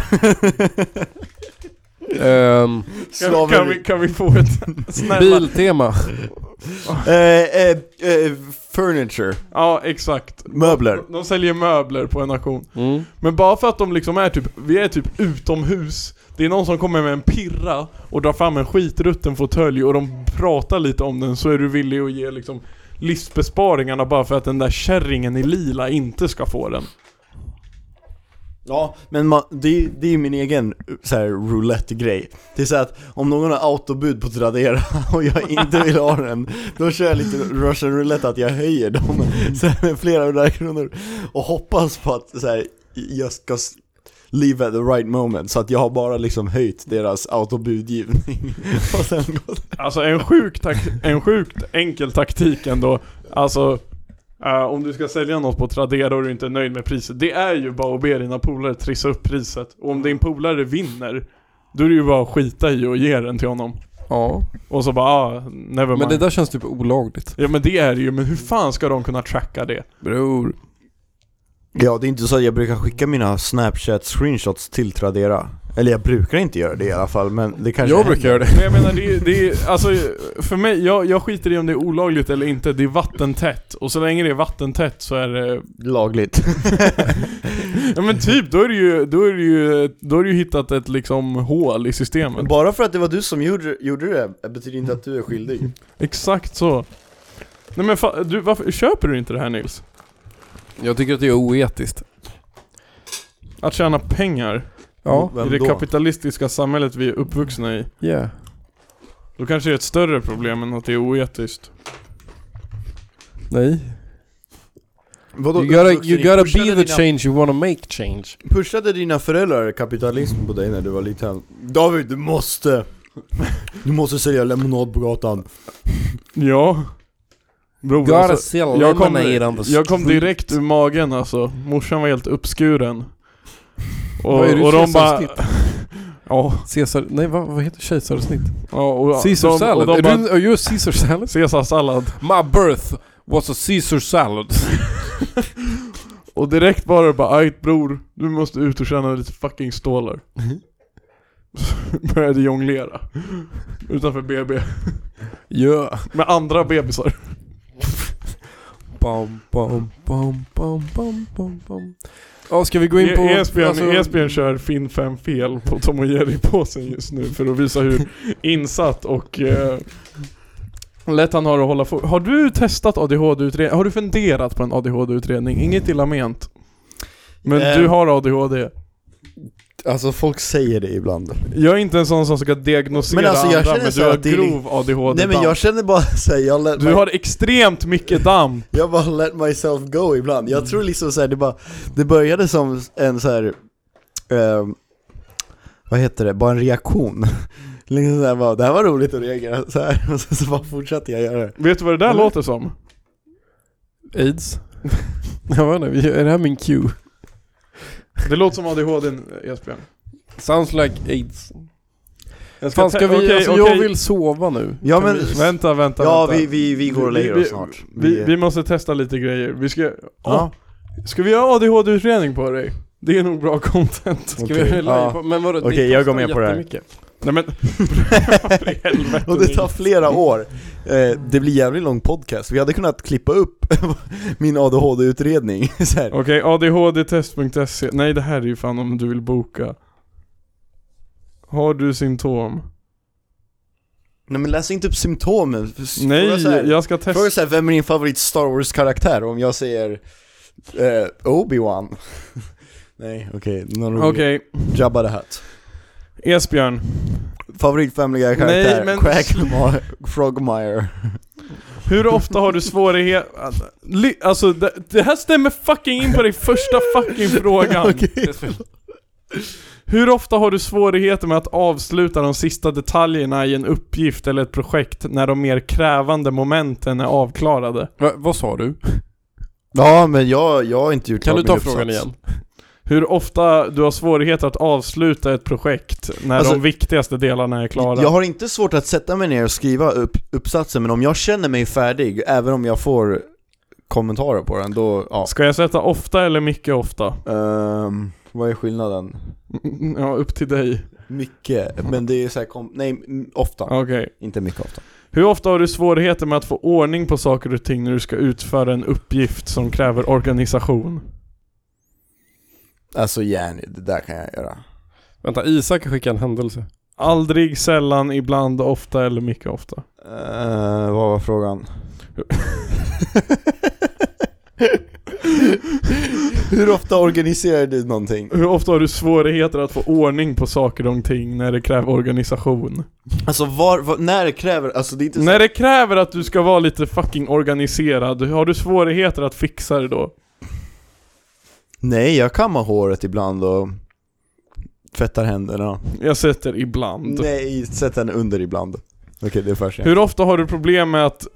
Speaker 4: [LAUGHS]
Speaker 2: um,
Speaker 4: Kan, kan, vi, kan vi få ett, [LAUGHS] snälla?
Speaker 2: Biltema.
Speaker 5: Eh, eh, eh, furniture.
Speaker 4: Ja, exakt.
Speaker 5: Möbler.
Speaker 4: De säljer möbler på en auktion.
Speaker 2: Mm.
Speaker 4: Men bara för att de liksom är typ, vi är typ utomhus Det är någon som kommer med en pirra och drar fram en skitrutten fåtölj och de pratar lite om den så är du villig att ge liksom livsbesparingarna bara för att den där kärringen i lila inte ska få den.
Speaker 5: Ja, men man, det, det är min egen så här, roulette-grej. Det är så att om någon har autobud på Tradera [LAUGHS] och jag inte vill ha den, då kör jag lite Russian roulette att jag höjer dem så här, med flera hundra kronor och hoppas på att så här, jag ska s- leave at the right moment så att jag har bara liksom höjt deras autobudgivning [LAUGHS] och sen gått.
Speaker 4: Alltså en sjuk tak- en sjukt enkel taktik ändå. Alltså eh, om du ska sälja något på Tradera och du inte är nöjd med priset, det är ju bara att be dina polare trissa upp priset. Och om din polare vinner, då är det ju bara att skita i och ge den till honom.
Speaker 2: Ja.
Speaker 4: Och så bara, ah, never
Speaker 2: Men
Speaker 4: mind.
Speaker 2: det där känns typ olagligt.
Speaker 4: Ja men det är det ju, men hur fan ska de kunna tracka det?
Speaker 2: Bror.
Speaker 5: Ja, det är inte så att jag brukar skicka mina Snapchat-screenshots till Tradera. Eller jag brukar inte göra det i alla fall, men det kanske
Speaker 2: Jag brukar göra det.
Speaker 4: Men jag menar det, är- det är, alltså för mig, jag, jag skiter i om det är olagligt eller inte, det är vattentätt. Och så länge det är vattentätt så är det,
Speaker 5: lagligt.
Speaker 4: ja men typ, då är det ju, då är det ju, då har du ju hittat ett liksom hål i systemet.
Speaker 5: Men bara för att det var du som gjorde, gjorde det betyder inte att du är skyldig.
Speaker 4: Exakt så. Nej men fa, du, varför, köper du inte det här Nils?
Speaker 2: Jag tycker att det är oetiskt.
Speaker 4: Att tjäna pengar
Speaker 2: Ja.
Speaker 5: Vem
Speaker 4: i det
Speaker 5: då?
Speaker 4: kapitalistiska samhället vi är uppvuxna i.
Speaker 2: Yeah.
Speaker 4: Då kanske det är ett större problem än att det är oetiskt.
Speaker 2: Nej.
Speaker 5: Vadå,
Speaker 2: You gotta,
Speaker 5: uppvuxen
Speaker 2: you
Speaker 5: i-
Speaker 2: gotta
Speaker 5: pushade
Speaker 2: be the
Speaker 5: dina-
Speaker 2: change you wanna make change.
Speaker 5: Pushade dina föräldrar kapitalism på dig när du var liten? David, du måste! Du måste sälja lemonad på gatan.
Speaker 4: Ja. Bror,
Speaker 2: Gotta
Speaker 4: alltså-
Speaker 2: sell
Speaker 4: jag kom-
Speaker 2: lemonade on the
Speaker 4: Jag kom
Speaker 2: street.
Speaker 4: direkt ur magen alltså, morsan var helt uppskuren Och,
Speaker 2: Vad är det,
Speaker 4: och de bara...
Speaker 2: kejsarsnitt?
Speaker 4: [LAUGHS] Ja,
Speaker 2: typ Caesar... Nej vad, vad heter kejsarsnitt?
Speaker 4: ja, och
Speaker 2: Caesar
Speaker 4: de,
Speaker 2: salad?
Speaker 4: Och
Speaker 2: Är
Speaker 4: de bara,
Speaker 2: du, are you a Caesar salad?
Speaker 4: Caesarsallad
Speaker 2: My birth was a Caesar [LAUGHS] salad.
Speaker 4: Och direkt var det bara "Ajt bror, du måste ut och tjäna lite fucking
Speaker 5: [LAUGHS]
Speaker 4: stålar Började jonglera Utanför BB
Speaker 2: Yeah.
Speaker 4: Med andra bebisar
Speaker 2: Bam, bam, bam, bam, bam, bam, bam. Ja, ska vi gå in på...
Speaker 4: E- Esbjörn,
Speaker 2: alltså-
Speaker 4: Esbjörn kör Finn fem fel på Tom och Jerry-påsen just nu för att visa hur
Speaker 5: [LAUGHS]
Speaker 4: insatt och eh, lätt han har att hålla för. Har du testat ADHD-utredning? Har du funderat på en ADHD-utredning? Inget illa ment. Men
Speaker 5: Eh.
Speaker 4: du har ADHD.
Speaker 5: Alltså folk säger det ibland.
Speaker 4: Jag är inte en sån som ska diagnosera
Speaker 5: Men alltså, jag
Speaker 4: andra,
Speaker 5: känner
Speaker 4: men
Speaker 5: så
Speaker 4: du
Speaker 5: här
Speaker 4: har
Speaker 5: att det är
Speaker 4: grov ADHD
Speaker 5: Nej men jag känner bara [LAUGHS] såhär, jag, let
Speaker 4: Du
Speaker 5: my-
Speaker 4: har extremt mycket damm.
Speaker 5: jag bara let myself go ibland. Jag
Speaker 4: Mm.
Speaker 5: tror liksom såhär, det bara, det började som en såhär, ehm, vad heter det, bara en reaktion. [LAUGHS] Liksom såhär bara, det här var roligt att reagera såhär, [LAUGHS] och sen så bara fortsatte jag göra det.
Speaker 4: Vet du vad det där
Speaker 5: Eller?
Speaker 4: låter som?
Speaker 2: Aids? [LAUGHS] jag vet inte, är det här min cue?
Speaker 4: Det låter som ADHD Esbjörn.
Speaker 2: Sounds like aids.
Speaker 4: Jag
Speaker 2: Fan ska vi,
Speaker 4: okej,
Speaker 2: alltså
Speaker 4: okej.
Speaker 2: jag vill sova nu.
Speaker 5: Ja men,
Speaker 4: Vänta, vänta,
Speaker 5: ja
Speaker 4: vänta.
Speaker 5: vi, vi, vi går och lägger
Speaker 4: Vi-
Speaker 5: oss snart.
Speaker 4: Vi, vi måste testa lite grejer. Vi ska... [LAUGHS]
Speaker 5: ja.
Speaker 4: Åh, ska vi göra ADHD-utredning på dig? Det är nog bra content.
Speaker 2: Ska vi [LAUGHS]
Speaker 5: Okej,
Speaker 2: live
Speaker 5: ja.
Speaker 2: på? Men vadå, det
Speaker 5: Okej, jag går
Speaker 2: kostar
Speaker 5: med på det här.
Speaker 2: jättemycket.
Speaker 4: Nej
Speaker 5: [LAUGHS]
Speaker 4: men... för helvete,
Speaker 5: Och det tar
Speaker 4: Nils.
Speaker 5: flera år. Eh, det blir jävligt lång podcast. Vi hade kunnat klippa upp [LAUGHS] min ADHD-utredning. [LAUGHS] så här.
Speaker 4: Okej, adhdtest.se. E. Nej det här är ju fan om du vill boka. Har du symptom?
Speaker 5: Nej men läs inte upp symptomen. Fråga
Speaker 4: Nej,
Speaker 5: så här,
Speaker 4: jag ska testa.
Speaker 5: fråga så här, vem är din favorit Star Wars-karaktär? Om jag säger eh, Obi-Wan. [LAUGHS] Nej, okej. någon rolig.
Speaker 4: Okej,
Speaker 5: Jabba the Hutt.
Speaker 4: Esbjörn.
Speaker 5: Favorit Family Guy-karaktär?
Speaker 4: Nej, men-
Speaker 5: Quagmire. Frogmire.
Speaker 4: Hur ofta har du svårighet... Li- Alltså det, det här stämmer fucking in på dig första
Speaker 5: [LAUGHS]
Speaker 4: fucking frågan. Hur ofta har du svårigheter med att avsluta de sista detaljerna i en uppgift eller ett projekt när de mer krävande momenten är avklarade?
Speaker 2: Va, vad sa du?
Speaker 5: Ja men jag, jag har inte gjort
Speaker 2: Kan
Speaker 5: klart
Speaker 2: du ta
Speaker 5: min
Speaker 2: frågan
Speaker 5: uppsats.
Speaker 2: igen?
Speaker 4: Hur ofta du har svårigheter att avsluta ett projekt när
Speaker 5: Alltså,
Speaker 4: de viktigaste delarna är klara?
Speaker 5: Jag har inte svårt att sätta mig ner och skriva upp uppsatsen, men om jag känner mig färdig, även om jag får kommentarer på den, då, ja.
Speaker 4: Ska jag sätta ofta eller mycket ofta?
Speaker 5: Ehm, vad är skillnaden?
Speaker 4: Mm, Ja, upp till dig.
Speaker 5: Mycket, men det är så här, kom, nej, m- ofta.
Speaker 4: Okej.
Speaker 5: Inte mycket ofta.
Speaker 4: Hur ofta har du svårigheter med att få ordning på saker och ting när du ska utföra en uppgift som kräver organisation?
Speaker 5: Alltså Jenny, det där kan jag göra.
Speaker 2: Vänta, Isak skickar en händelse.
Speaker 4: Aldrig, sällan, ibland, ofta eller mycket ofta.
Speaker 5: Eh, vad var frågan? Hur ofta organiserar du någonting?
Speaker 4: Hur ofta har du svårigheter att få ordning på saker och ting när det kräver organisation?
Speaker 5: Alltså var, var, när kräver, alltså det är inte så-
Speaker 4: När det kräver att du ska vara lite fucking organiserad, har du svårigheter att fixa det då?
Speaker 5: Nej, jag kammar håret ibland och tvättar händerna.
Speaker 4: Jag sätter ibland.
Speaker 5: Nej, sätt den under ibland. Okej, det är för sent.
Speaker 4: Hur ofta har du problem med att...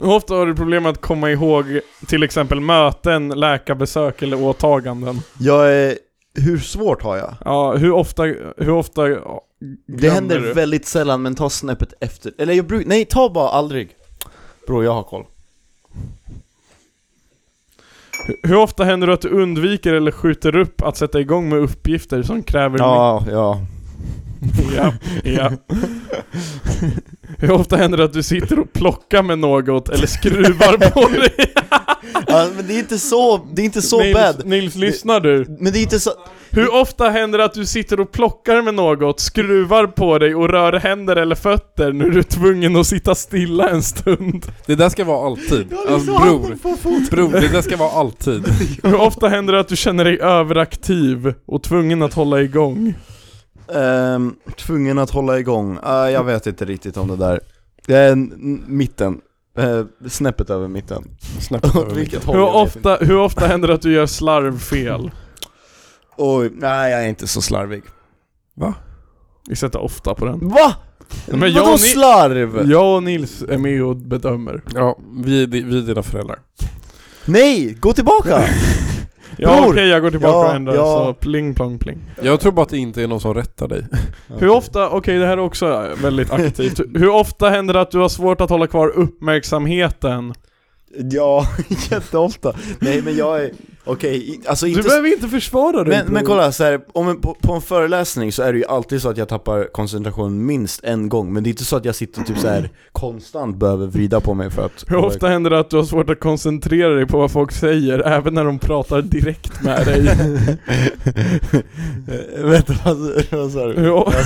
Speaker 4: Hur ofta har du problem med att komma ihåg till exempel möten, läkarbesök eller åtaganden?
Speaker 5: Jag är... Hur svårt har jag?
Speaker 4: Ja, hur ofta, hur ofta ja,
Speaker 5: Det
Speaker 4: glömmer
Speaker 5: händer
Speaker 4: du?
Speaker 5: väldigt sällan, men ta snäppet efter. Eller jag brukar... Nej, ta bara aldrig. Bro, jag har koll.
Speaker 4: Hur- Hur ofta händer det att du undviker eller skjuter upp att sätta igång med uppgifter som kräver
Speaker 5: Ja, ja.
Speaker 4: mycket? Ja, ja. Hur ofta händer det att du sitter och plockar med något eller skruvar på
Speaker 5: [LAUGHS]
Speaker 4: dig?
Speaker 5: ja men det är inte så... Det är inte så
Speaker 4: Nils,
Speaker 5: bad.
Speaker 4: Nils, lyssnar du?
Speaker 5: Men det är inte så...
Speaker 4: Hur ofta händer det att du sitter och plockar med något, skruvar på dig och rör händer eller fötter när du är tvungen att sitta stilla en stund?
Speaker 2: Det där ska vara alltid. Alltså, bror, bror, det där ska vara
Speaker 5: [LAUGHS]
Speaker 2: alltid.
Speaker 4: Hur ofta händer det att du känner dig överaktiv och tvungen att hålla igång?
Speaker 5: Ehm, tvungen att hålla igång. Eh, jag vet inte riktigt om det där. Eh, n- mitten. Eh, snäppet över mitten.
Speaker 2: Snabbt över
Speaker 5: Åt
Speaker 2: mig.
Speaker 5: [LAUGHS] vilket håll?
Speaker 4: Hur
Speaker 5: jag vet inte.
Speaker 4: ofta, hur ofta händer det att du gör slarvfel?
Speaker 5: Oj, nej jag är inte så slarvig.
Speaker 4: Vi sätter ofta på den.
Speaker 5: Va?
Speaker 4: Men
Speaker 5: Men
Speaker 4: jag
Speaker 5: Vadå
Speaker 4: och ni-
Speaker 5: slarv?
Speaker 4: Jag och Nils är med och bedömer.
Speaker 2: Ja, vi, är di- vi är dina föräldrar.
Speaker 5: Nej, gå tillbaka!
Speaker 4: Ja okej,
Speaker 5: Bror!
Speaker 4: jag går tillbaka
Speaker 5: Ja,
Speaker 4: och ändrar
Speaker 5: ja.
Speaker 4: så pling plong pling.
Speaker 2: Jag tror bara att det inte är någon som rättar
Speaker 5: [LAUGHS]
Speaker 2: dig.
Speaker 4: Hur ofta, okej det här är också väldigt aktivt. Hur ofta händer det att du har svårt att hålla kvar uppmärksamheten?
Speaker 5: Ja, [LAUGHS] jätteofta. Nej men jag är, okej, i- alltså inte...
Speaker 4: Du behöver inte försvara dig
Speaker 5: men, men kolla, så här, om en, på, på en föreläsning så är det ju alltid så att jag tappar koncentration minst en gång, men det är inte så att jag sitter typ
Speaker 4: [LAUGHS]
Speaker 5: så här konstant behöver vrida på mig för att...
Speaker 4: Hur ofta händer det att du har svårt att koncentrera dig på vad folk säger, även när de pratar direkt med
Speaker 5: [LAUGHS]
Speaker 4: dig?
Speaker 5: Eh, Vänta, vad, vad sa du?
Speaker 4: Hur o- [LAUGHS]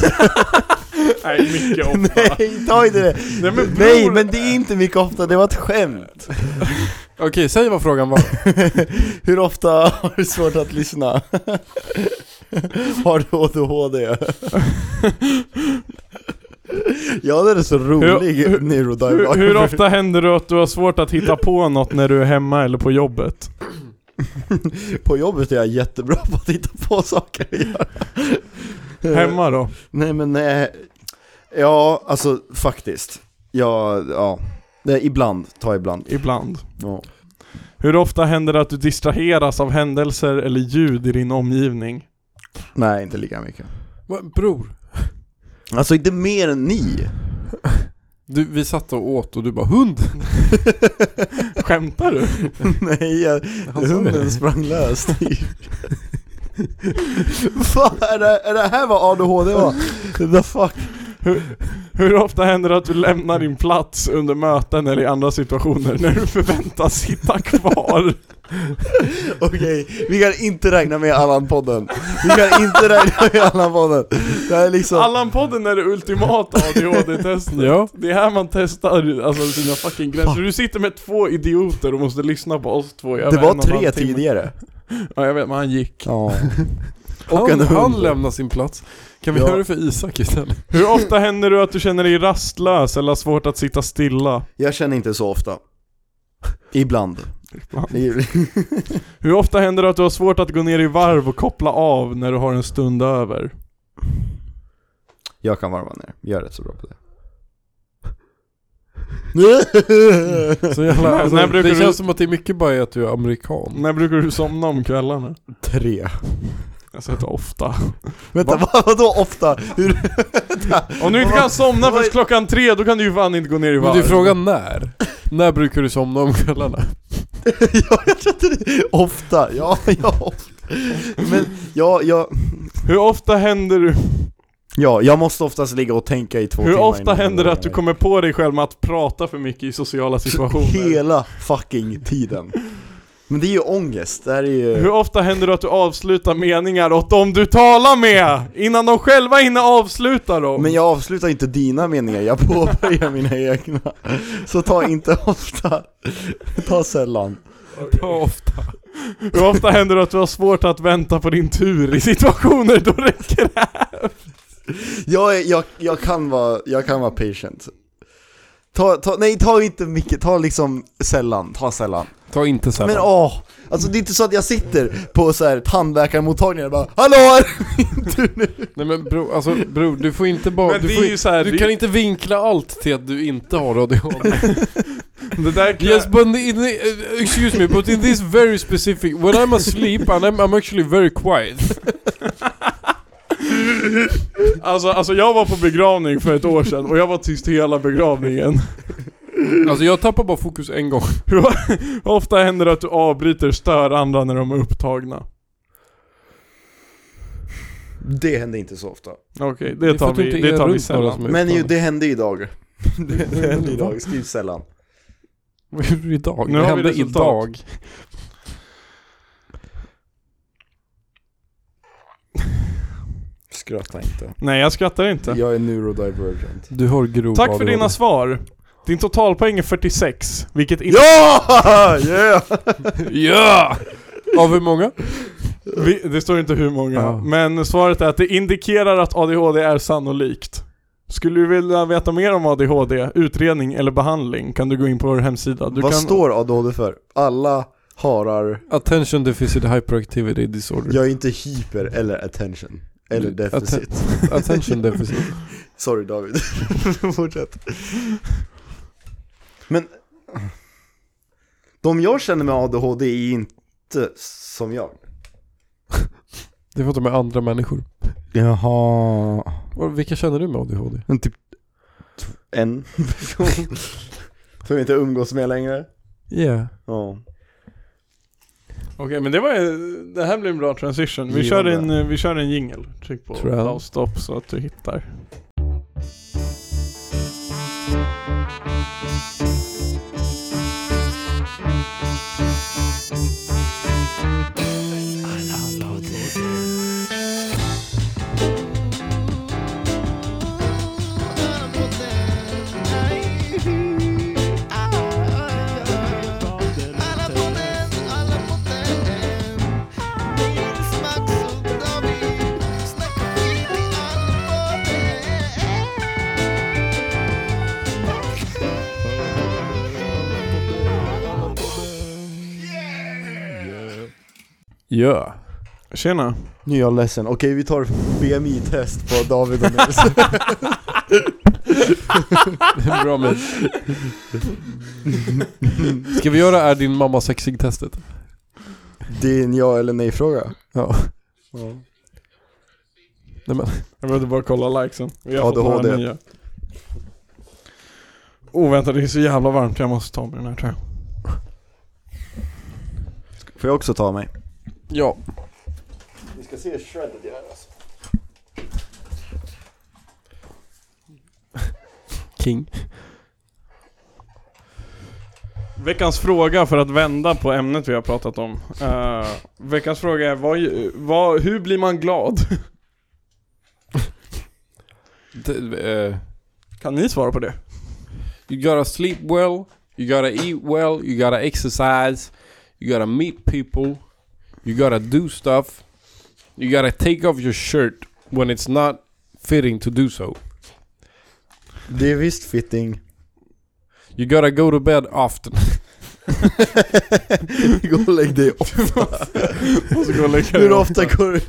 Speaker 4: Nej,
Speaker 5: [LAUGHS]
Speaker 4: mycket ofta.
Speaker 5: Nej, ta inte det!
Speaker 4: Nej men, bror,
Speaker 5: Nej men det är inte mycket ofta, det var ett skämt!
Speaker 2: Okej, säg vad frågan var.
Speaker 5: [LAUGHS] Hur ofta har du svårt att lyssna? [LAUGHS] har du ADHD? [LAUGHS] ja, det är så rolig
Speaker 4: hur- Hur,
Speaker 5: neurodiverg.
Speaker 4: hur ofta händer det att du har svårt att hitta på något när du är hemma eller på jobbet?
Speaker 5: På jobbet är jag jättebra på att hitta på saker att göra. Eh.
Speaker 4: [LAUGHS] Hemma då?
Speaker 5: Nej men eh, nej.
Speaker 7: Ja, alltså faktiskt. Ja, ja.
Speaker 5: Eh,
Speaker 7: Nej, ibland, ta ibland.
Speaker 4: Ibland.
Speaker 7: Ja.
Speaker 4: Hur ofta händer det att du distraheras av händelser eller ljud i din omgivning?
Speaker 7: Nej, inte lika mycket.
Speaker 2: Va, Bror,
Speaker 7: Alltså inte mer än
Speaker 4: [LAUGHS]
Speaker 7: ni.
Speaker 2: du, vi satt och åt och du bara hund.
Speaker 4: Skämtar du?
Speaker 5: [LAUGHS] nej, jag,
Speaker 2: Han sa det.
Speaker 5: hunden sprang
Speaker 2: [LAUGHS]
Speaker 5: [LAUGHS] löst.
Speaker 7: Fan, är det, är det här vad ADHD var?
Speaker 5: The fuck?
Speaker 4: Hur ofta händer det att du lämnar din plats under möten eller i andra situationer när du förväntas sitta
Speaker 5: [LAUGHS]
Speaker 4: kvar?
Speaker 5: Okej, vi kan inte räkna med Allan-podden. Vi kan inte räkna med Allan-podden. Det här är liksom...
Speaker 4: Allan-podden är det ultimata ADHD-testet.
Speaker 2: Ja.
Speaker 4: Det är här man testar alltså, sina fucking gränser. Du sitter med två idioter och måste lyssna på oss två i över
Speaker 5: det
Speaker 4: en
Speaker 5: var
Speaker 4: och en halv
Speaker 5: tre
Speaker 4: timme.
Speaker 5: tidigare.
Speaker 4: Ja jag vet, men han gick.
Speaker 5: Ja. [LAUGHS] Och
Speaker 2: Han,
Speaker 5: en
Speaker 2: han
Speaker 5: hund.
Speaker 2: lämnar sin plats. Kan vi
Speaker 5: Ja.
Speaker 2: göra det för Isak
Speaker 5: [LAUGHS]
Speaker 2: istället?
Speaker 4: Hur ofta händer det att du känner dig rastlös eller har svårt att sitta stilla?
Speaker 7: Jag känner inte så ofta. Ibland.
Speaker 4: Hur ofta händer det att du har svårt att gå ner i varv och koppla av när du har en stund över?
Speaker 7: Jag kan varva ner, jag är rätt så bra på det.
Speaker 2: Så jävla, alltså,
Speaker 4: När
Speaker 2: det
Speaker 4: brukar
Speaker 2: känns
Speaker 4: du-
Speaker 2: som att det är mycket bara att du är amerikan.
Speaker 4: När brukar du somna om kvällarna?
Speaker 5: Tre.
Speaker 4: Alltså inte ofta.
Speaker 5: Vänta, vad, vadå ofta? Hur,
Speaker 4: Om du inte kan somna förrän klockan tre, då kan du ju fan inte gå ner i
Speaker 2: Men
Speaker 4: varv.
Speaker 2: det är frågan när? när brukar du somna om kvällarna?
Speaker 5: ja, jag trodde det. Ofta, ja, ja. ofta. Men, ja, ja.
Speaker 4: Hur ofta händer du...
Speaker 5: Ja, jag måste oftast ligga och tänka i två
Speaker 4: Hur
Speaker 5: timmar
Speaker 4: ofta
Speaker 5: innan
Speaker 4: händer
Speaker 5: jag
Speaker 4: det att du kommer på dig själv med att prata för mycket i sociala situationer?
Speaker 5: Hela fucking tiden. Men det är ju ångest, det här är
Speaker 4: Hur
Speaker 5: ju...
Speaker 4: ofta händer det att du avslutar meningar åt dem du talar med? Innan de själva hinner avsluta dem?
Speaker 5: Men jag avslutar inte dina meningar, jag påbörjar mina egna. Så ta inte ofta, ta sällan.
Speaker 2: Ta ofta.
Speaker 4: Hur ofta händer det att du har svårt att vänta på din tur i situationer då räcker det?
Speaker 5: Jag, är, jag, jag, kan, vara, jag kan vara patient. Ta, ta, nej, ta inte mycket, ta liksom sällan, ta sällan.
Speaker 2: Ta inte sällan.
Speaker 5: Men åh, alltså det är inte så att jag sitter på så här tandläkarmottagningen och bara Hallå! är det min tur nu?"
Speaker 2: Nej men bror, alltså bror, du får inte bara...
Speaker 4: Men
Speaker 2: Du,
Speaker 4: det
Speaker 2: får,
Speaker 4: är ju så här,
Speaker 2: du
Speaker 4: det-
Speaker 2: kan inte vinkla allt till att du inte
Speaker 4: [LAUGHS]
Speaker 2: har ADHD.
Speaker 4: Det där kan...
Speaker 2: yes but in, uh, excuse me, but in this very specific... When I'm asleep and I'm, I'm actually
Speaker 4: [LAUGHS]
Speaker 2: very quiet.
Speaker 4: Alltså, alltså jag var på begravning för ett år sedan och jag var tyst hela begravningen.
Speaker 2: Alltså jag tappar bara fokus en gång.
Speaker 4: Hur hur ofta händer det att du avbryter och stör andra när de är upptagna?
Speaker 7: Det händer inte så ofta.
Speaker 4: Okej, det tar
Speaker 2: för att du
Speaker 4: vi,
Speaker 2: inte är
Speaker 4: det tar vi
Speaker 2: runt några
Speaker 4: sällan.
Speaker 2: som är
Speaker 7: Men ju,
Speaker 2: utan-
Speaker 7: det hände idag. [LAUGHS] Det, det hände [LAUGHS] idag, skriv sällan.
Speaker 2: [LAUGHS] Vad gjorde du idag?
Speaker 4: Nu
Speaker 2: det
Speaker 4: har vi
Speaker 2: hände
Speaker 4: resultat.
Speaker 2: idag.
Speaker 7: Skratta inte.
Speaker 4: Nej, jag skrattar inte.
Speaker 7: Jag är neurodivergent.
Speaker 2: Du har grov
Speaker 4: Tack för
Speaker 2: ADHD.
Speaker 4: dina svar. Din totalpoäng är 46, vilket inte...
Speaker 7: Ja! [LAUGHS] Yeah!
Speaker 2: [LAUGHS] Ja! Av hur många?
Speaker 4: Vi, det står inte hur många,
Speaker 2: Ja.
Speaker 4: men svaret är att det indikerar att ADHD är sannolikt. Skulle du vilja veta mer om ADHD, utredning eller behandling kan du gå in på vår hemsida. Du
Speaker 7: Vad
Speaker 4: kan...
Speaker 7: står ADHD för? Alla harar,
Speaker 2: Attention deficit hyperactivity disorder.
Speaker 7: jag är inte hyper eller attention. Eller
Speaker 2: Du-
Speaker 7: deficit.
Speaker 2: [LAUGHS] Attention deficit.
Speaker 7: Sorry David. [LAUGHS] Fortsätt. Men, de jag känner med ADHD är inte som jag.
Speaker 2: Det är för att de är andra människor.
Speaker 7: Jaha.
Speaker 2: Och Vilka känner du med ADHD?
Speaker 7: Men typ en person. Som
Speaker 5: [LAUGHS]
Speaker 7: jag inte umgås med längre.
Speaker 2: Yeah.
Speaker 7: Ja.
Speaker 4: Okej, men det var ju- Det här blir en bra transition. Vi kör en, eh, vi kör en jingle. Tryck på
Speaker 2: Tror jag.
Speaker 4: pause stop så att du hittar.
Speaker 8: I
Speaker 2: Ja.
Speaker 4: Tjena.
Speaker 5: Nu är jag ledsen, okej vi tar BMI-test på David och
Speaker 7: [LAUGHS]
Speaker 5: Nelson
Speaker 2: Det är Bra med. Ska vi göra är din mamma sexig-testet?
Speaker 5: Din ja eller nej fråga? Ja
Speaker 2: Nej men,
Speaker 4: Jag behövde bara kolla likesen. Vi har fått några
Speaker 5: ADHD.
Speaker 4: nya. Oh vänta, det är så jävla varmt. Jag måste ta mig den här tror jag.
Speaker 5: Får jag också ta mig?
Speaker 2: ja.
Speaker 9: Vi ska se hur shredded jag är alltså.
Speaker 2: King.
Speaker 4: Veckans fråga för att vända på ämnet vi har pratat om. Eh, veckans fråga är, vad, vad, hur blir man glad?
Speaker 2: Det, eh,
Speaker 4: Kan ni svara på det?
Speaker 2: You gotta sleep well, you gotta eat well, you gotta exercise, you gotta meet people, you gotta do stuff, you gotta take off your shirt when it's not fitting to do so.
Speaker 5: Det är visst fitting
Speaker 2: You gotta go to bed often.
Speaker 5: Gå och lägg dig ofta
Speaker 4: Måste gå och lägga
Speaker 5: Hur
Speaker 4: dig.
Speaker 5: ofta går du...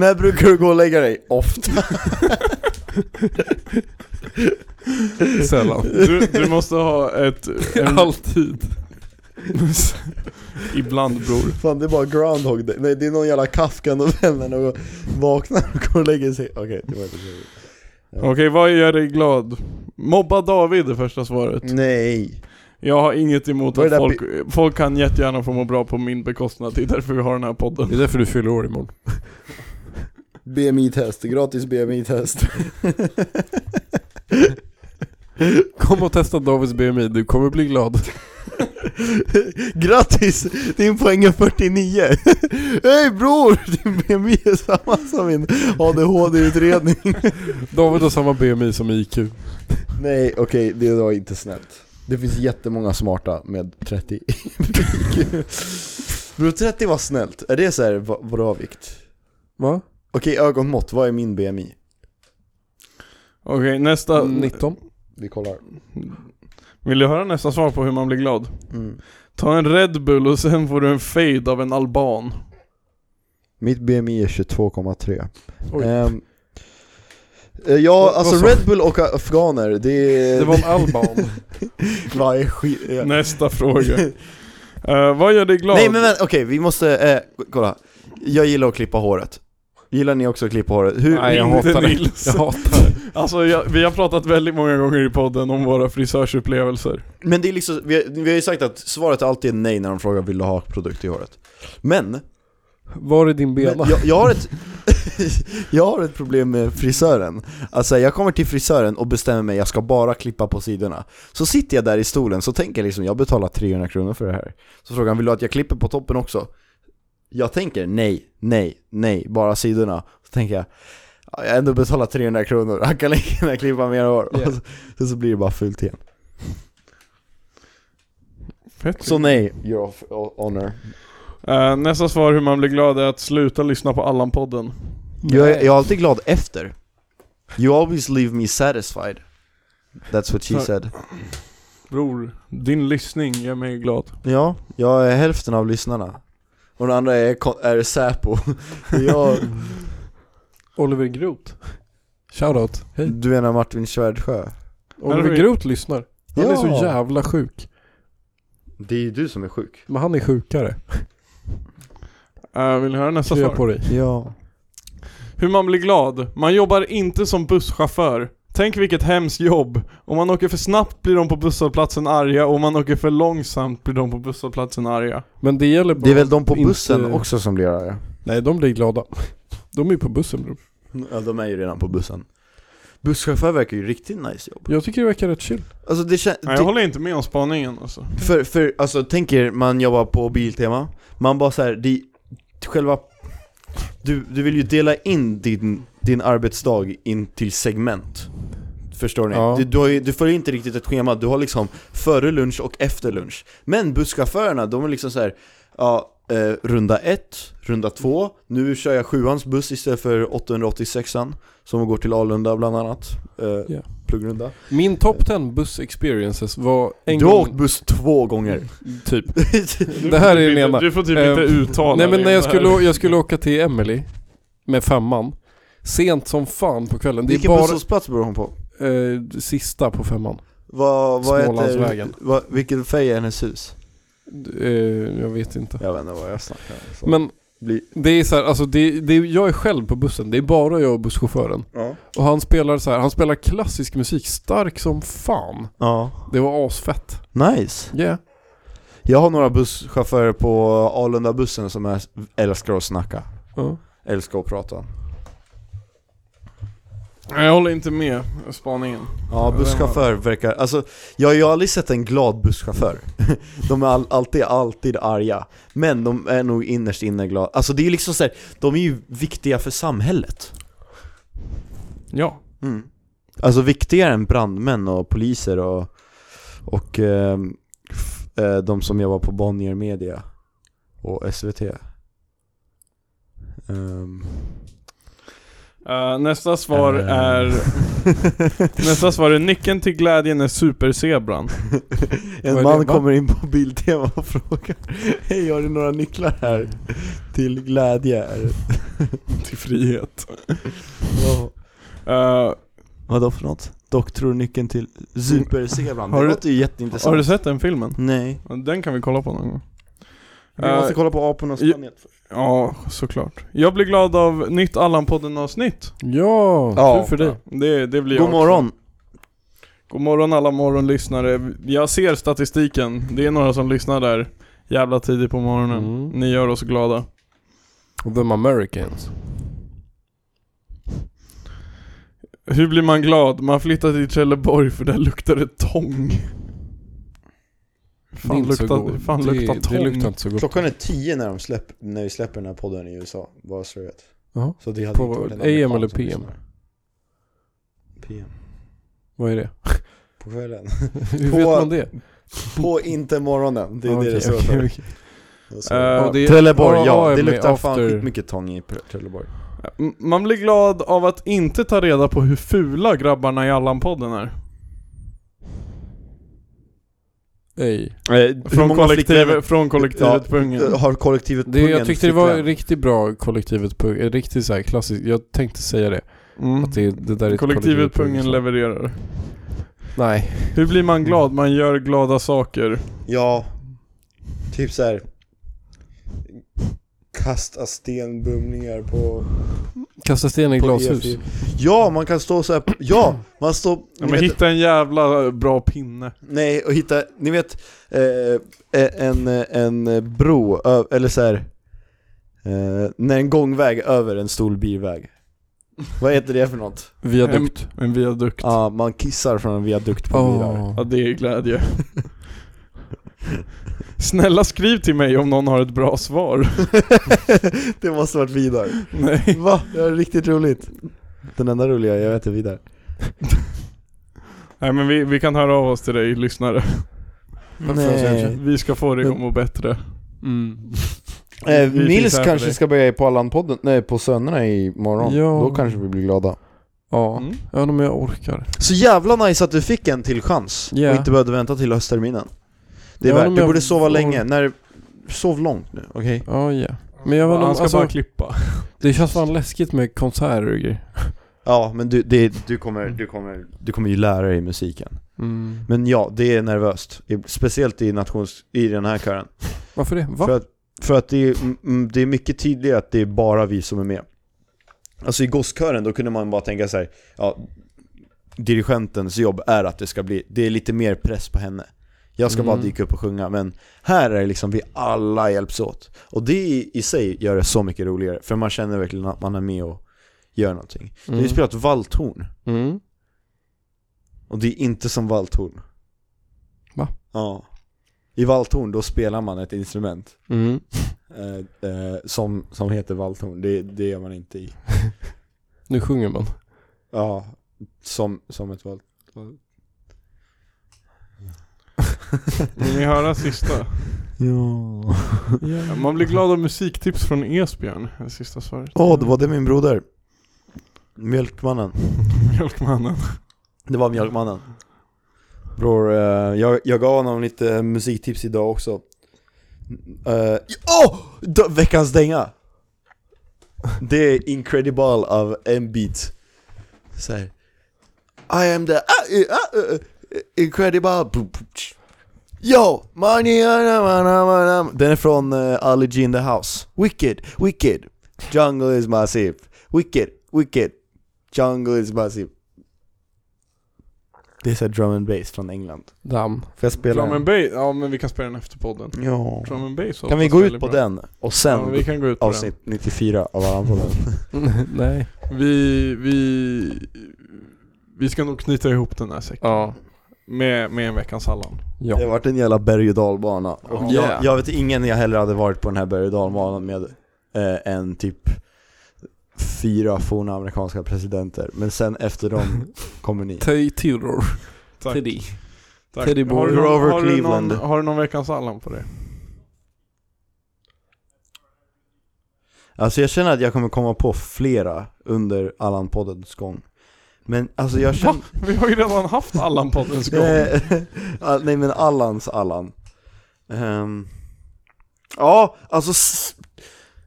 Speaker 5: När brukar du gå och lägga dig? Ofta
Speaker 2: Sällan.
Speaker 4: Du, du måste ha ett... En,
Speaker 2: [LAUGHS] Alltid.
Speaker 4: ibland bror.
Speaker 5: Fan det är bara Groundhog Day, nej det är någon jävla Kafka-novell när någon vaknar och går och lägger sig Okej, det var inte så
Speaker 4: Okej, vad gör dig glad? Mobba David är första svaret.
Speaker 5: Nej
Speaker 4: Jag har inget emot
Speaker 5: Vad är
Speaker 4: att
Speaker 5: det där
Speaker 4: folk, folk kan jättegärna få må bra på min bekostnad. Det är därför vi har den här podden.
Speaker 2: Det är därför du fyller år imorgon.
Speaker 5: BMI-test, gratis BMI-test
Speaker 2: Kom och testa Davids BMI, du kommer bli glad.
Speaker 5: [LAUGHS] Grattis! Din poäng är 49! [LAUGHS] Hej bror! Din BMI är samma som min ADHD-utredning
Speaker 2: David har samma BMI som IQ.
Speaker 5: Nej okej, det var inte snällt Det finns jättemånga smarta med 30
Speaker 2: [LAUGHS]
Speaker 5: Bror 30 var snällt, är det såhär bra vikt?
Speaker 2: Va?
Speaker 5: Okej ögonmått, vad är min BMI?
Speaker 4: Okej,
Speaker 2: Eh,
Speaker 4: nästa.
Speaker 5: Mm.
Speaker 2: 19.
Speaker 5: Vi kollar
Speaker 4: Vill du höra nästa svar på hur man blir glad?
Speaker 5: mm.
Speaker 4: Ta en Red Bull och sen får du en fade av en alban.
Speaker 5: Mitt BMI är 22,3
Speaker 2: Oj.
Speaker 5: Ehm, eh, Ja,
Speaker 2: Vad-
Speaker 5: alltså
Speaker 2: vad sa-
Speaker 5: Red Bull och afghaner, det är...
Speaker 2: Det var en alban.
Speaker 5: [LAUGHS] Vad är skit... ja.
Speaker 4: Nästa fråga. Eh, vad gör dig glad?
Speaker 5: Nej men vänta, okej vi måste, eh, kolla. Jag gillar att klippa håret. Gillar ni också att klippa håret? Hur,
Speaker 2: Nej jag
Speaker 4: Ringde
Speaker 2: hatar det.
Speaker 4: Nils.
Speaker 2: Jag hatar det.
Speaker 4: Alltså jag, vi har pratat väldigt många gånger i podden om våra frisörsupplevelser.
Speaker 5: Men det är liksom, vi har, vi har ju sagt att svaret alltid är nej när de frågar vill du ha produkt i håret. Men,
Speaker 2: Var är din
Speaker 5: men
Speaker 2: bena?
Speaker 5: jag, jag, har ett, [LAUGHS] jag har ett problem med frisören. Alltså jag kommer till frisören och bestämmer mig, jag ska bara klippa på sidorna. Så sitter jag där i stolen, så tänker jag liksom, jag betalar 300 kronor för det här. Så frågar han, vill du att jag klipper på toppen också? Jag tänker nej, nej, nej, bara sidorna. Så tänker jag, "Ja, jag har ändå betalat 300 kronor, han kan lika gärna klippa mer hår.
Speaker 2: Ja.
Speaker 5: [LAUGHS] Och så, så blir det bara fult igen.
Speaker 4: Fett.
Speaker 5: Så nej, you're off honor.
Speaker 4: Eh, nästa svar hur man blir glad är att sluta lyssna på Allan-podden.
Speaker 5: Jag är, jag är alltid glad efter. You always leave me satisfied. That's what she
Speaker 4: För-
Speaker 5: said.
Speaker 4: Bror, din lyssning gör mig glad.
Speaker 5: Ja, jag är hälften av lyssnarna. Och den andra är, ko- är [LAUGHS] Säpo. Jag,
Speaker 2: Oliver Groth. Shoutout. Hej.
Speaker 5: du menar Martin Svärdsjö?
Speaker 2: Oliver
Speaker 4: Oliver-
Speaker 2: Groth lyssnar. Han är så jävla sjuk.
Speaker 5: Det är ju du som är sjuk.
Speaker 2: Men han är sjukare.
Speaker 4: Eh, vill du höra nästa
Speaker 2: Så jag
Speaker 4: svar?
Speaker 2: på dig.
Speaker 5: Ja.
Speaker 4: Hur man blir glad. Man jobbar inte som busschaufför. Tänk vilket hemskt jobb. Om man åker för snabbt blir de på busshållplatsen arga och om man åker för långsamt blir de på busshållplatsen arga.
Speaker 2: Men det gäller bara
Speaker 5: Det är väl de på
Speaker 2: inte-
Speaker 5: bussen också som blir arga?
Speaker 2: Nej, de blir glada. De är ju på bussen bror.
Speaker 5: Ja, de är ju redan på bussen. Busschaufför verkar ju riktigt nice jobb.
Speaker 2: Jag tycker det verkar rätt chill.
Speaker 5: Alltså det känns...
Speaker 4: Nej, jag håller inte med om spaningen alltså.
Speaker 5: För, för alltså tänk er, man jobbar på Biltema, man bara såhär, det, själva, du, du vill ju dela in din, din arbetsdag in till segment. Förstår ni?
Speaker 2: Ja.
Speaker 5: Du, du, har ju, du följer inte riktigt ett schema, du har liksom före lunch och efter lunch. Men busschaufförerna, de är liksom så här, ja, eh, runda 1, runda 2. Nu kör jag sjuans buss istället för 886an som går till Alunda bland annat. Eh,
Speaker 2: Ja.
Speaker 5: Pluggrunda.
Speaker 2: Min top 10 buss experiences var en
Speaker 5: Du har åkt
Speaker 2: gång
Speaker 5: buss två gånger.
Speaker 2: typ. Det här är den ena.
Speaker 4: Du får typ
Speaker 2: Eh,
Speaker 4: inte uttala
Speaker 2: Nej men
Speaker 4: dig
Speaker 2: när
Speaker 4: om
Speaker 2: jag
Speaker 4: det
Speaker 2: skulle,
Speaker 4: här.
Speaker 2: jag skulle åka till Emily med femman. Sent som fan på kvällen. Det är
Speaker 5: Vilken
Speaker 2: bara
Speaker 5: busshållplats bor hon på?
Speaker 2: eh, sista på femman.
Speaker 5: Vad, vad heter,
Speaker 2: Smålandsvägen.
Speaker 5: vad, vilken färg är hennes hus?
Speaker 2: Eh, jag vet inte.
Speaker 5: Jag vet inte vad jag snackar om. så.
Speaker 2: Men
Speaker 5: Bli-
Speaker 2: det är så här, alltså det, det, jag är själv på bussen. Det är bara jag och busschauffören.
Speaker 5: Ja.
Speaker 2: Och han spelar så här, han spelar klassisk musik stark som fan.
Speaker 5: ja.
Speaker 2: Det var asfett.
Speaker 5: Nice.
Speaker 2: Yeah.
Speaker 5: Jag har några busschaufförer på Alunda-bussen som är, älskar att snacka.
Speaker 2: Ja.
Speaker 5: Älskar att prata.
Speaker 4: Jag håller inte med spaningen.
Speaker 5: Ja, busschaufför verkar... Alltså, jag, jag har aldrig sett en glad busschaufför. [LAUGHS] De är all, alltid, alltid arga. Men de är nog innerst inne glada. Alltså det är ju liksom såhär, de är ju viktiga för samhället.
Speaker 2: Ja.
Speaker 5: Mm. Alltså viktigare än brandmän och poliser och, och ehm, f- eh, de som jobbar på Bonnier Media och SVT. Ehm.
Speaker 4: Eh, nästa svar
Speaker 5: Eh.
Speaker 4: är...
Speaker 5: [LAUGHS]
Speaker 4: nästa svar är nyckeln till glädjen är superzebran.
Speaker 5: En
Speaker 2: Vad är
Speaker 5: man
Speaker 2: det? Va?
Speaker 5: kommer in på Biltema och frågar [LAUGHS] Hej, har du några nycklar här? Till glädje? är det."
Speaker 4: till frihet.
Speaker 5: Vad-
Speaker 4: Eh,
Speaker 5: Vadå för något? Doktornyckeln till superzebran?
Speaker 4: Har
Speaker 5: Det
Speaker 4: du-
Speaker 5: låter ju jätteintressant
Speaker 4: har du sett den filmen?
Speaker 5: Nej
Speaker 4: Den kan vi kolla på någon gång.
Speaker 5: Vi måste
Speaker 4: Eh,
Speaker 5: kolla på apornas
Speaker 4: ju-
Speaker 5: planet först
Speaker 4: Ja, såklart. Jag blir glad av nytt Allan-podden-avsnitt.
Speaker 2: Ja,
Speaker 5: Ja.
Speaker 2: tur för dig.
Speaker 4: Det, det blir jag
Speaker 5: God
Speaker 4: också.
Speaker 5: morgon!
Speaker 4: God morgon alla morgonlyssnare. Jag ser statistiken. Det är några som lyssnar där jävla tidigt på morgonen.
Speaker 2: Mm.
Speaker 4: Ni gör oss glada.
Speaker 2: The Americans.
Speaker 4: Hur blir man glad? Man flyttar till Trelleborg för där luktar det tång.
Speaker 2: Det är
Speaker 4: Fan,
Speaker 2: inte så
Speaker 4: luktar,
Speaker 2: gott.
Speaker 4: fan
Speaker 2: det,
Speaker 4: luktar tång.
Speaker 2: Det luktar inte så gott.
Speaker 5: Klockan är tio när, de släpp, när vi släpper den här podden i USA, bara så du vet
Speaker 2: Jaha.
Speaker 5: så det hade
Speaker 2: På
Speaker 5: inte varit en
Speaker 2: AM
Speaker 5: amerikan
Speaker 2: eller
Speaker 5: som
Speaker 2: PM?
Speaker 5: lyssnar. PM,
Speaker 2: Vad är det? [LAUGHS]
Speaker 5: på kvällen
Speaker 2: Hur
Speaker 5: [LAUGHS] På-
Speaker 2: vet man det?
Speaker 5: På inte morgonen, det är det
Speaker 2: Okej,
Speaker 5: det står
Speaker 2: okej,
Speaker 4: [LAUGHS]
Speaker 5: för
Speaker 2: okej.
Speaker 5: Det står-
Speaker 4: Eh,
Speaker 2: Ja, det är-
Speaker 5: Trelleborg, ja,
Speaker 2: AM
Speaker 5: det luktar fan
Speaker 2: after-
Speaker 5: skitmycket tång i Pre- Trelleborg
Speaker 4: M- Man blir glad av att inte ta reda på hur fula grabbarna i Allan-podden är.
Speaker 2: Ej.
Speaker 4: Från, kollektivet, från kollektivet
Speaker 5: Ja,
Speaker 4: på Ungern.
Speaker 5: Eh, Har kollektivet
Speaker 2: Mm. Det, jag
Speaker 5: Pungen
Speaker 2: tyckte det var
Speaker 5: flickvän?
Speaker 2: riktigt bra kollektivet på, eh, riktigt så här klassiskt, jag tänkte säga det.
Speaker 4: Mm.
Speaker 2: Att det, det där är ett
Speaker 4: Kollektivet på
Speaker 2: Ungern
Speaker 4: Ungern
Speaker 2: som-
Speaker 4: levererar.
Speaker 2: Nej.
Speaker 4: Hur blir man glad?
Speaker 2: Mm.
Speaker 4: Man gör glada saker.
Speaker 5: Ja, typ så här. Kasta stenbumlingar på...
Speaker 2: Kasta sten i
Speaker 5: på
Speaker 2: glashus.
Speaker 4: E
Speaker 5: E4. Ja, man kan stå så här. Ja, man står...
Speaker 4: Ja, men
Speaker 5: ni vet-
Speaker 4: hitta en jävla eh, bra pinne.
Speaker 5: Nej, och hitta, ni vet, eh, en, en bro, ö- eller så här. Eh, när en gångväg över en stor bilväg. Vad heter det för något?
Speaker 2: Viadukt. Ah.
Speaker 4: En viadukt. Ja,
Speaker 5: Ja, man kissar från en viadukt på bilar.
Speaker 2: Åh.
Speaker 4: det är glädje. [LAUGHS] Snälla skriv till mig om någon har ett bra
Speaker 2: [LAUGHS]
Speaker 4: svar.
Speaker 5: [LAUGHS] det måste varit Vidar.
Speaker 4: Nej.
Speaker 5: Va? Det var riktigt roligt. Den enda roliga jag vet är Vidar.
Speaker 4: [LAUGHS] Nej men vi, vi kan höra av oss till dig lyssnare.
Speaker 5: Nej.
Speaker 4: Vi ska få dig att må bättre.
Speaker 2: Mm.
Speaker 5: Eh,
Speaker 4: Vi finns
Speaker 5: Nils
Speaker 4: här för
Speaker 5: kanske
Speaker 4: dig.
Speaker 5: ska börja på Allan-podden, nej på Sönerna imorgon.
Speaker 2: Ja.
Speaker 5: Då kanske vi blir glada.
Speaker 2: Ja,
Speaker 4: Mm.
Speaker 2: jag undrar om jag orkar.
Speaker 5: Så jävla nice att du fick en till chans
Speaker 2: Ja.
Speaker 5: och inte behövde vänta till höstterminen. Det är
Speaker 2: Ja,
Speaker 5: värt,
Speaker 2: men
Speaker 5: du
Speaker 2: jag
Speaker 5: borde sova
Speaker 2: får-
Speaker 5: länge. När, sov långt nu, okej?
Speaker 2: Ja, ja. Men jag vet inte om,
Speaker 4: Han ska
Speaker 2: alltså,
Speaker 4: bara klippa.
Speaker 2: det känns fan läskigt med konserter och grejer.
Speaker 5: Ja, men du, det, du, kommer, du, kommer, du kommer ju lära dig musiken.
Speaker 2: Mm.
Speaker 5: Men ja, det är nervöst. I- Speciellt i, nations, i den här kören.
Speaker 2: Varför det? Va?
Speaker 5: För att, för att det, är, mm, mm, det är mycket tydligare att det är bara vi som är med. Alltså i gosskören då kunde man bara tänka sig ja, dirigentens jobb är att det ska bli, det är lite mer press på henne. Jag ska bara
Speaker 2: Mm.
Speaker 5: dyka upp och sjunga, men här är det liksom vi alla hjälps åt. Och det i, i sig gör det så mycket roligare, för man känner verkligen att man är med och gör någonting. Det har
Speaker 2: Mm.
Speaker 5: ju spelat valthorn,
Speaker 2: Mm.
Speaker 5: och det är inte som valthorn.
Speaker 2: Va?
Speaker 5: Ja. I valthorn, då spelar man ett instrument.
Speaker 2: Mm.
Speaker 5: Eh, eh, som, som heter valthorn, det, det gör man inte i.
Speaker 2: Nu sjunger man.
Speaker 5: Ja, som, som ett valt... [LAUGHS]
Speaker 4: Vill ni höra sista?
Speaker 5: Ja.
Speaker 4: Man blir glad av musiktips från Esbjörn, det sista svaret.
Speaker 5: Åh, det var det min broder. Mjölkmannen. [LAUGHS]
Speaker 4: Mjölkmannen.
Speaker 5: Det var Mjölkmannen. Bror, eh, jag, jag gav honom lite musiktips idag också. Uh, oh! D- veckans dänga! Det är Incredible av M-beat. Såhär. I am the... ah, eh, ah, eh, eh, incredible... Yo! Money... Den är från uh, Ali G in the house. Wicked, wicked. Jungle is massive. Wicked, wicked. Jungle is massive. Det är såhär drum and bass från England.
Speaker 2: Damm.
Speaker 5: Får jag spela
Speaker 4: Drum
Speaker 5: den?
Speaker 4: and bass, ja men vi kan spela den efter podden.
Speaker 5: Ja.
Speaker 4: Drum and bass
Speaker 5: Kan vi
Speaker 4: hoppas
Speaker 5: gå
Speaker 4: väldigt
Speaker 5: ut på
Speaker 4: bra.
Speaker 5: den och sen
Speaker 4: Ja, vi kan gå ut på
Speaker 5: avsnitt 94 av Aranpodden?
Speaker 2: [LAUGHS] Nej.
Speaker 4: den. Vi, vi, vi ska nog knyta ihop den här säcken.
Speaker 2: Ja.
Speaker 4: Med, med en veckans Halland.
Speaker 5: Det har
Speaker 2: Ja.
Speaker 5: varit en jävla berg och dalbana. Och
Speaker 4: Ja.
Speaker 5: jag, jag vet ingen jag heller hade varit på den här berg och dalbanan med eh, än typ fyra forna amerikanska presidenter. Men sen efter dem kommer ni.
Speaker 2: Te- Theodore.
Speaker 4: Tack.
Speaker 2: Teddy.
Speaker 4: Tack.
Speaker 2: Teddy Boy.
Speaker 4: har, du någon,
Speaker 5: Grover
Speaker 4: har, du någon,
Speaker 5: Cleveland.
Speaker 4: har du någon veckans Halland på dig?
Speaker 5: Alltså jag känner att jag kommer komma på flera under Allan-poddens gång. Men alltså jag känner...
Speaker 4: Vi har ju redan haft Allan-poddens gång.
Speaker 5: Eh, ah, Nej [LAUGHS] men Allans Allan. Ehm, ja, alltså s-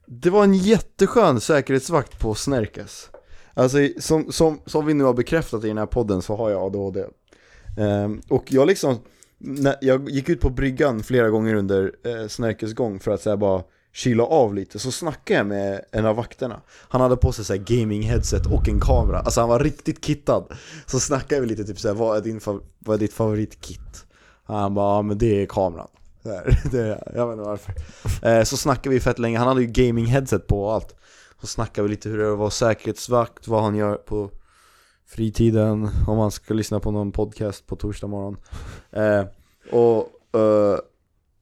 Speaker 5: det var en jätteskön säkerhetsvakt på Snärkes. Alltså i- som, som, som vi nu har bekräftat i den här podden så har jag ADHD. Ehm, och jag liksom, när jag gick ut på bryggan flera gånger under eh, Snärkes gång för att säga bara kyla av lite, så snackade jag med en av vakterna. Han hade på sig så här gaming headset och en kamera, alltså han var riktigt kittad. Så snackade vi lite typ såhär, vad är, din fa- vad är ditt favoritkit? Han bara, ja men det är kameran. Så här, [LAUGHS] det, jag vet inte varför. Eh, så snackade vi fett länge, han hade ju gaming headset på och allt. Så snackade vi lite hur det är att vara säkerhetsvakt, vad han gör på fritiden, om han ska lyssna på någon podcast på torsdag morgon. Eh, och, eh,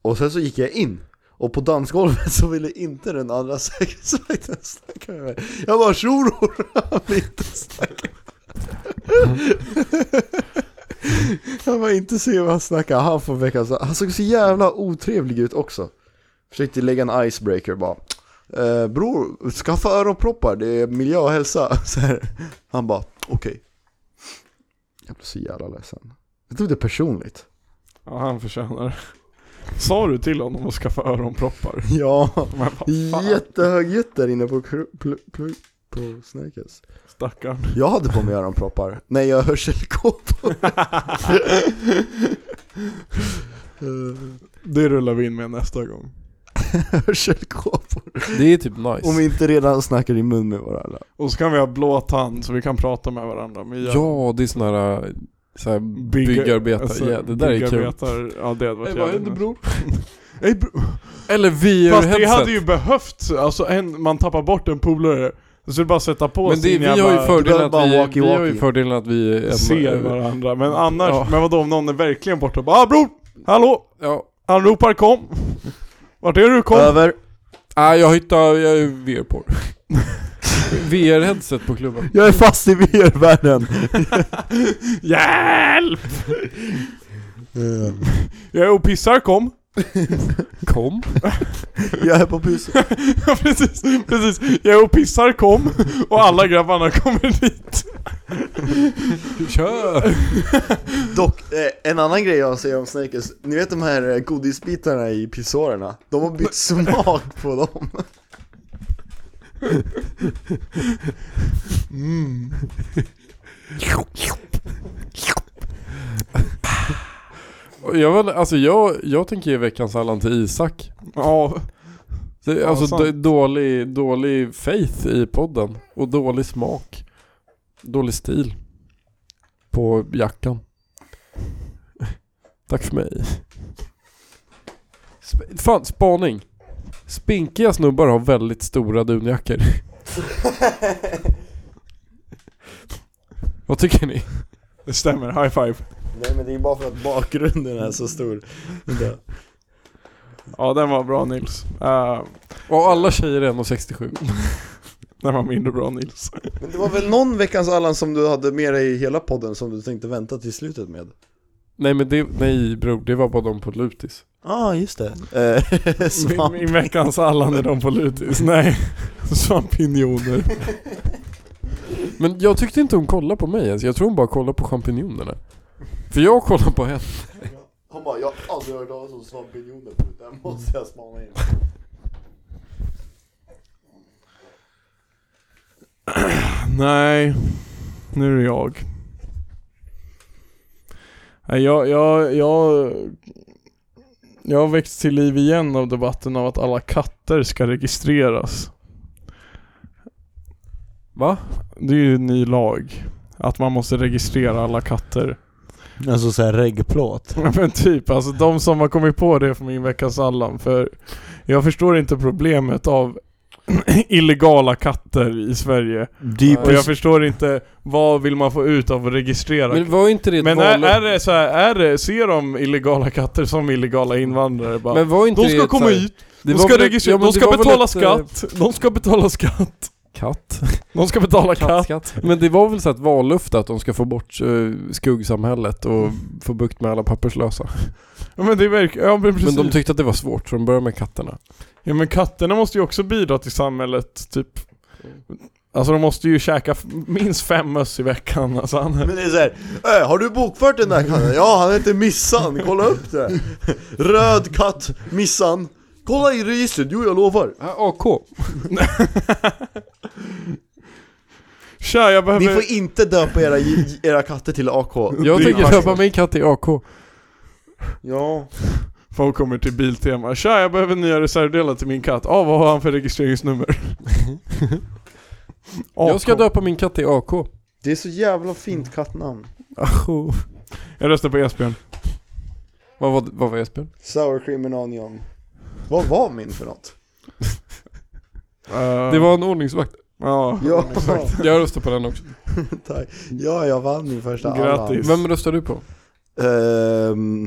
Speaker 5: och sen så gick jag in. Och på dansgolvet så ville inte den andra [LAUGHS] säkerhetsvakten snacka med mig. Jag bara tjoror, han vill inte snacka. [LAUGHS] Jag var inte se vad han snackade, han får veckans Han såg så jävla otrevlig ut också. Försökte lägga en icebreaker bara. Eh, bror, skaffa öronproppar, det är miljö och hälsa. [LAUGHS] Så här. Han bara, okej. Jag blev så jävla ledsen. Jag tog det personligt. [LAUGHS]
Speaker 4: Ja, han förtjänar. Sa du till honom att skaffa öronproppar?
Speaker 5: Ja,
Speaker 4: Men vad fan,
Speaker 5: jättehög jätt där inne på, kru- pl- pl- på Snärkes.
Speaker 4: stackarn.
Speaker 5: Jag hade på mig öronproppar. [LAUGHS] Nej, jag har hörselkåpor. Eh.
Speaker 4: Det rullar vi in med nästa gång.
Speaker 5: hörselkåpor.
Speaker 2: Det är typ
Speaker 5: Om vi
Speaker 2: nice.
Speaker 5: inte redan snackar i mun med varandra.
Speaker 4: Och så kan vi ha blå tand så vi kan prata med varandra. Men jag-
Speaker 2: Ja, det är sån här, så här byggarbetare.
Speaker 4: alltså,
Speaker 2: ja, det där är kul.
Speaker 4: byggarbetare, Ja det hade varit
Speaker 2: Ey, vad
Speaker 4: jävligt
Speaker 2: händer,
Speaker 4: nice. Ey, bro?
Speaker 2: Eller VR
Speaker 4: Fast det
Speaker 2: headset.
Speaker 4: hade ju behövts, alltså en, man tappar bort en polare. Så det är bara att sätta på
Speaker 2: Men det,
Speaker 4: sin
Speaker 2: vi, har ju fördelen
Speaker 5: behöver bara
Speaker 2: att vi,
Speaker 5: walkie-walkie.
Speaker 2: vi har ju fördelen att vi... är-
Speaker 4: ser varandra. Men annars,
Speaker 2: Ja.
Speaker 4: men vadå om någon är verkligen borta? Bara, ah bror! Hallå!
Speaker 2: Ja.
Speaker 4: Han ropar kom! Vart är du? Kom!
Speaker 5: Över.
Speaker 2: Ah, jag hittar jag är VR
Speaker 4: [LAUGHS]
Speaker 2: på VR-headset på klubben.
Speaker 5: Jag är fast i VR-världen.
Speaker 4: Hjälp!
Speaker 5: Mm.
Speaker 4: Jag är och pissar kom! [LAUGHS]
Speaker 2: Kom.
Speaker 5: Jag är på puss.
Speaker 4: Ja precis, precis. Jag är och pissar kom och alla grabbarna [LAUGHS] kommer dit.
Speaker 2: Kör!
Speaker 5: Dock, eh, en annan grej jag säger om Snakers. Ni vet de här eh, godisbitarna i pissoarerna? De har bytt smak på dem.
Speaker 2: Jag, var, alltså jag, jag tänker ge veckans Allan till Isak.
Speaker 4: Ja,
Speaker 2: Det,
Speaker 4: Ja,
Speaker 2: alltså
Speaker 4: sant.
Speaker 2: d- dålig, dålig faith i podden. Och dålig smak. Dålig stil. På jackan. [LAUGHS] Tack för mig. Sp- fan, spaning. Spinkiga snubbar har väldigt
Speaker 4: [LAUGHS]
Speaker 2: stora dunjackor. Vad tycker ni?
Speaker 4: det stämmer. High five.
Speaker 5: Nej men det är bara för att bakgrunden är så stor.
Speaker 4: Ja den var bra Nils. Eh,
Speaker 2: Och alla tjejer är 1,67.
Speaker 4: den var mindre bra Nils.
Speaker 5: Men det var väl någon veckans Allan som du hade med dig i hela podden som du tänkte vänta till slutet med?
Speaker 2: Nej men det, nej bror, det var bara de på Lutis.
Speaker 7: ah, just
Speaker 5: [LAUGHS]
Speaker 7: det. Eh, svamp.
Speaker 4: Min, min veckans Allan är de på lutis. Nej, svampinjoner.
Speaker 2: Men jag tyckte inte hon kollade på mig ens. Jag tror hon bara kollade på champinjonerna. För jag kollade på henne.
Speaker 5: Han bara, jag har aldrig hört talas om svampinjoner förut, den måste jag spana in.
Speaker 4: Nej, nu är det jag. Nej, jag, jag, jag, jag har växt till liv igen av debatten av att alla katter ska registreras.
Speaker 2: Va?
Speaker 4: Det är ju en ny lag. Att man måste registrera alla katter.
Speaker 7: Alltså såhär reggplåt.
Speaker 4: [LAUGHS] Ja, Men typ, alltså de som har kommit på det från min veckas Allan, för jag förstår inte problemet av [CLEARS THROAT] illegala katter i Sverige.
Speaker 7: Det är ju
Speaker 4: Och jag
Speaker 7: precis-
Speaker 4: förstår inte, vad vill man få ut av att registrera
Speaker 2: Men var inte det ett
Speaker 4: Men
Speaker 2: vallöfte?
Speaker 4: är, är det så här, är det, ser de illegala katter som illegala invandrare bara?
Speaker 2: Men var inte
Speaker 4: de
Speaker 2: det
Speaker 4: ska
Speaker 2: ett
Speaker 4: komma
Speaker 2: så här-
Speaker 4: hit,
Speaker 2: Det
Speaker 4: de
Speaker 2: var
Speaker 4: ska,
Speaker 2: väl ett-
Speaker 4: registrera,
Speaker 2: ja, men
Speaker 4: de
Speaker 2: det
Speaker 4: ska
Speaker 2: var väl
Speaker 4: betala
Speaker 2: ett, eh,
Speaker 4: skatt, de ska betala skatt,
Speaker 2: Katt?
Speaker 4: de ska betala katt.
Speaker 2: Katt, katt. Men det var väl så att vallöfte att de ska få bort eh, skuggsamhället och
Speaker 4: Mm.
Speaker 2: få bukt med alla papperslösa.
Speaker 4: Ja men det verkar, ja men precis.
Speaker 2: Men de tyckte att det var svårt så de började med katterna.
Speaker 4: ja men katterna måste ju också bidra till samhället, typ. Alltså de måste ju käka f- minst fem möss i veckan, alltså han,
Speaker 5: Men det är såhär, äh, har du bokfört den där katten? Ja, han heter Missan, kolla upp det! Röd katt, Missan. Kolla i registret, jo jag lovar.
Speaker 2: AK.
Speaker 4: [LAUGHS] Tja jag
Speaker 5: Ni
Speaker 4: behöver...
Speaker 5: får inte döpa era, era katter till AK.
Speaker 2: Jag tänker köpa min katt i AK.
Speaker 5: Ja.
Speaker 4: Folk kommer till Biltema, tja jag behöver nya reservdelar till min katt, ah vad har han för [LAUGHS] registreringsnummer?
Speaker 2: Jag ska döpa min katt till AK.
Speaker 5: Det är så jävla fint kattnamn.
Speaker 4: Jag röstar på Esbjörn.
Speaker 2: Vad var, vad var Esbjörn?
Speaker 5: Sour cream and onion. Vad var min för något?
Speaker 4: Eh,
Speaker 2: Det var en ordningsvakt.
Speaker 4: Ja,
Speaker 5: Ja,
Speaker 2: Jag röstar på den också.
Speaker 5: [LAUGHS] tack. Ja, jag vann min första Allan.
Speaker 4: grattis.
Speaker 2: Vem röstar du på?
Speaker 5: Ehm...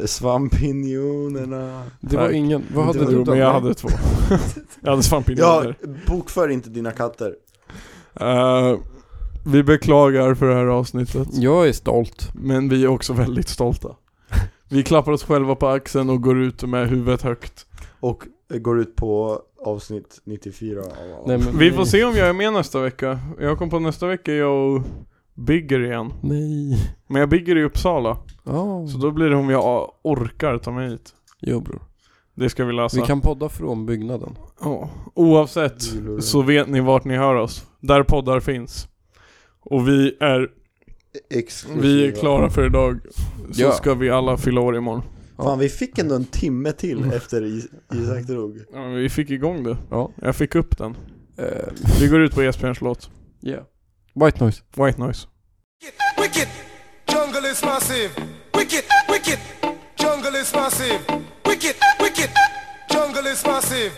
Speaker 5: eh, Svampinjonerna.
Speaker 2: Det var
Speaker 4: Nej.
Speaker 2: ingen. Vad hade
Speaker 4: jo,
Speaker 2: du
Speaker 4: men
Speaker 2: då?
Speaker 4: jag [LAUGHS] hade två. jag hade
Speaker 5: Ja,
Speaker 4: svampinjoner.
Speaker 5: bokför inte dina katter.
Speaker 4: Eh, vi beklagar för det här avsnittet,
Speaker 2: Jag är stolt.
Speaker 4: men vi är också väldigt stolta. Vi klappar oss själva på axeln och går ut med huvudet högt.
Speaker 5: Och eh, går ut på avsnitt 94 av Allan.
Speaker 2: Nej, men
Speaker 4: Vi får se om jag är med nästa vecka. Jag kom på nästa vecka är jag och Bigger igen.
Speaker 2: Nej.
Speaker 4: Men jag Bigger i Uppsala,
Speaker 2: Ja.
Speaker 4: så då blir det om jag orkar ta mig hit.
Speaker 2: Jo bror.
Speaker 4: Det ska vi lösa.
Speaker 2: Vi kan podda från byggnaden.
Speaker 4: Ja. Oavsett så vet ni vart ni hör oss. Där poddar finns. Och vi är
Speaker 5: Exklusiva.
Speaker 4: Vi är klara för idag, så
Speaker 2: Ja.
Speaker 4: ska vi alla fylla år imorgon.
Speaker 5: Fan, vi fick ändå en timme
Speaker 4: Mm.
Speaker 5: till efter Is- Isak drog.
Speaker 4: Ja, men vi fick igång det.
Speaker 2: Ja.
Speaker 4: Jag fick upp den.
Speaker 2: Eh,
Speaker 4: Vi går ut på Esbjörns låt,
Speaker 2: yeah. White noise.
Speaker 4: White Noise.
Speaker 8: Wicked, jungle is massive. Wicked, wicked, jungle is massive. Wicked, wicked, jungle is massive.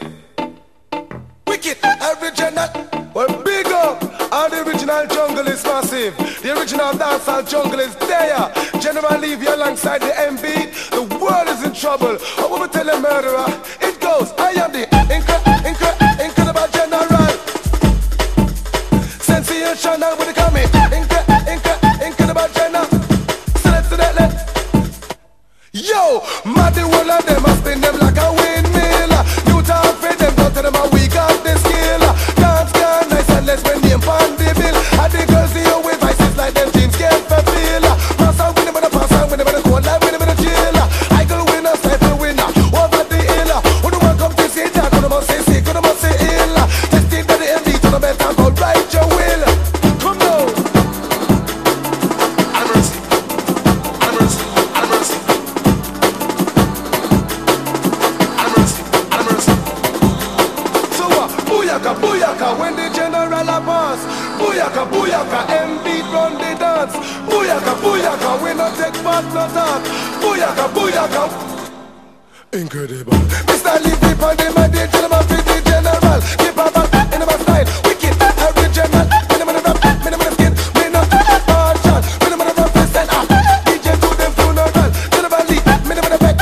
Speaker 8: Wicked, every gender. Well, big up, and the original jungle is massive. The original dancehall jungle is there. General Levy alongside the MB. The world is in trouble. I will tell a murderer. It goes, I am the incre- incre- incredible general. Sensation now when they call me Inca, Inca, Incredible China Select to that left Yo, mad the whole of them, I spin them like a windmill. You talk for them, don't tell them how we got the skill. Dance can nice and let's win them on the bill. And the girls see you with vices like them jeans can't fulfill. Pass out with them on the pass out with them on the cold like with them on the chill. I could win a sniper winner over the hill. Who the one come to see that? Could about say sick, could about say ill. Testing that the MD to the better, go right your will. Come now. Have mercy. Have mercy. Have mercy. Amherst, Amherst. So what? Booyaka, booyaka, when the general a pass. Booyaka, booyaka, MB run the dance. Booyaka, booyaka, we no take part no talk. Booyaka, booyaka. Incredible. Mr. Levy on the man, the gentleman for the general. Keep a back, in my style. Wicked, original. Minimum of rap, minimum of skin. Me no partial. Minimum of represent. ah. DJ to the funeral. General Lee, minimum of effect.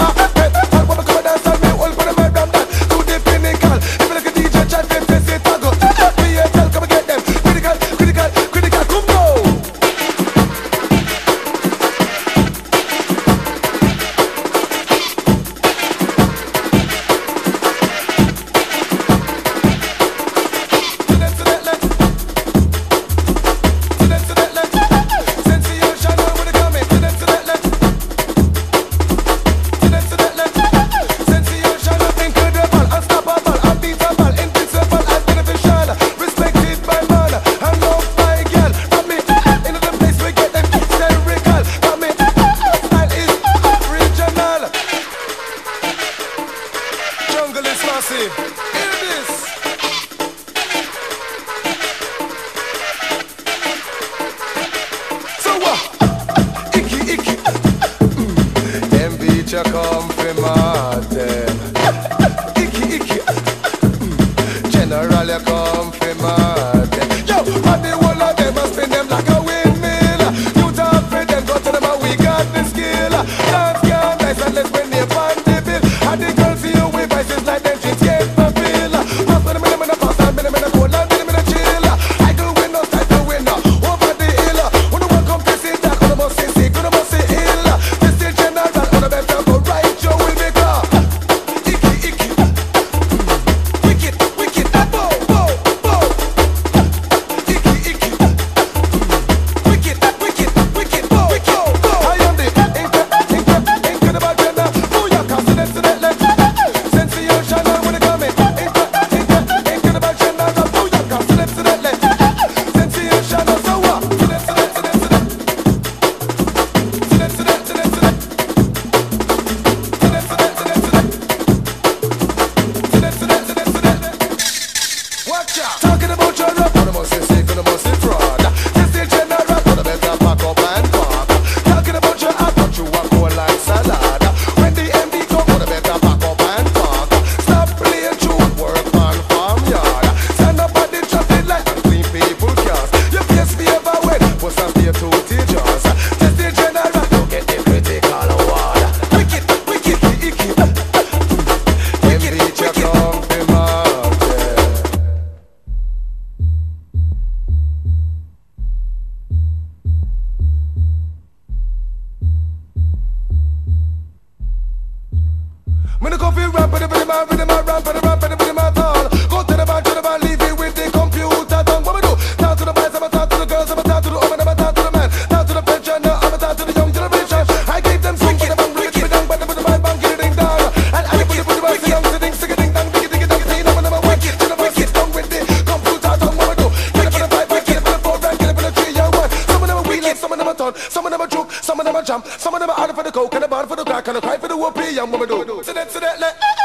Speaker 8: Ah, effect. All women come and dance on me. All put 'em right round that. To the pinnacle. If you look at DJ Chad, them say, say, Tago. FBL, come and get them. Critical, critical, critical. Come now. jam. Some of them are out for the coke and the band for the crack and I cry for the whoopee and what we do. So that, so that, like, eh, eh.